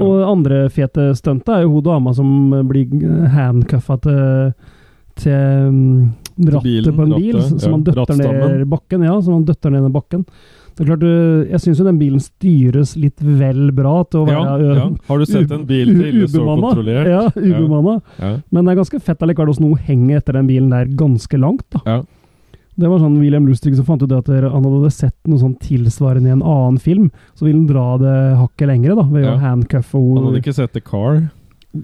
[SPEAKER 2] Og andre fete stuntet er jo hun dama som eh, blir eh, handcuffa til, til mm, rattet
[SPEAKER 3] bilen,
[SPEAKER 2] på en bil,
[SPEAKER 3] rattet,
[SPEAKER 2] som
[SPEAKER 3] ja.
[SPEAKER 2] han døtter
[SPEAKER 3] Rattstammen.
[SPEAKER 2] ned bakken. Ja, som han døtter ned i bakken. Det er klart, eh, Jeg syns jo den bilen styres litt vel bra til å
[SPEAKER 3] Ja,
[SPEAKER 2] være eh,
[SPEAKER 3] ja. Har du sett en bil
[SPEAKER 2] u-
[SPEAKER 3] til så
[SPEAKER 2] ubemanna.
[SPEAKER 3] kontrollert?
[SPEAKER 2] Ja, ubemanna.
[SPEAKER 3] Ja.
[SPEAKER 2] Men det er ganske fett allikevel hvordan hun henger etter den bilen der ganske langt. da.
[SPEAKER 3] Ja.
[SPEAKER 2] Det var sånn William Lustig som fant ut at dere- han hadde sett noe sånn tilsvarende i en annen film. Så ville han dra det hakket lengre, da, ved
[SPEAKER 3] Ja.
[SPEAKER 2] å handcuffe
[SPEAKER 3] Han
[SPEAKER 2] henne.
[SPEAKER 3] hadde ikke sett The Car.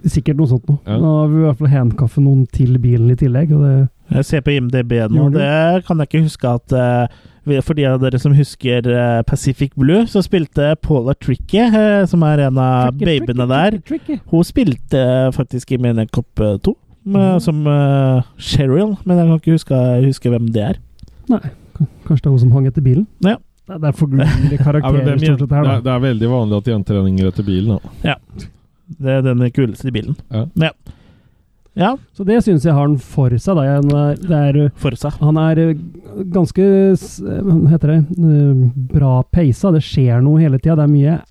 [SPEAKER 2] Sikkert noe sånt noe.
[SPEAKER 3] Ja.
[SPEAKER 2] Da ville i hvert fall handcuffe noen til bilen i tillegg. Og det,
[SPEAKER 1] Jeg ser på IMDb nå,
[SPEAKER 2] Gjorde du?
[SPEAKER 1] det kan jeg ikke huske at eh, vi- For de av dere som husker eh, Pacific Blue, så spilte Paula Tricky, eh, som er en av
[SPEAKER 2] Tricky, tricky,
[SPEAKER 1] babyene der
[SPEAKER 2] tricky, tricky.
[SPEAKER 1] Hun spilte eh, faktisk i Mine Kopp 2,
[SPEAKER 2] Mm.
[SPEAKER 1] med, som eh, Cheryl, men jeg kan ikke huske, huske hvem det er.
[SPEAKER 2] Kanskje det er hun som hang etter bilen?
[SPEAKER 1] Ja.
[SPEAKER 2] Det det er forglemmelige
[SPEAKER 3] Ja, men
[SPEAKER 2] karakterer
[SPEAKER 3] hvem
[SPEAKER 2] stort sett her,
[SPEAKER 3] det,
[SPEAKER 2] da.
[SPEAKER 3] er, det er veldig vanlig at jenter henger etter bilen. Da.
[SPEAKER 1] Det er den kuleste i bilen.
[SPEAKER 3] Ja.
[SPEAKER 1] Ja. ja
[SPEAKER 2] Så det syns jeg har han for seg. da. Jeg- Det er, det er
[SPEAKER 1] Forsa.
[SPEAKER 2] Han er eh, ganske s- Hva heter det? Eh, Bra peisa. Det skjer noe hele tida. Det er mye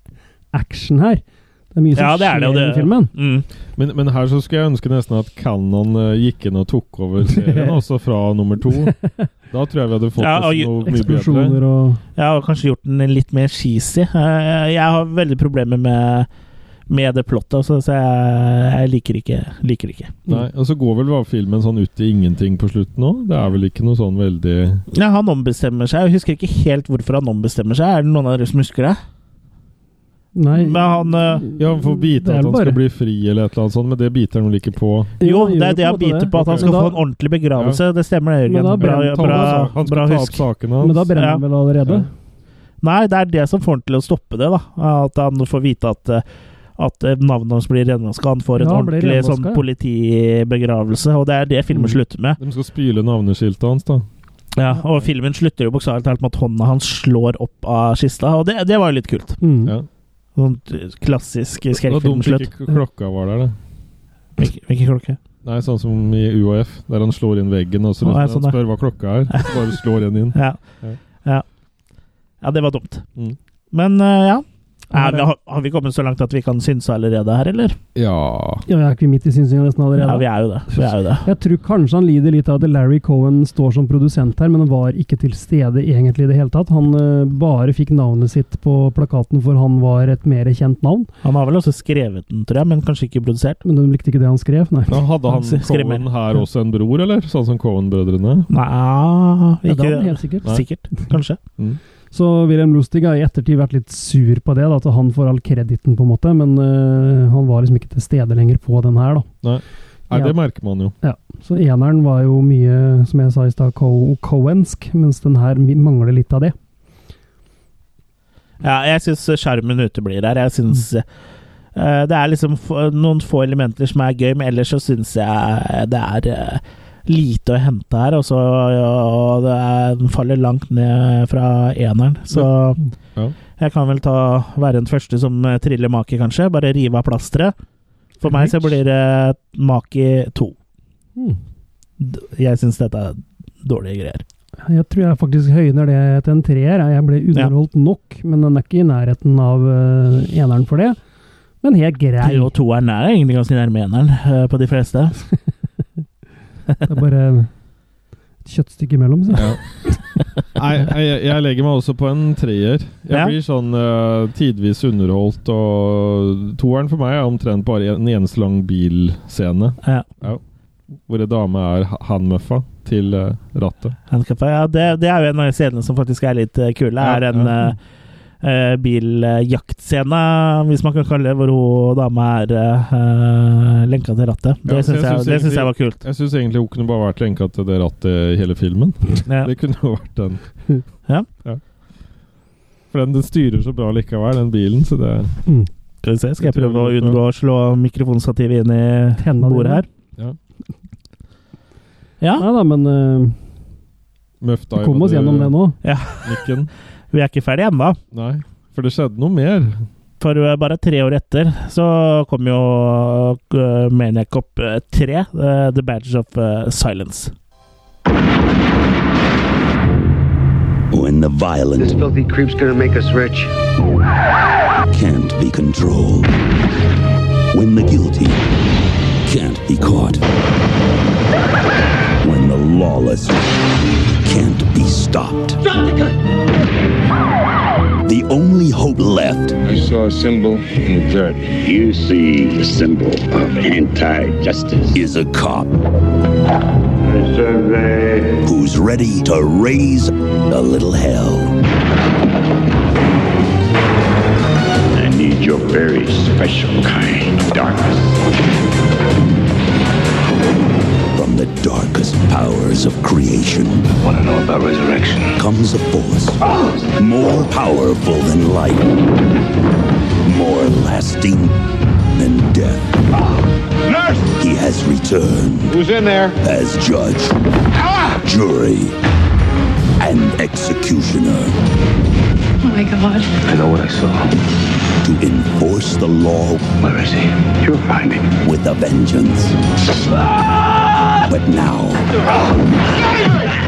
[SPEAKER 2] action her. Det er mye som
[SPEAKER 1] Ja, det er det.
[SPEAKER 2] skjer
[SPEAKER 1] Og det
[SPEAKER 2] i filmen.
[SPEAKER 1] Mm.
[SPEAKER 3] Men, men her så skulle jeg ønske nesten at Cannon eh, gikk inn og tok over serien, også fra nummer to. Da tror jeg vi hadde fått
[SPEAKER 1] Ja, og
[SPEAKER 3] oss noe mye bedre.
[SPEAKER 2] Eksplosjoner og
[SPEAKER 1] Jeg har kanskje gjort den litt mer cheesy. Eh, Jeg har veldig problemer med, med det plottet, altså, så jeg, jeg liker ikke. Liker ikke.
[SPEAKER 3] Nei, og så går vel bare filmen sånn ut i ingenting på slutten òg? Det er vel ikke noe sånn veldig
[SPEAKER 1] Ja, han ombestemmer seg. Jeg husker ikke helt hvorfor han ombestemmer seg. Er det noen av dere som husker det?
[SPEAKER 2] Nei.
[SPEAKER 1] Men han eh,
[SPEAKER 3] Ja, han får
[SPEAKER 2] Det
[SPEAKER 3] bite
[SPEAKER 2] er
[SPEAKER 3] at han
[SPEAKER 2] bare-
[SPEAKER 3] skal bli fri eller et eller annet sånt, men det biter han vel ikke på.
[SPEAKER 1] Jo,
[SPEAKER 2] han gjør
[SPEAKER 1] det er det han
[SPEAKER 2] en måte
[SPEAKER 1] biter på, at han
[SPEAKER 2] Ok.
[SPEAKER 1] skal
[SPEAKER 2] Men
[SPEAKER 1] få
[SPEAKER 2] da-
[SPEAKER 1] en ordentlig begravelse. Det stemmer det,
[SPEAKER 2] Men
[SPEAKER 1] Jørgen.
[SPEAKER 2] da
[SPEAKER 1] Bra, altså.
[SPEAKER 2] brenner
[SPEAKER 3] Ta-
[SPEAKER 1] bra,
[SPEAKER 3] han skal
[SPEAKER 1] bra
[SPEAKER 3] ta opp
[SPEAKER 1] husk.
[SPEAKER 3] sakene
[SPEAKER 2] Men da
[SPEAKER 3] hans.
[SPEAKER 2] brenner
[SPEAKER 1] Ja.
[SPEAKER 2] han vel allerede?
[SPEAKER 1] Nei, det er det som får han til å stoppe det, da. At han får vite at, eh, at eh, navnet hans blir renvaska. Han får en
[SPEAKER 2] Ja, han blir
[SPEAKER 1] ordentlig sånn
[SPEAKER 2] renvaska, ja.
[SPEAKER 1] politibegravelse, og det er det filmen
[SPEAKER 3] Mm.
[SPEAKER 1] slutter med.
[SPEAKER 3] De skal spyle navneskiltet hans, da.
[SPEAKER 1] Ja, og filmen slutter jo bokstavelig talt med at hånda hans slår opp av kista, og det, det var jo litt kult.
[SPEAKER 2] Mm.
[SPEAKER 3] Ja.
[SPEAKER 1] Sånn eh, klassisk
[SPEAKER 3] Det var dumt
[SPEAKER 1] skrekkfilmslutt.
[SPEAKER 3] ikke klokka var der, da.
[SPEAKER 1] Hvilken hvilken klokke?
[SPEAKER 3] Nei, sånn som i UAF, der han slår inn veggen og så
[SPEAKER 1] Å, er
[SPEAKER 3] han
[SPEAKER 1] det sånn, ja.
[SPEAKER 3] spør hva klokka er. Så bare slår en inn.
[SPEAKER 1] Ja.
[SPEAKER 3] Ja.
[SPEAKER 1] ja. Ja, det var dumt.
[SPEAKER 3] Mm.
[SPEAKER 1] Men eh, ja.
[SPEAKER 2] Ja,
[SPEAKER 1] Er,
[SPEAKER 2] det-
[SPEAKER 1] har, har vi kommet så langt at vi kan synse allerede her, eller?
[SPEAKER 3] Ja
[SPEAKER 2] Ja, jeg er ikke midt i synsingen nesten
[SPEAKER 1] Ja, vi
[SPEAKER 2] allerede.
[SPEAKER 1] er jo det. Vi er jo det.
[SPEAKER 2] Jeg tror kanskje han lider litt av at Larry Cohen står som produsent her, men han var ikke til stede egentlig i det hele tatt. Han eh, bare fikk navnet sitt på plakaten, for han var et mer kjent navn.
[SPEAKER 1] Han har vel også skrevet den, tror jeg, men kanskje ikke produsert.
[SPEAKER 2] Men de likte ikke det han skrev, nei.
[SPEAKER 3] Ja, hadde han
[SPEAKER 1] Han skremmer.
[SPEAKER 3] Cohen her også en bror, eller? Sånn som Cohen-brødrene?
[SPEAKER 1] Nei
[SPEAKER 2] Ja, det
[SPEAKER 1] ikke,
[SPEAKER 2] var han helt sikkert.
[SPEAKER 3] Nei.
[SPEAKER 1] Sikkert. Kanskje.
[SPEAKER 2] Så William Lustig har i ettertid vært litt sur på det, da, at han får all krediten, på en måte, men eh, han var liksom ikke til stede lenger på den her, da.
[SPEAKER 3] Nei,
[SPEAKER 2] Ja.
[SPEAKER 3] det merker man jo.
[SPEAKER 2] Så eneren var jo mye, som jeg sa i stad, co cohensk, mens den her mi- mangler litt av det.
[SPEAKER 1] Ja, jeg syns skjermen uteblir her. Jeg syns eh, det er liksom få- noen få elementer som er gøy, men ellers så syns jeg det er eh, lite å hente her. Og så ja, og det er, den faller langt ned fra eneren, så
[SPEAKER 3] Ja.
[SPEAKER 1] jeg kan vel ta være den første som eh, triller Maki, kanskje. Bare rive av plasteret. For meg så blir det Maki 2.
[SPEAKER 2] Hmm.
[SPEAKER 1] D- Jeg syns dette er dårlige greier.
[SPEAKER 2] Jeg tror jeg faktisk høyner det til en treer. Jeg ble underholdt nok, men den er ikke i nærheten av eh, eneren for det. Men helt grei.
[SPEAKER 1] Tre og toeren er egentlig ganske nærme eneren eh, på de fleste.
[SPEAKER 2] Det er bare et kjøttstykke imellom. Så.
[SPEAKER 3] Ja. Nei, jeg, jeg legger meg også på en treer. Jeg
[SPEAKER 1] Ja.
[SPEAKER 3] blir sånn eh, tidvis underholdt, og toeren for meg er omtrent bare en eneste lang bilscene.
[SPEAKER 1] Ja.
[SPEAKER 3] Hvor ei dame er ha- handmuffa til eh, rattet.
[SPEAKER 1] Handicappa, ja, det, det er jo en av scenene som faktisk er litt eh, kule.
[SPEAKER 3] Ja,
[SPEAKER 1] er en
[SPEAKER 3] ja.
[SPEAKER 1] eh, eh, biljaktscene, hvis man kan kalle det, hvor hun dama er eh, lenka til rattet.
[SPEAKER 3] Ja,
[SPEAKER 1] Det
[SPEAKER 3] så jeg
[SPEAKER 1] syns jeg,
[SPEAKER 3] synes
[SPEAKER 1] det syns jeg
[SPEAKER 3] egentlig-
[SPEAKER 1] var kult.
[SPEAKER 3] Jeg syns egentlig hun kunne bare vært lenka til det rattet i hele filmen.
[SPEAKER 1] Ja.
[SPEAKER 3] Det kunne jo vært den.
[SPEAKER 1] Ja.
[SPEAKER 3] For den, den styrer så bra likevel, den bilen, så det
[SPEAKER 1] Skal, vi se, skal jeg prøve å unngå å slå mikrofonstativet inn i
[SPEAKER 2] Tenna
[SPEAKER 1] bordet her?
[SPEAKER 3] Ja.
[SPEAKER 1] Ja,
[SPEAKER 2] Nei da, men eh,
[SPEAKER 3] Møfta
[SPEAKER 2] vi kom oss gjennom det nå.
[SPEAKER 3] Nikken.
[SPEAKER 1] vi er ikke ferdig ennå.
[SPEAKER 3] Nei, for det skjedde noe mer.
[SPEAKER 1] For eh, bare tre år etter så kom jo eh, Maniac Cop 3, eh, The Badge of eh, Silence.
[SPEAKER 4] When the violence
[SPEAKER 8] This filthy creep's gonna make us rich.
[SPEAKER 4] can't be controlled. When the guilty can't be caught. When the lawless can't be stopped. The only hope left
[SPEAKER 8] I saw a symbol in the dirt.
[SPEAKER 4] you see the symbol of anti-justice is a cop who's ready to raise a little hell. I need your very special kind of darkness. From the darkest powers of creation
[SPEAKER 8] Want to know about resurrection?
[SPEAKER 4] comes a force more powerful than light, more lasting than death. Nurse! He has returned. Who's in there? As judge, jury, and executioner
[SPEAKER 5] Oh my god.
[SPEAKER 8] I know what I saw.
[SPEAKER 4] to enforce the law
[SPEAKER 8] Where is he? You'll find him.
[SPEAKER 4] with a vengeance. But now,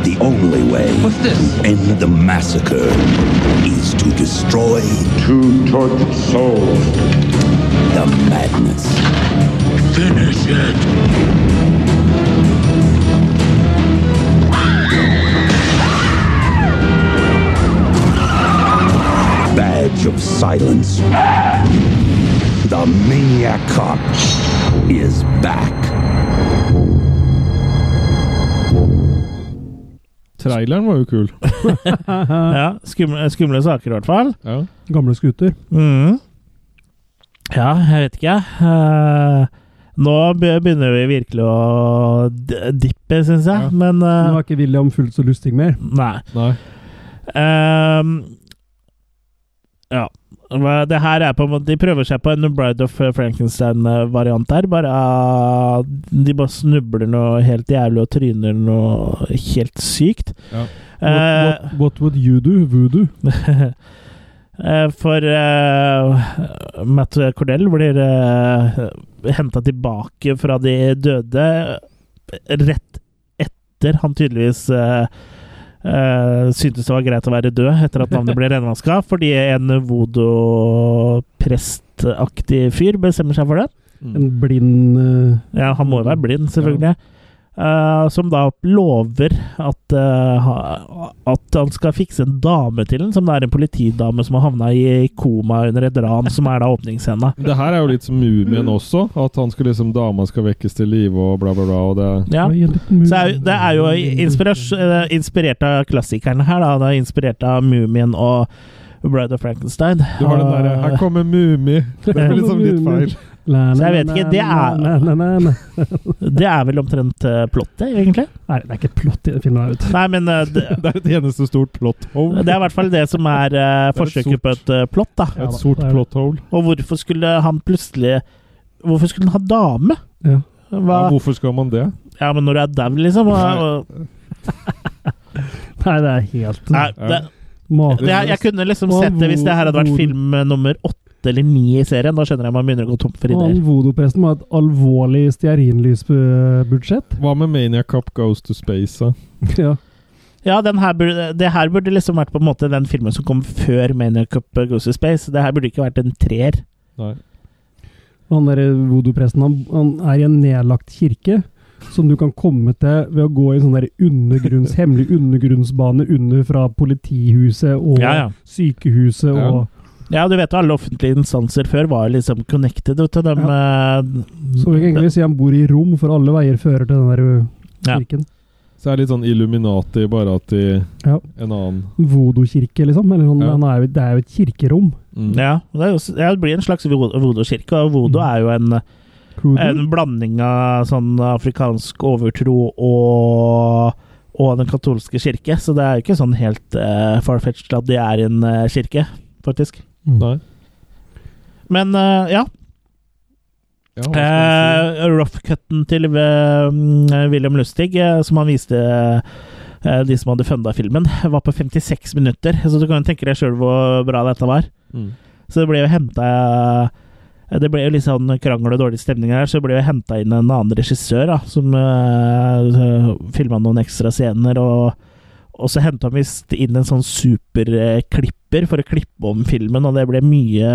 [SPEAKER 4] the only way to end the massacre is to destroy
[SPEAKER 8] Two tortured souls.
[SPEAKER 4] the madness. Finish it. Badge of Silence. The Maniac Cop is back.
[SPEAKER 3] Traileren var jo kul.
[SPEAKER 1] Ja, skumle, skumle saker, i hvert fall.
[SPEAKER 3] Ja.
[SPEAKER 2] Gamle skuter.
[SPEAKER 1] Mm. Ja, jeg vet ikke. Eh, nå be- begynner vi virkelig å d- dippe, syns jeg.
[SPEAKER 3] Ja.
[SPEAKER 1] Men eh,
[SPEAKER 2] Nå er ikke William fullt så lustig mer.
[SPEAKER 1] nei.
[SPEAKER 3] Nei.
[SPEAKER 1] Ehm, Ja. Hva- Det her er på en måte, de prøver seg på en Bride of Frankenstein-variant her. Bare ah, De bare snubler noe helt jævlig og tryner noe helt sykt.
[SPEAKER 3] Ja.
[SPEAKER 1] Eh,
[SPEAKER 2] What, what, what would you do? Voodoo?
[SPEAKER 1] Eh, For eh, Matt Cordell blir uh, henta tilbake fra de døde eh, rett etter han tydeligvis eh, eh, syntes det var greit å være død etter at navnet ble renvaska, fordi en voodoo-prestaktig fyr bestemmer seg for det.
[SPEAKER 2] En blind eh,
[SPEAKER 1] Ja, han må jo være blind, selvfølgelig. Eh, som da lover at, eh, ha- at han skal fikse en dame til ham, som det er en politidame som har havna i koma under et ran, som er da åpningsscena.
[SPEAKER 3] Det her er jo litt som Mumien også. At han skal liksom, dama skal vekkes til live og bla, bla, bla. Og det,
[SPEAKER 1] Ja.
[SPEAKER 2] Oi, en liten
[SPEAKER 1] Så er, jo-
[SPEAKER 2] mumie.
[SPEAKER 1] det er jo inspiras- eh, inspirert av klassikerne her, da. Det er inspirert av Mumien og Bride of Frankenstein.
[SPEAKER 3] det var den derre Her kommer Mumi! Det blir liksom litt feil.
[SPEAKER 2] La, la,
[SPEAKER 1] Så jeg vet
[SPEAKER 2] la,
[SPEAKER 1] ikke, det er-
[SPEAKER 2] la, la, la, la.
[SPEAKER 1] Eh, Det er vel omtrent eh, plottet, egentlig?
[SPEAKER 2] Nei, det er ikke et plott i den filmen. her, vet du.
[SPEAKER 1] Nei, men eh, det,
[SPEAKER 3] Det er et eneste stort plot hole.
[SPEAKER 1] det er i hvert fall det som er eh,
[SPEAKER 3] Det er et
[SPEAKER 1] forsøket på et eh, plott, da.
[SPEAKER 2] Ja da,
[SPEAKER 3] Et sort
[SPEAKER 2] det er det.
[SPEAKER 3] plot hole.
[SPEAKER 1] Og hvorfor skulle han plutselig Hvorfor skulle han ha dame?
[SPEAKER 2] Ja.
[SPEAKER 1] Hva?
[SPEAKER 3] Ja, hvorfor skal man det?
[SPEAKER 1] Ja, men når du er dau, liksom og, og,
[SPEAKER 2] Nei, det er helt
[SPEAKER 1] Nei, det,
[SPEAKER 2] Maken.
[SPEAKER 1] det, jeg, jeg kunne liksom sett det hvis det her hadde vært film nummer åtte eller ni i serien. Da skjønner jeg man begynner å gå tom for
[SPEAKER 2] Og han
[SPEAKER 1] ideer.
[SPEAKER 2] voodoo-presten må ha et alvorlig stearinlysbudsjett.
[SPEAKER 3] Hva med Maniac Cop Goes to Space? da?
[SPEAKER 2] Ja.
[SPEAKER 1] Ja, den her burde, Det her burde liksom vært på en måte den filmen som kom før Maniac Cup Goes to Space. Det her burde ikke vært en treer.
[SPEAKER 3] Nei.
[SPEAKER 2] Og han der voodoo-presten han, han er i en nedlagt kirke, som du kan komme til ved å gå i en sånn der undergrunns, hemmelig undergrunnsbane under fra politihuset og
[SPEAKER 1] Ja, ja.
[SPEAKER 2] sykehuset
[SPEAKER 3] Ja.
[SPEAKER 2] og
[SPEAKER 1] Ja, du vet jo alle offentlige instanser før var jo liksom connected vet du, til dem. uh,
[SPEAKER 2] Så vi kan egentlig si han bor i rom, for alle veier fører til den der ø,
[SPEAKER 1] Ja.
[SPEAKER 2] kirken.
[SPEAKER 3] Så det er litt sånn Illuminati, bare at de
[SPEAKER 2] Ja.
[SPEAKER 3] En annen
[SPEAKER 2] Voodoo-kirke, liksom. Eller sånn,
[SPEAKER 3] Ja.
[SPEAKER 2] han er, jo- det er jo et kirkerom.
[SPEAKER 3] mm.
[SPEAKER 1] Ja, det, er jo, ja, det blir en slags vo- voodoo-kirke, og voodoo
[SPEAKER 2] Mm.
[SPEAKER 1] er jo en
[SPEAKER 2] Hoodoo.
[SPEAKER 1] En blanding av sånn afrikansk overtro og, og den katolske kirke, så det er jo ikke sånn helt uh, farfetched at de er i en eh, kirke, faktisk.
[SPEAKER 3] Nei.
[SPEAKER 1] Men eh, ja.
[SPEAKER 3] Ja, hva skal man si?
[SPEAKER 1] Uh, Roughcutten til eh, mm, William Lustig, eh, som han viste eh, de som hadde funda filmen, var på 56 minutter, så du kan jo tenke deg sjøl hvor bra dette var.
[SPEAKER 3] mm.
[SPEAKER 1] Så det ble jo henta Det ble jo litt sånn krangel og dårlig stemning her, så det ble jo henta inn en annen regissør da, som uh, filma noen ekstra scener. Og, og så henta han visst inn en sånn superklipper for å klippe om filmen, og det ble mye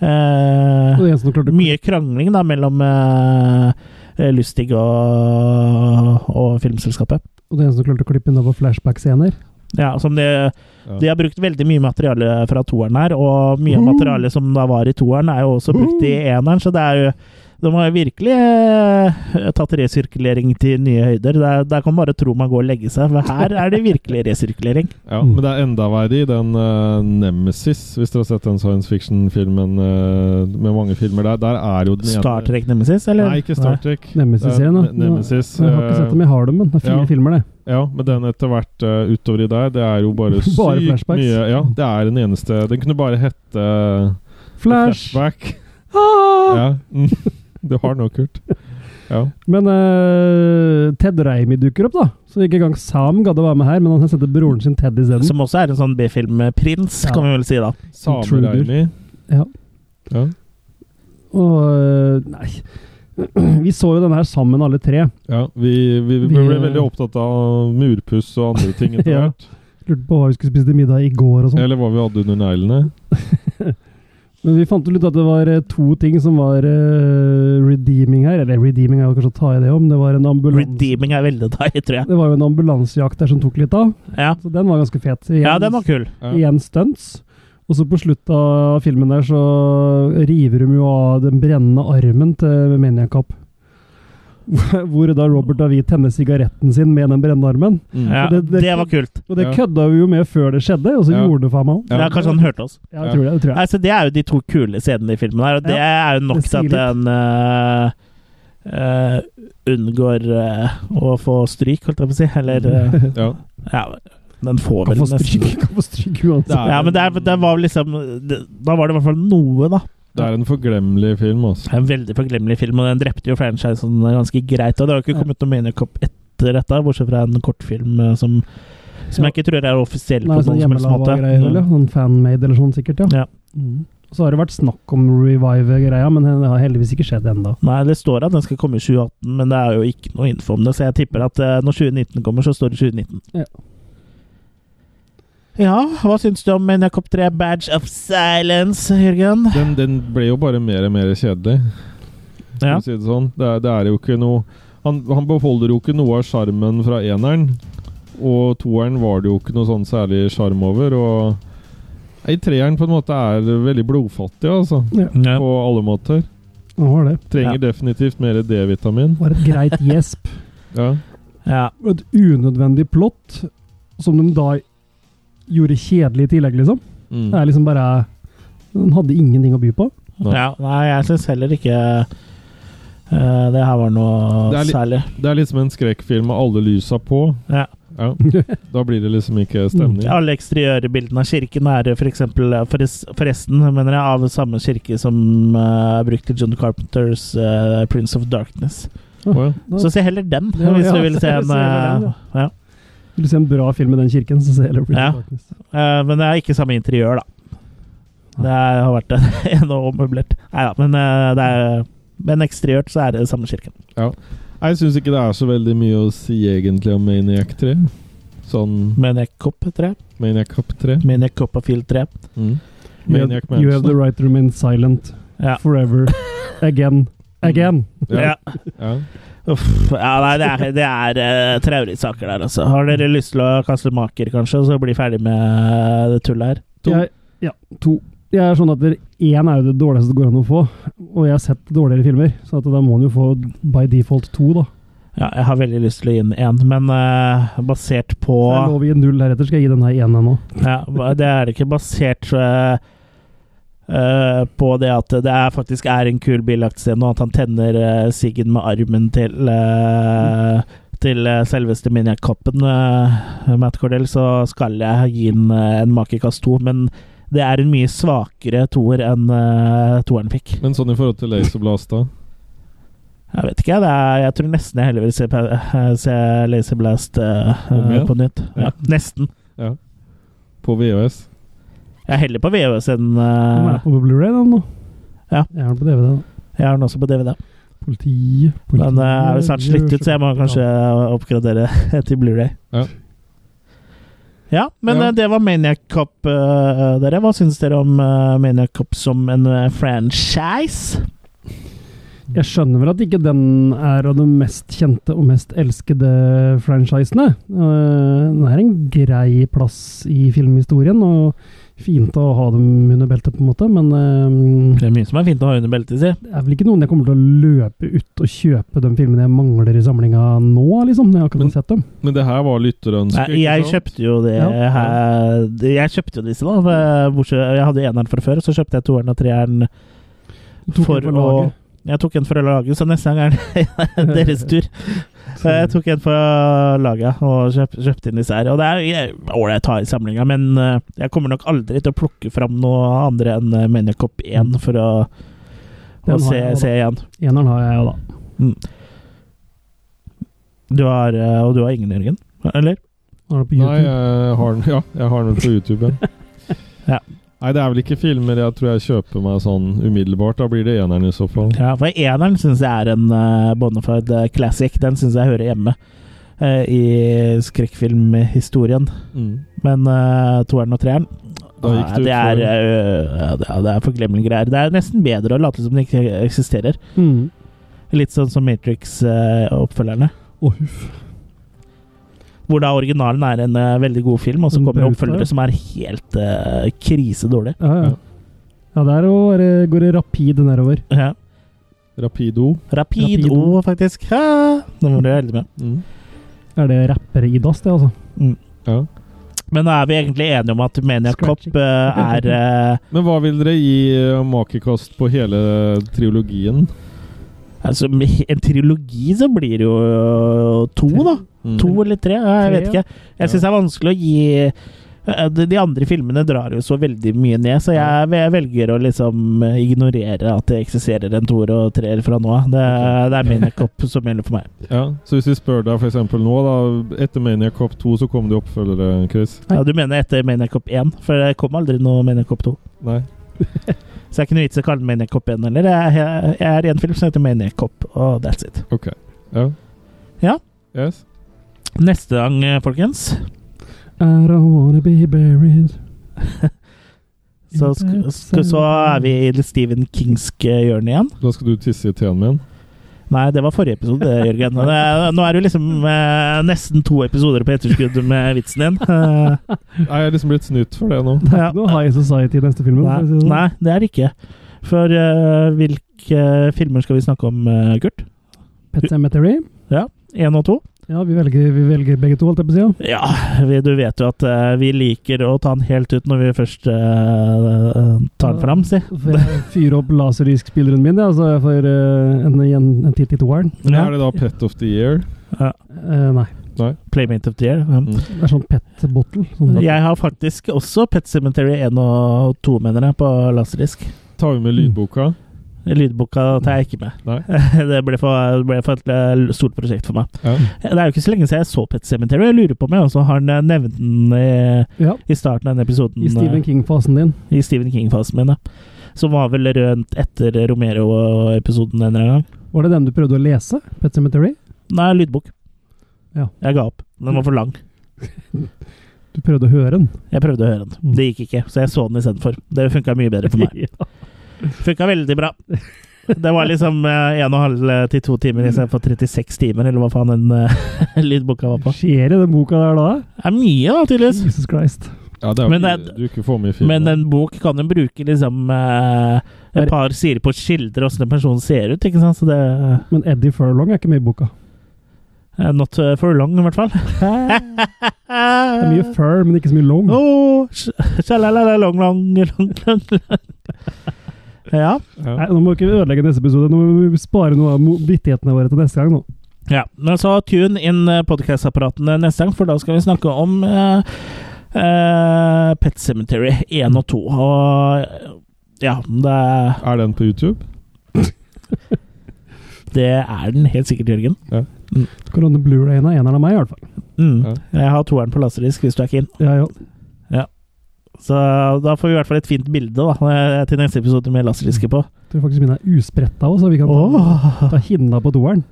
[SPEAKER 1] eh,
[SPEAKER 2] Og det eneste som klarte å
[SPEAKER 1] Mye krangling da mellom eh, Lustig og, og filmselskapet.
[SPEAKER 2] Og det eneste som klarte å klippe unna var flashback-scener.
[SPEAKER 1] Ja, som det
[SPEAKER 3] Ja.
[SPEAKER 1] De har brukt veldig mye materiale fra toeren her, og mye
[SPEAKER 2] Mm.
[SPEAKER 1] av materialet som da var i toeren, er jo også brukt i eneren, så det er jo De har jo virkelig eh, tatt resirkulering til nye høyder. Der, der kan man bare tro man går og legger seg, for her er det virkelig resirkulering.
[SPEAKER 3] ja,
[SPEAKER 2] Mm.
[SPEAKER 3] Men det er enda verre i den eh, Nemesis, hvis dere har sett den science fiction-filmen eh, med mange filmer der. Der er jo den ene
[SPEAKER 1] Star Trek Nemesis, eller?
[SPEAKER 3] Nei, ikke Star Trek. Eh,
[SPEAKER 2] Nemesis-serien, da.
[SPEAKER 3] Ne- Nemesis. eh,
[SPEAKER 2] Jeg har ikke sett dem, jeg har dem, men det er fire
[SPEAKER 3] ja.
[SPEAKER 2] filmer, det.
[SPEAKER 3] Ja, men den etter hvert eh, utover i der, det er jo bare sykt
[SPEAKER 2] Bare flashbacks.
[SPEAKER 3] mye Ja, det er den eneste Den kunne bare hette eh,
[SPEAKER 2] Flash!
[SPEAKER 3] Flashback.
[SPEAKER 2] Ah!
[SPEAKER 3] Ja. Mm. Du har noe, Kurt. Ja.
[SPEAKER 2] Men eh, Ted Reimi dukker opp, da. Så ikke engang Sam gadd å være med her, men han sendte broren sin Ted isteden.
[SPEAKER 1] Som også er en sånn B-filmprins,
[SPEAKER 2] Ja.
[SPEAKER 1] kan vi vel si da.
[SPEAKER 2] Intruder.
[SPEAKER 3] Samereimi.
[SPEAKER 2] Ja.
[SPEAKER 3] Ja.
[SPEAKER 2] Og eh, nei Vi så jo den her sammen, alle tre.
[SPEAKER 3] Ja, vi, vi, vi
[SPEAKER 2] Vi,
[SPEAKER 3] ble
[SPEAKER 2] eh,
[SPEAKER 3] veldig opptatt av murpuss og andre ting etter
[SPEAKER 2] Ja.
[SPEAKER 3] hvert.
[SPEAKER 2] Lurte på hva vi skulle spise til middag i går og sånn.
[SPEAKER 3] Eller hva vi hadde under neglene.
[SPEAKER 2] Men vi fant jo ut at det var eh, to ting som var eh, redeeming her. Eller redeeming er jo kanskje å ta i det om. Det var en ambulanse.
[SPEAKER 1] Redeeming er veldig deg, tror jeg.
[SPEAKER 2] Det var jo en ambulansejakt der som tok litt av.
[SPEAKER 1] Ja,
[SPEAKER 2] Så den var ganske fet. Igjen-
[SPEAKER 1] ja den var kul.
[SPEAKER 3] Ja.
[SPEAKER 2] Igjen stunts. Og så på slutt av filmen der så river de jo av den brennende armen til Maniac Cop. Hvor da Robert Davi tenner sigaretten sin med den brennende armen.
[SPEAKER 3] Mm.
[SPEAKER 1] Ja,
[SPEAKER 2] det- det-
[SPEAKER 1] det var kult.
[SPEAKER 2] Og det
[SPEAKER 3] Ja.
[SPEAKER 2] kødda vi jo med før det skjedde, og så
[SPEAKER 3] Ja.
[SPEAKER 2] gjorde det faen meg òg.
[SPEAKER 3] Ja.
[SPEAKER 1] Ja, kanskje sånn- han hørte oss.
[SPEAKER 2] Ja, jeg tror det. Jeg tror
[SPEAKER 1] Nei,
[SPEAKER 2] jeg.
[SPEAKER 1] så Det er jo de to kule scenene i filmen her, og det er jo nok
[SPEAKER 2] det sier
[SPEAKER 1] til at den eh, eh, unngår eh, å få stryk, holdt jeg på å si. Eller eh,
[SPEAKER 3] Ja.
[SPEAKER 1] ja, Den får
[SPEAKER 2] Mm. Kan
[SPEAKER 1] vel
[SPEAKER 2] få stryk,
[SPEAKER 1] nesten
[SPEAKER 2] kan få stryk uansett.
[SPEAKER 1] Ja, men det, er, det var liksom det, Da var det i hvert fall noe, da.
[SPEAKER 3] Det er en forglemmelig film, altså.
[SPEAKER 1] Det er en veldig forglemmelig film, og den drepte jo franchisen ganske greit. Og det har jo ikke kommet noe Maniac Cop etter dette, bortsett fra en kortfilm eh, som, som jeg ikke tror er offisiell
[SPEAKER 2] Nei,
[SPEAKER 1] på noen
[SPEAKER 2] sånn
[SPEAKER 1] som helst måte. Mm.
[SPEAKER 2] hjemmelaga greier, eller? Sånn fanmade eller sånn, sikkert, ja.
[SPEAKER 1] Ja.
[SPEAKER 2] Mm. Så har det vært snakk om revive-greia, men det har heldigvis ikke skjedd ennå.
[SPEAKER 1] Nei, det står at den skal komme i 2018, men det er jo ikke noe info om det, så jeg tipper at eh, når 2019 kommer, så står det 2019.
[SPEAKER 2] Ja.
[SPEAKER 1] Ja, hva syns du om Maniac Cop 3 Badge of Silence, Jørgen?
[SPEAKER 3] Den, den ble jo bare mer og mer kjedelig, for
[SPEAKER 1] Ja.
[SPEAKER 3] å si det sånn. Det er, det er jo ikke noe han, han beholder jo ikke noe av sjarmen fra eneren. Og toeren var det jo ikke noe sånn særlig sjarm over. Og Nei, treeren på en måte er veldig blodfattig, altså.
[SPEAKER 1] Ja.
[SPEAKER 3] På alle måter.
[SPEAKER 2] Nå var det.
[SPEAKER 3] Trenger definitivt mer D-vitamin.
[SPEAKER 2] Det var et greit gjesp.
[SPEAKER 3] Ja.
[SPEAKER 1] ja.
[SPEAKER 2] Og Et unødvendig plott, som de da gjorde kjedelig i tillegg, liksom.
[SPEAKER 3] Mm.
[SPEAKER 2] Det er liksom bare Den hadde ingenting å by på.
[SPEAKER 3] Nei.
[SPEAKER 1] Ja, nei, jeg syns heller ikke eh, det her var noe
[SPEAKER 3] Det er litt-
[SPEAKER 1] særlig.
[SPEAKER 3] Det er liksom en skrekkfilm med alle lysa på.
[SPEAKER 1] Ja.
[SPEAKER 3] Ja. Da blir det liksom ikke stemning.
[SPEAKER 1] Alle eksteriørbildene av kirken er for eksempel, eh, forres- forresten mener jeg, av samme kirke som eh, er brukt i John Carpenters eh, 'Prince of Darkness'.
[SPEAKER 3] Å, ja.
[SPEAKER 1] Så se heller den,
[SPEAKER 2] Ja,
[SPEAKER 1] hvis
[SPEAKER 2] ja,
[SPEAKER 1] du vil se
[SPEAKER 2] se
[SPEAKER 1] en
[SPEAKER 2] heller den,
[SPEAKER 1] eh, ja.
[SPEAKER 2] Vil du se en bra film i den kirken, så ser du
[SPEAKER 1] Ja. Eh, Men det er ikke samme interiør, da. Det er, har vært en- en og ommøblert. Nei da, men eh, det er men eksteriørt så er det samme kirken.
[SPEAKER 3] Jeg syns ikke det er så veldig mye å si egentlig om Maniac 3. Sånn
[SPEAKER 1] Maniac Cop 3.
[SPEAKER 3] Maniac Cup 3.
[SPEAKER 1] Maniac Cop of Field 3.
[SPEAKER 3] Mm.
[SPEAKER 2] You have,
[SPEAKER 3] Maniac
[SPEAKER 2] you have the
[SPEAKER 3] Mansion.
[SPEAKER 2] right to remain silent
[SPEAKER 1] Ja.
[SPEAKER 2] forever. Again. Again.
[SPEAKER 1] Ja.
[SPEAKER 3] Ja.
[SPEAKER 1] Uff, ja, nei, det er, det er eh, traurige saker der, altså. Har dere lyst til å kaste maker, kanskje, og så bli ferdig med eh, det tullet her?
[SPEAKER 3] To.
[SPEAKER 2] Jeg, ja, to. Jeg er sånn at det- Én er jo det dårligste det går an å få, og jeg har sett dårligere filmer, så at da må man jo få by default to, da.
[SPEAKER 1] Ja, jeg har veldig lyst til å gi den én, men eh, basert på
[SPEAKER 2] Så jeg lover å gi null heretter, skal jeg gi den her én ennå.
[SPEAKER 1] ja, ba- Det er ikke basert eh, eh, på det at det er, faktisk er en kul bilaktscene, og at han tenner eh, siggen med armen til eh, til eh, selveste Miniac-koppen, eh, Matt Cordell, så skal jeg gi den eh, en makekast to, men det er en mye svakere toer enn eh, toeren fikk.
[SPEAKER 3] Men sånn i forhold til Laserblast, da?
[SPEAKER 1] Jeg vet ikke, det er, jeg tror nesten jeg heller vil se, pa- eh, se Laser Blast eh,
[SPEAKER 3] Om igjen?
[SPEAKER 1] på nytt. Ja,
[SPEAKER 3] Ja.
[SPEAKER 1] Nesten.
[SPEAKER 3] På VHS?
[SPEAKER 1] Jeg er heller på VHS enn
[SPEAKER 2] Den
[SPEAKER 1] eh,
[SPEAKER 2] er på Blu-ray, den nå.
[SPEAKER 1] Ja.
[SPEAKER 2] Jeg har den på DVD, da.
[SPEAKER 1] eh, Jeg har den også på DVD.
[SPEAKER 2] Politi, politi
[SPEAKER 1] Men eh, jeg er vel snart slitt ut, så jeg må kanskje eh,
[SPEAKER 2] Ja.
[SPEAKER 1] oppgradere til Blu-ray.
[SPEAKER 3] Ja.
[SPEAKER 1] Ja, men
[SPEAKER 3] Ja.
[SPEAKER 1] eh, det var Maniac Cop, eh, dere. Hva syns dere om eh, Maniac Cop som en eh, franchise?
[SPEAKER 2] Jeg skjønner vel at ikke den er av de mest kjente og mest elskede franchisene. Eh, Den er en grei plass i filmhistorien, og fint å ha dem under beltet, på en måte, men eh,
[SPEAKER 1] Det er mye som er fint å ha under beltet, si.
[SPEAKER 2] det er vel ikke noen jeg kommer til å løpe ut og kjøpe de filmene jeg mangler i samlinga nå, liksom.
[SPEAKER 3] Men-
[SPEAKER 2] når Jeg har akkurat sett dem.
[SPEAKER 3] Men det her var lytterønske,
[SPEAKER 1] Nei, jeg kjøpte jo det
[SPEAKER 2] Ja.
[SPEAKER 1] her Jeg kjøpte jo disse, da. for- eh, Bortsett, jeg hadde eneren fra før, så kjøpte jeg toeren og treeren
[SPEAKER 2] Du tok
[SPEAKER 1] for
[SPEAKER 2] den på
[SPEAKER 1] å
[SPEAKER 2] laget.
[SPEAKER 1] Jeg tok en for å lage, så neste gang er det deres tur. Så Eh, jeg tok en for laget og kjøp, kjøpte inn disse her. Og det er jeg- ålreit å ha i samlinga, men eh, jeg kommer nok aldri til å plukke fram noe andre enn eh, Maniac Cop 1 for å, å
[SPEAKER 2] Den har jeg
[SPEAKER 1] se,
[SPEAKER 2] også.
[SPEAKER 1] se igjen.
[SPEAKER 2] Eneren har jeg jo, da.
[SPEAKER 1] Du har, eh, og du har ingen, Jørgen? Eller?
[SPEAKER 2] Nå er det på
[SPEAKER 3] Nei,
[SPEAKER 2] YouTube.
[SPEAKER 3] jeg har den ja, jeg har den på YouTube. ja.
[SPEAKER 1] Ja.
[SPEAKER 3] Nei, det er vel ikke filmer jeg tror jeg kjøper meg sånn umiddelbart. Da blir det eneren i så fall.
[SPEAKER 1] Ja, for eneren syns jeg er en uh, Bonafide eh, classic. Den syns jeg hører hjemme eh, i skrekkfilmhistorien.
[SPEAKER 3] Mm.
[SPEAKER 1] Men eh, toeren og treeren
[SPEAKER 3] Da gikk
[SPEAKER 1] Nei,
[SPEAKER 3] det ut
[SPEAKER 1] det, er,
[SPEAKER 3] for-
[SPEAKER 1] eh, ja, det, er, det er forglemmelige greier. Det er nesten bedre å late som det ikke eksisterer.
[SPEAKER 2] Mm.
[SPEAKER 1] Litt sånn som Matrix-oppfølgerne.
[SPEAKER 2] Å, huff.
[SPEAKER 1] hvor da originalen er en eh, veldig god film, og så
[SPEAKER 2] En
[SPEAKER 1] kommer
[SPEAKER 2] bauta, ja.
[SPEAKER 1] oppfølgere som er helt uh, krisedårlige.
[SPEAKER 2] Ja, ja.
[SPEAKER 3] Ja.
[SPEAKER 2] ja, der og- eh, går det rapid nedover.
[SPEAKER 1] Ja.
[SPEAKER 3] Rapido.
[SPEAKER 1] Rapido,
[SPEAKER 2] Rapido.
[SPEAKER 1] faktisk. Ha! Det var du heldig med.
[SPEAKER 3] Mm.
[SPEAKER 2] Er det rappere i dass, det, altså?
[SPEAKER 3] Ja.
[SPEAKER 1] Men er vi egentlig enige om at Maniac Cop
[SPEAKER 2] Scratching.
[SPEAKER 1] eh, er eh,
[SPEAKER 3] Men hva vil dere gi eh, makekast på hele trilogien?
[SPEAKER 1] Altså, med en trilogi så blir det jo eh, to, da.
[SPEAKER 3] Mm.
[SPEAKER 1] To eller tre, jeg vet
[SPEAKER 2] Tre, ja.
[SPEAKER 1] ikke. Jeg syns det er vanskelig å gi Eh, de- De andre filmene drar jo så veldig mye ned, så jeg ve- velger å liksom eh, ignorere at det eksisterer en toer og treer fra nå av. Det, det er Maniac Cop som gjelder for meg.
[SPEAKER 3] Ja, Så hvis vi spør deg for eksempel nå, da etter Maniac Cop 2 så kom det oppfølgere, Chris?
[SPEAKER 1] Ja, du mener etter Maniac Cop 1, for det kom aldri noe Maniac Cop 2.
[SPEAKER 3] Nei?
[SPEAKER 1] Så det er ikke noe vits i å kalle den Maniac Cop 1 heller. Jeg, jeg, jeg er i en film som heter Maniac Cop, og that's it.
[SPEAKER 3] Ok. Ja.
[SPEAKER 1] Ja.
[SPEAKER 3] Yes.
[SPEAKER 1] Neste gang, eh, folkens,
[SPEAKER 2] I don't wanna be buried.
[SPEAKER 1] så, sk sk så er vi i det Stephen Kingsk eh, hjørne igjen.
[SPEAKER 3] Da skal du tisse i teen min.
[SPEAKER 1] Nei, det var forrige episode, Jørgen. Det er- Nå er det jo liksom eh, nesten to episoder på etterskudd med vitsen din. Eh,
[SPEAKER 3] Nei, jeg er liksom blitt snytt for det nå.
[SPEAKER 2] Det er
[SPEAKER 1] Ja.
[SPEAKER 2] ikke noe High Society i neste film.
[SPEAKER 1] Nei, nei, det er det ikke. For eh, hvilke filmer skal vi snakke om, eh, Kurt?
[SPEAKER 2] Pet Cemetery.
[SPEAKER 1] Ja, Én og to?
[SPEAKER 2] Ja, vi velger, vi velger begge to, holdt jeg på å si. ja.
[SPEAKER 1] Ja, vi, du vet jo at eh, vi liker å ta den helt ut når vi først eh, tar den fram, si.
[SPEAKER 2] Så får jeg fyre opp laserdisk-spilleren min, ja, så jeg får eh, en, en, en titt i toeren.
[SPEAKER 3] Men Er det da Pet of the Year?
[SPEAKER 2] Eh, nei.
[SPEAKER 1] Playmate of the Year. ja.
[SPEAKER 3] Mm.
[SPEAKER 2] Det er sånn pet bottle. Sånn.
[SPEAKER 1] Jeg har faktisk også Pet Cemetery 1 og 2, mener jeg, på laserdisk.
[SPEAKER 3] Tar vi
[SPEAKER 1] Mm.
[SPEAKER 3] med lydboka?
[SPEAKER 1] Lydboka tar jeg ikke med.
[SPEAKER 3] Nei.
[SPEAKER 1] Det ble for, det ble for et eh, stort prosjekt for meg.
[SPEAKER 3] Ja.
[SPEAKER 1] Det er jo ikke så lenge siden jeg så Pet Cemetery. Jeg lurer på om jeg også har den- eh, nevnt den i,
[SPEAKER 2] Ja,
[SPEAKER 1] i starten av denne episoden.
[SPEAKER 2] I Stephen
[SPEAKER 1] eh,
[SPEAKER 2] King-fasen din.
[SPEAKER 1] i Stephen King-fasen min, ja. Som var vel rundt etter Romero-episoden en eller annen gang.
[SPEAKER 2] Var det den du prøvde å lese? Pet Cemetery?
[SPEAKER 1] Nei, lydbok.
[SPEAKER 2] Ja.
[SPEAKER 1] Jeg ga opp. Den var for lang.
[SPEAKER 2] Du prøvde å høre den?
[SPEAKER 1] Jeg prøvde å høre den.
[SPEAKER 2] Mm.
[SPEAKER 1] Det gikk ikke, så jeg så den istedenfor. Det funka mye bedre for meg.
[SPEAKER 2] Ja.
[SPEAKER 1] Funka veldig bra. Det var liksom eh, en og en halv til to timer istedenfor 36 timer, eller hva faen den eh, lydboka var på.
[SPEAKER 2] Skjer i den boka der da?
[SPEAKER 1] Det er mye, da, tydeligvis.
[SPEAKER 2] Jesus Christ.
[SPEAKER 3] Ja, det er jo
[SPEAKER 1] Men det er-
[SPEAKER 3] mye du ikke får med i filmen.
[SPEAKER 1] Men en bok kan jo bruke liksom eh, et par sider på å skildre åssen en person ser ut, ikke sant? Så det eh,
[SPEAKER 2] Men Eddie Furlong er ikke med i boka.
[SPEAKER 1] Not eh, for long, i hvert fall. Eh,
[SPEAKER 2] Det er mye fur, men ikke så mye long.
[SPEAKER 1] Oh, sh- shalalala, long, long, long, long, long. Ja.
[SPEAKER 2] Nei,
[SPEAKER 3] ja.
[SPEAKER 2] nå må vi ikke ødelegge neste episode. Nå må vi spare noe av mo- vittighetene våre til neste gang. nå.
[SPEAKER 1] Ja, men så tune inn eh, podcast-apparatene neste gang, for da skal vi snakke om eh, eh, Pet Cemetery 1 og 2. Og ja, det,
[SPEAKER 3] Er den på YouTube?
[SPEAKER 1] det er den helt sikkert, Jørgen.
[SPEAKER 2] Du kan låne Blu-rayen av eneren av meg, i hvert fall.
[SPEAKER 1] Mm.
[SPEAKER 3] Ja.
[SPEAKER 1] Jeg har toeren på laserdisk hvis du er keen.
[SPEAKER 2] Ja, ja.
[SPEAKER 1] Så da får vi i hvert fall et fint bilde da, eh, til neste episode med laserdiske på.
[SPEAKER 2] Jeg tror faktisk mine er uspretta òg, så vi kan ta,
[SPEAKER 1] Åh,
[SPEAKER 2] ta hinna på toeren.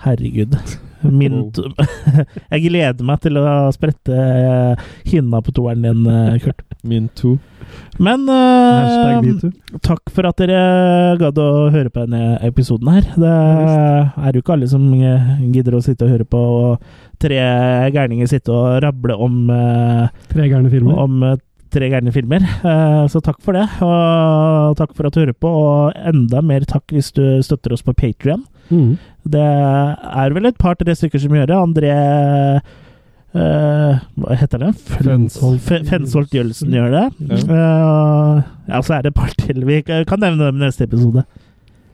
[SPEAKER 1] herregud. Min
[SPEAKER 3] Wow.
[SPEAKER 1] to jeg gleder meg til å sprette eh, hinna på toeren din, eh, Kurt.
[SPEAKER 3] Min too.
[SPEAKER 1] Men
[SPEAKER 2] Hashtag
[SPEAKER 1] eh,
[SPEAKER 2] metoo.
[SPEAKER 1] Takk for at dere gadd å høre på denne episoden her. Det er jo ikke alle som eh, gidder å sitte og høre på og tre gærninger sitte og rable om, eh,
[SPEAKER 2] Tre gærne filmer.
[SPEAKER 1] om eh, tre gærne filmer. Eh, Så takk for det, og takk for at du hører på, og enda mer takk hvis du støtter oss på Patrion.
[SPEAKER 2] Mm.
[SPEAKER 1] Det er vel et par-tre stykker som gjør det. André eh, Hva heter det?
[SPEAKER 3] Fensholt.
[SPEAKER 1] Fe- Fensholt Jølsen gjør det.
[SPEAKER 3] Ja.
[SPEAKER 1] Eh, ja, så er det et par til. Vi kan nevne dem i neste episode.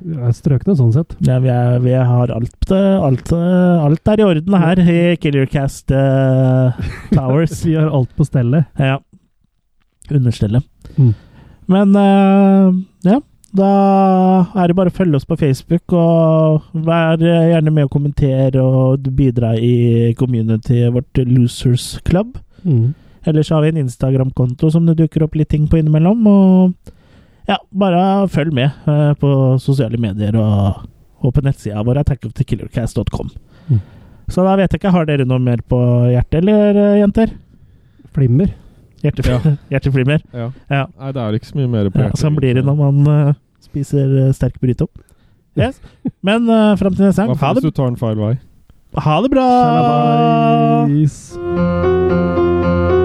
[SPEAKER 2] Jeg er strøkne sånn sett.
[SPEAKER 1] Ja, vi, er, vi har alt, eh, alt, eh, alt er i orden her i Killercast eh, Towers.
[SPEAKER 2] Vi har alt på stellet.
[SPEAKER 1] Ja. Understellet.
[SPEAKER 2] Mm.
[SPEAKER 1] Men eh, ja, da er det bare å følge oss på Facebook, og vær eh, gjerne med å kommentere og bidra i communityet vårt Losers Club.
[SPEAKER 2] Mm.
[SPEAKER 1] Ellers har vi en Instagram-konto som det dukker opp litt ting på innimellom. Og ja, bare følg med eh, på sosiale medier og, og på nettsida vår attackofthekillercast.com.
[SPEAKER 2] Mm.
[SPEAKER 1] Så da vet jeg ikke, har dere noe mer på hjertet, eller eh, jenter?
[SPEAKER 2] Flimmer.
[SPEAKER 1] Hjertef Hjerteflimmer.
[SPEAKER 3] Ja.
[SPEAKER 1] Ja.
[SPEAKER 3] Nei, det er ikke så mye mer på
[SPEAKER 1] Ja,
[SPEAKER 3] hjertet.
[SPEAKER 1] sånn blir det når man eh, spiser eh, sterk burrito. Yes. Men uh, fram til neste
[SPEAKER 3] Hva
[SPEAKER 1] gang, ha
[SPEAKER 3] hvis
[SPEAKER 1] det,
[SPEAKER 3] du tar en feil vei?
[SPEAKER 1] ha det bra!
[SPEAKER 2] Shalabais.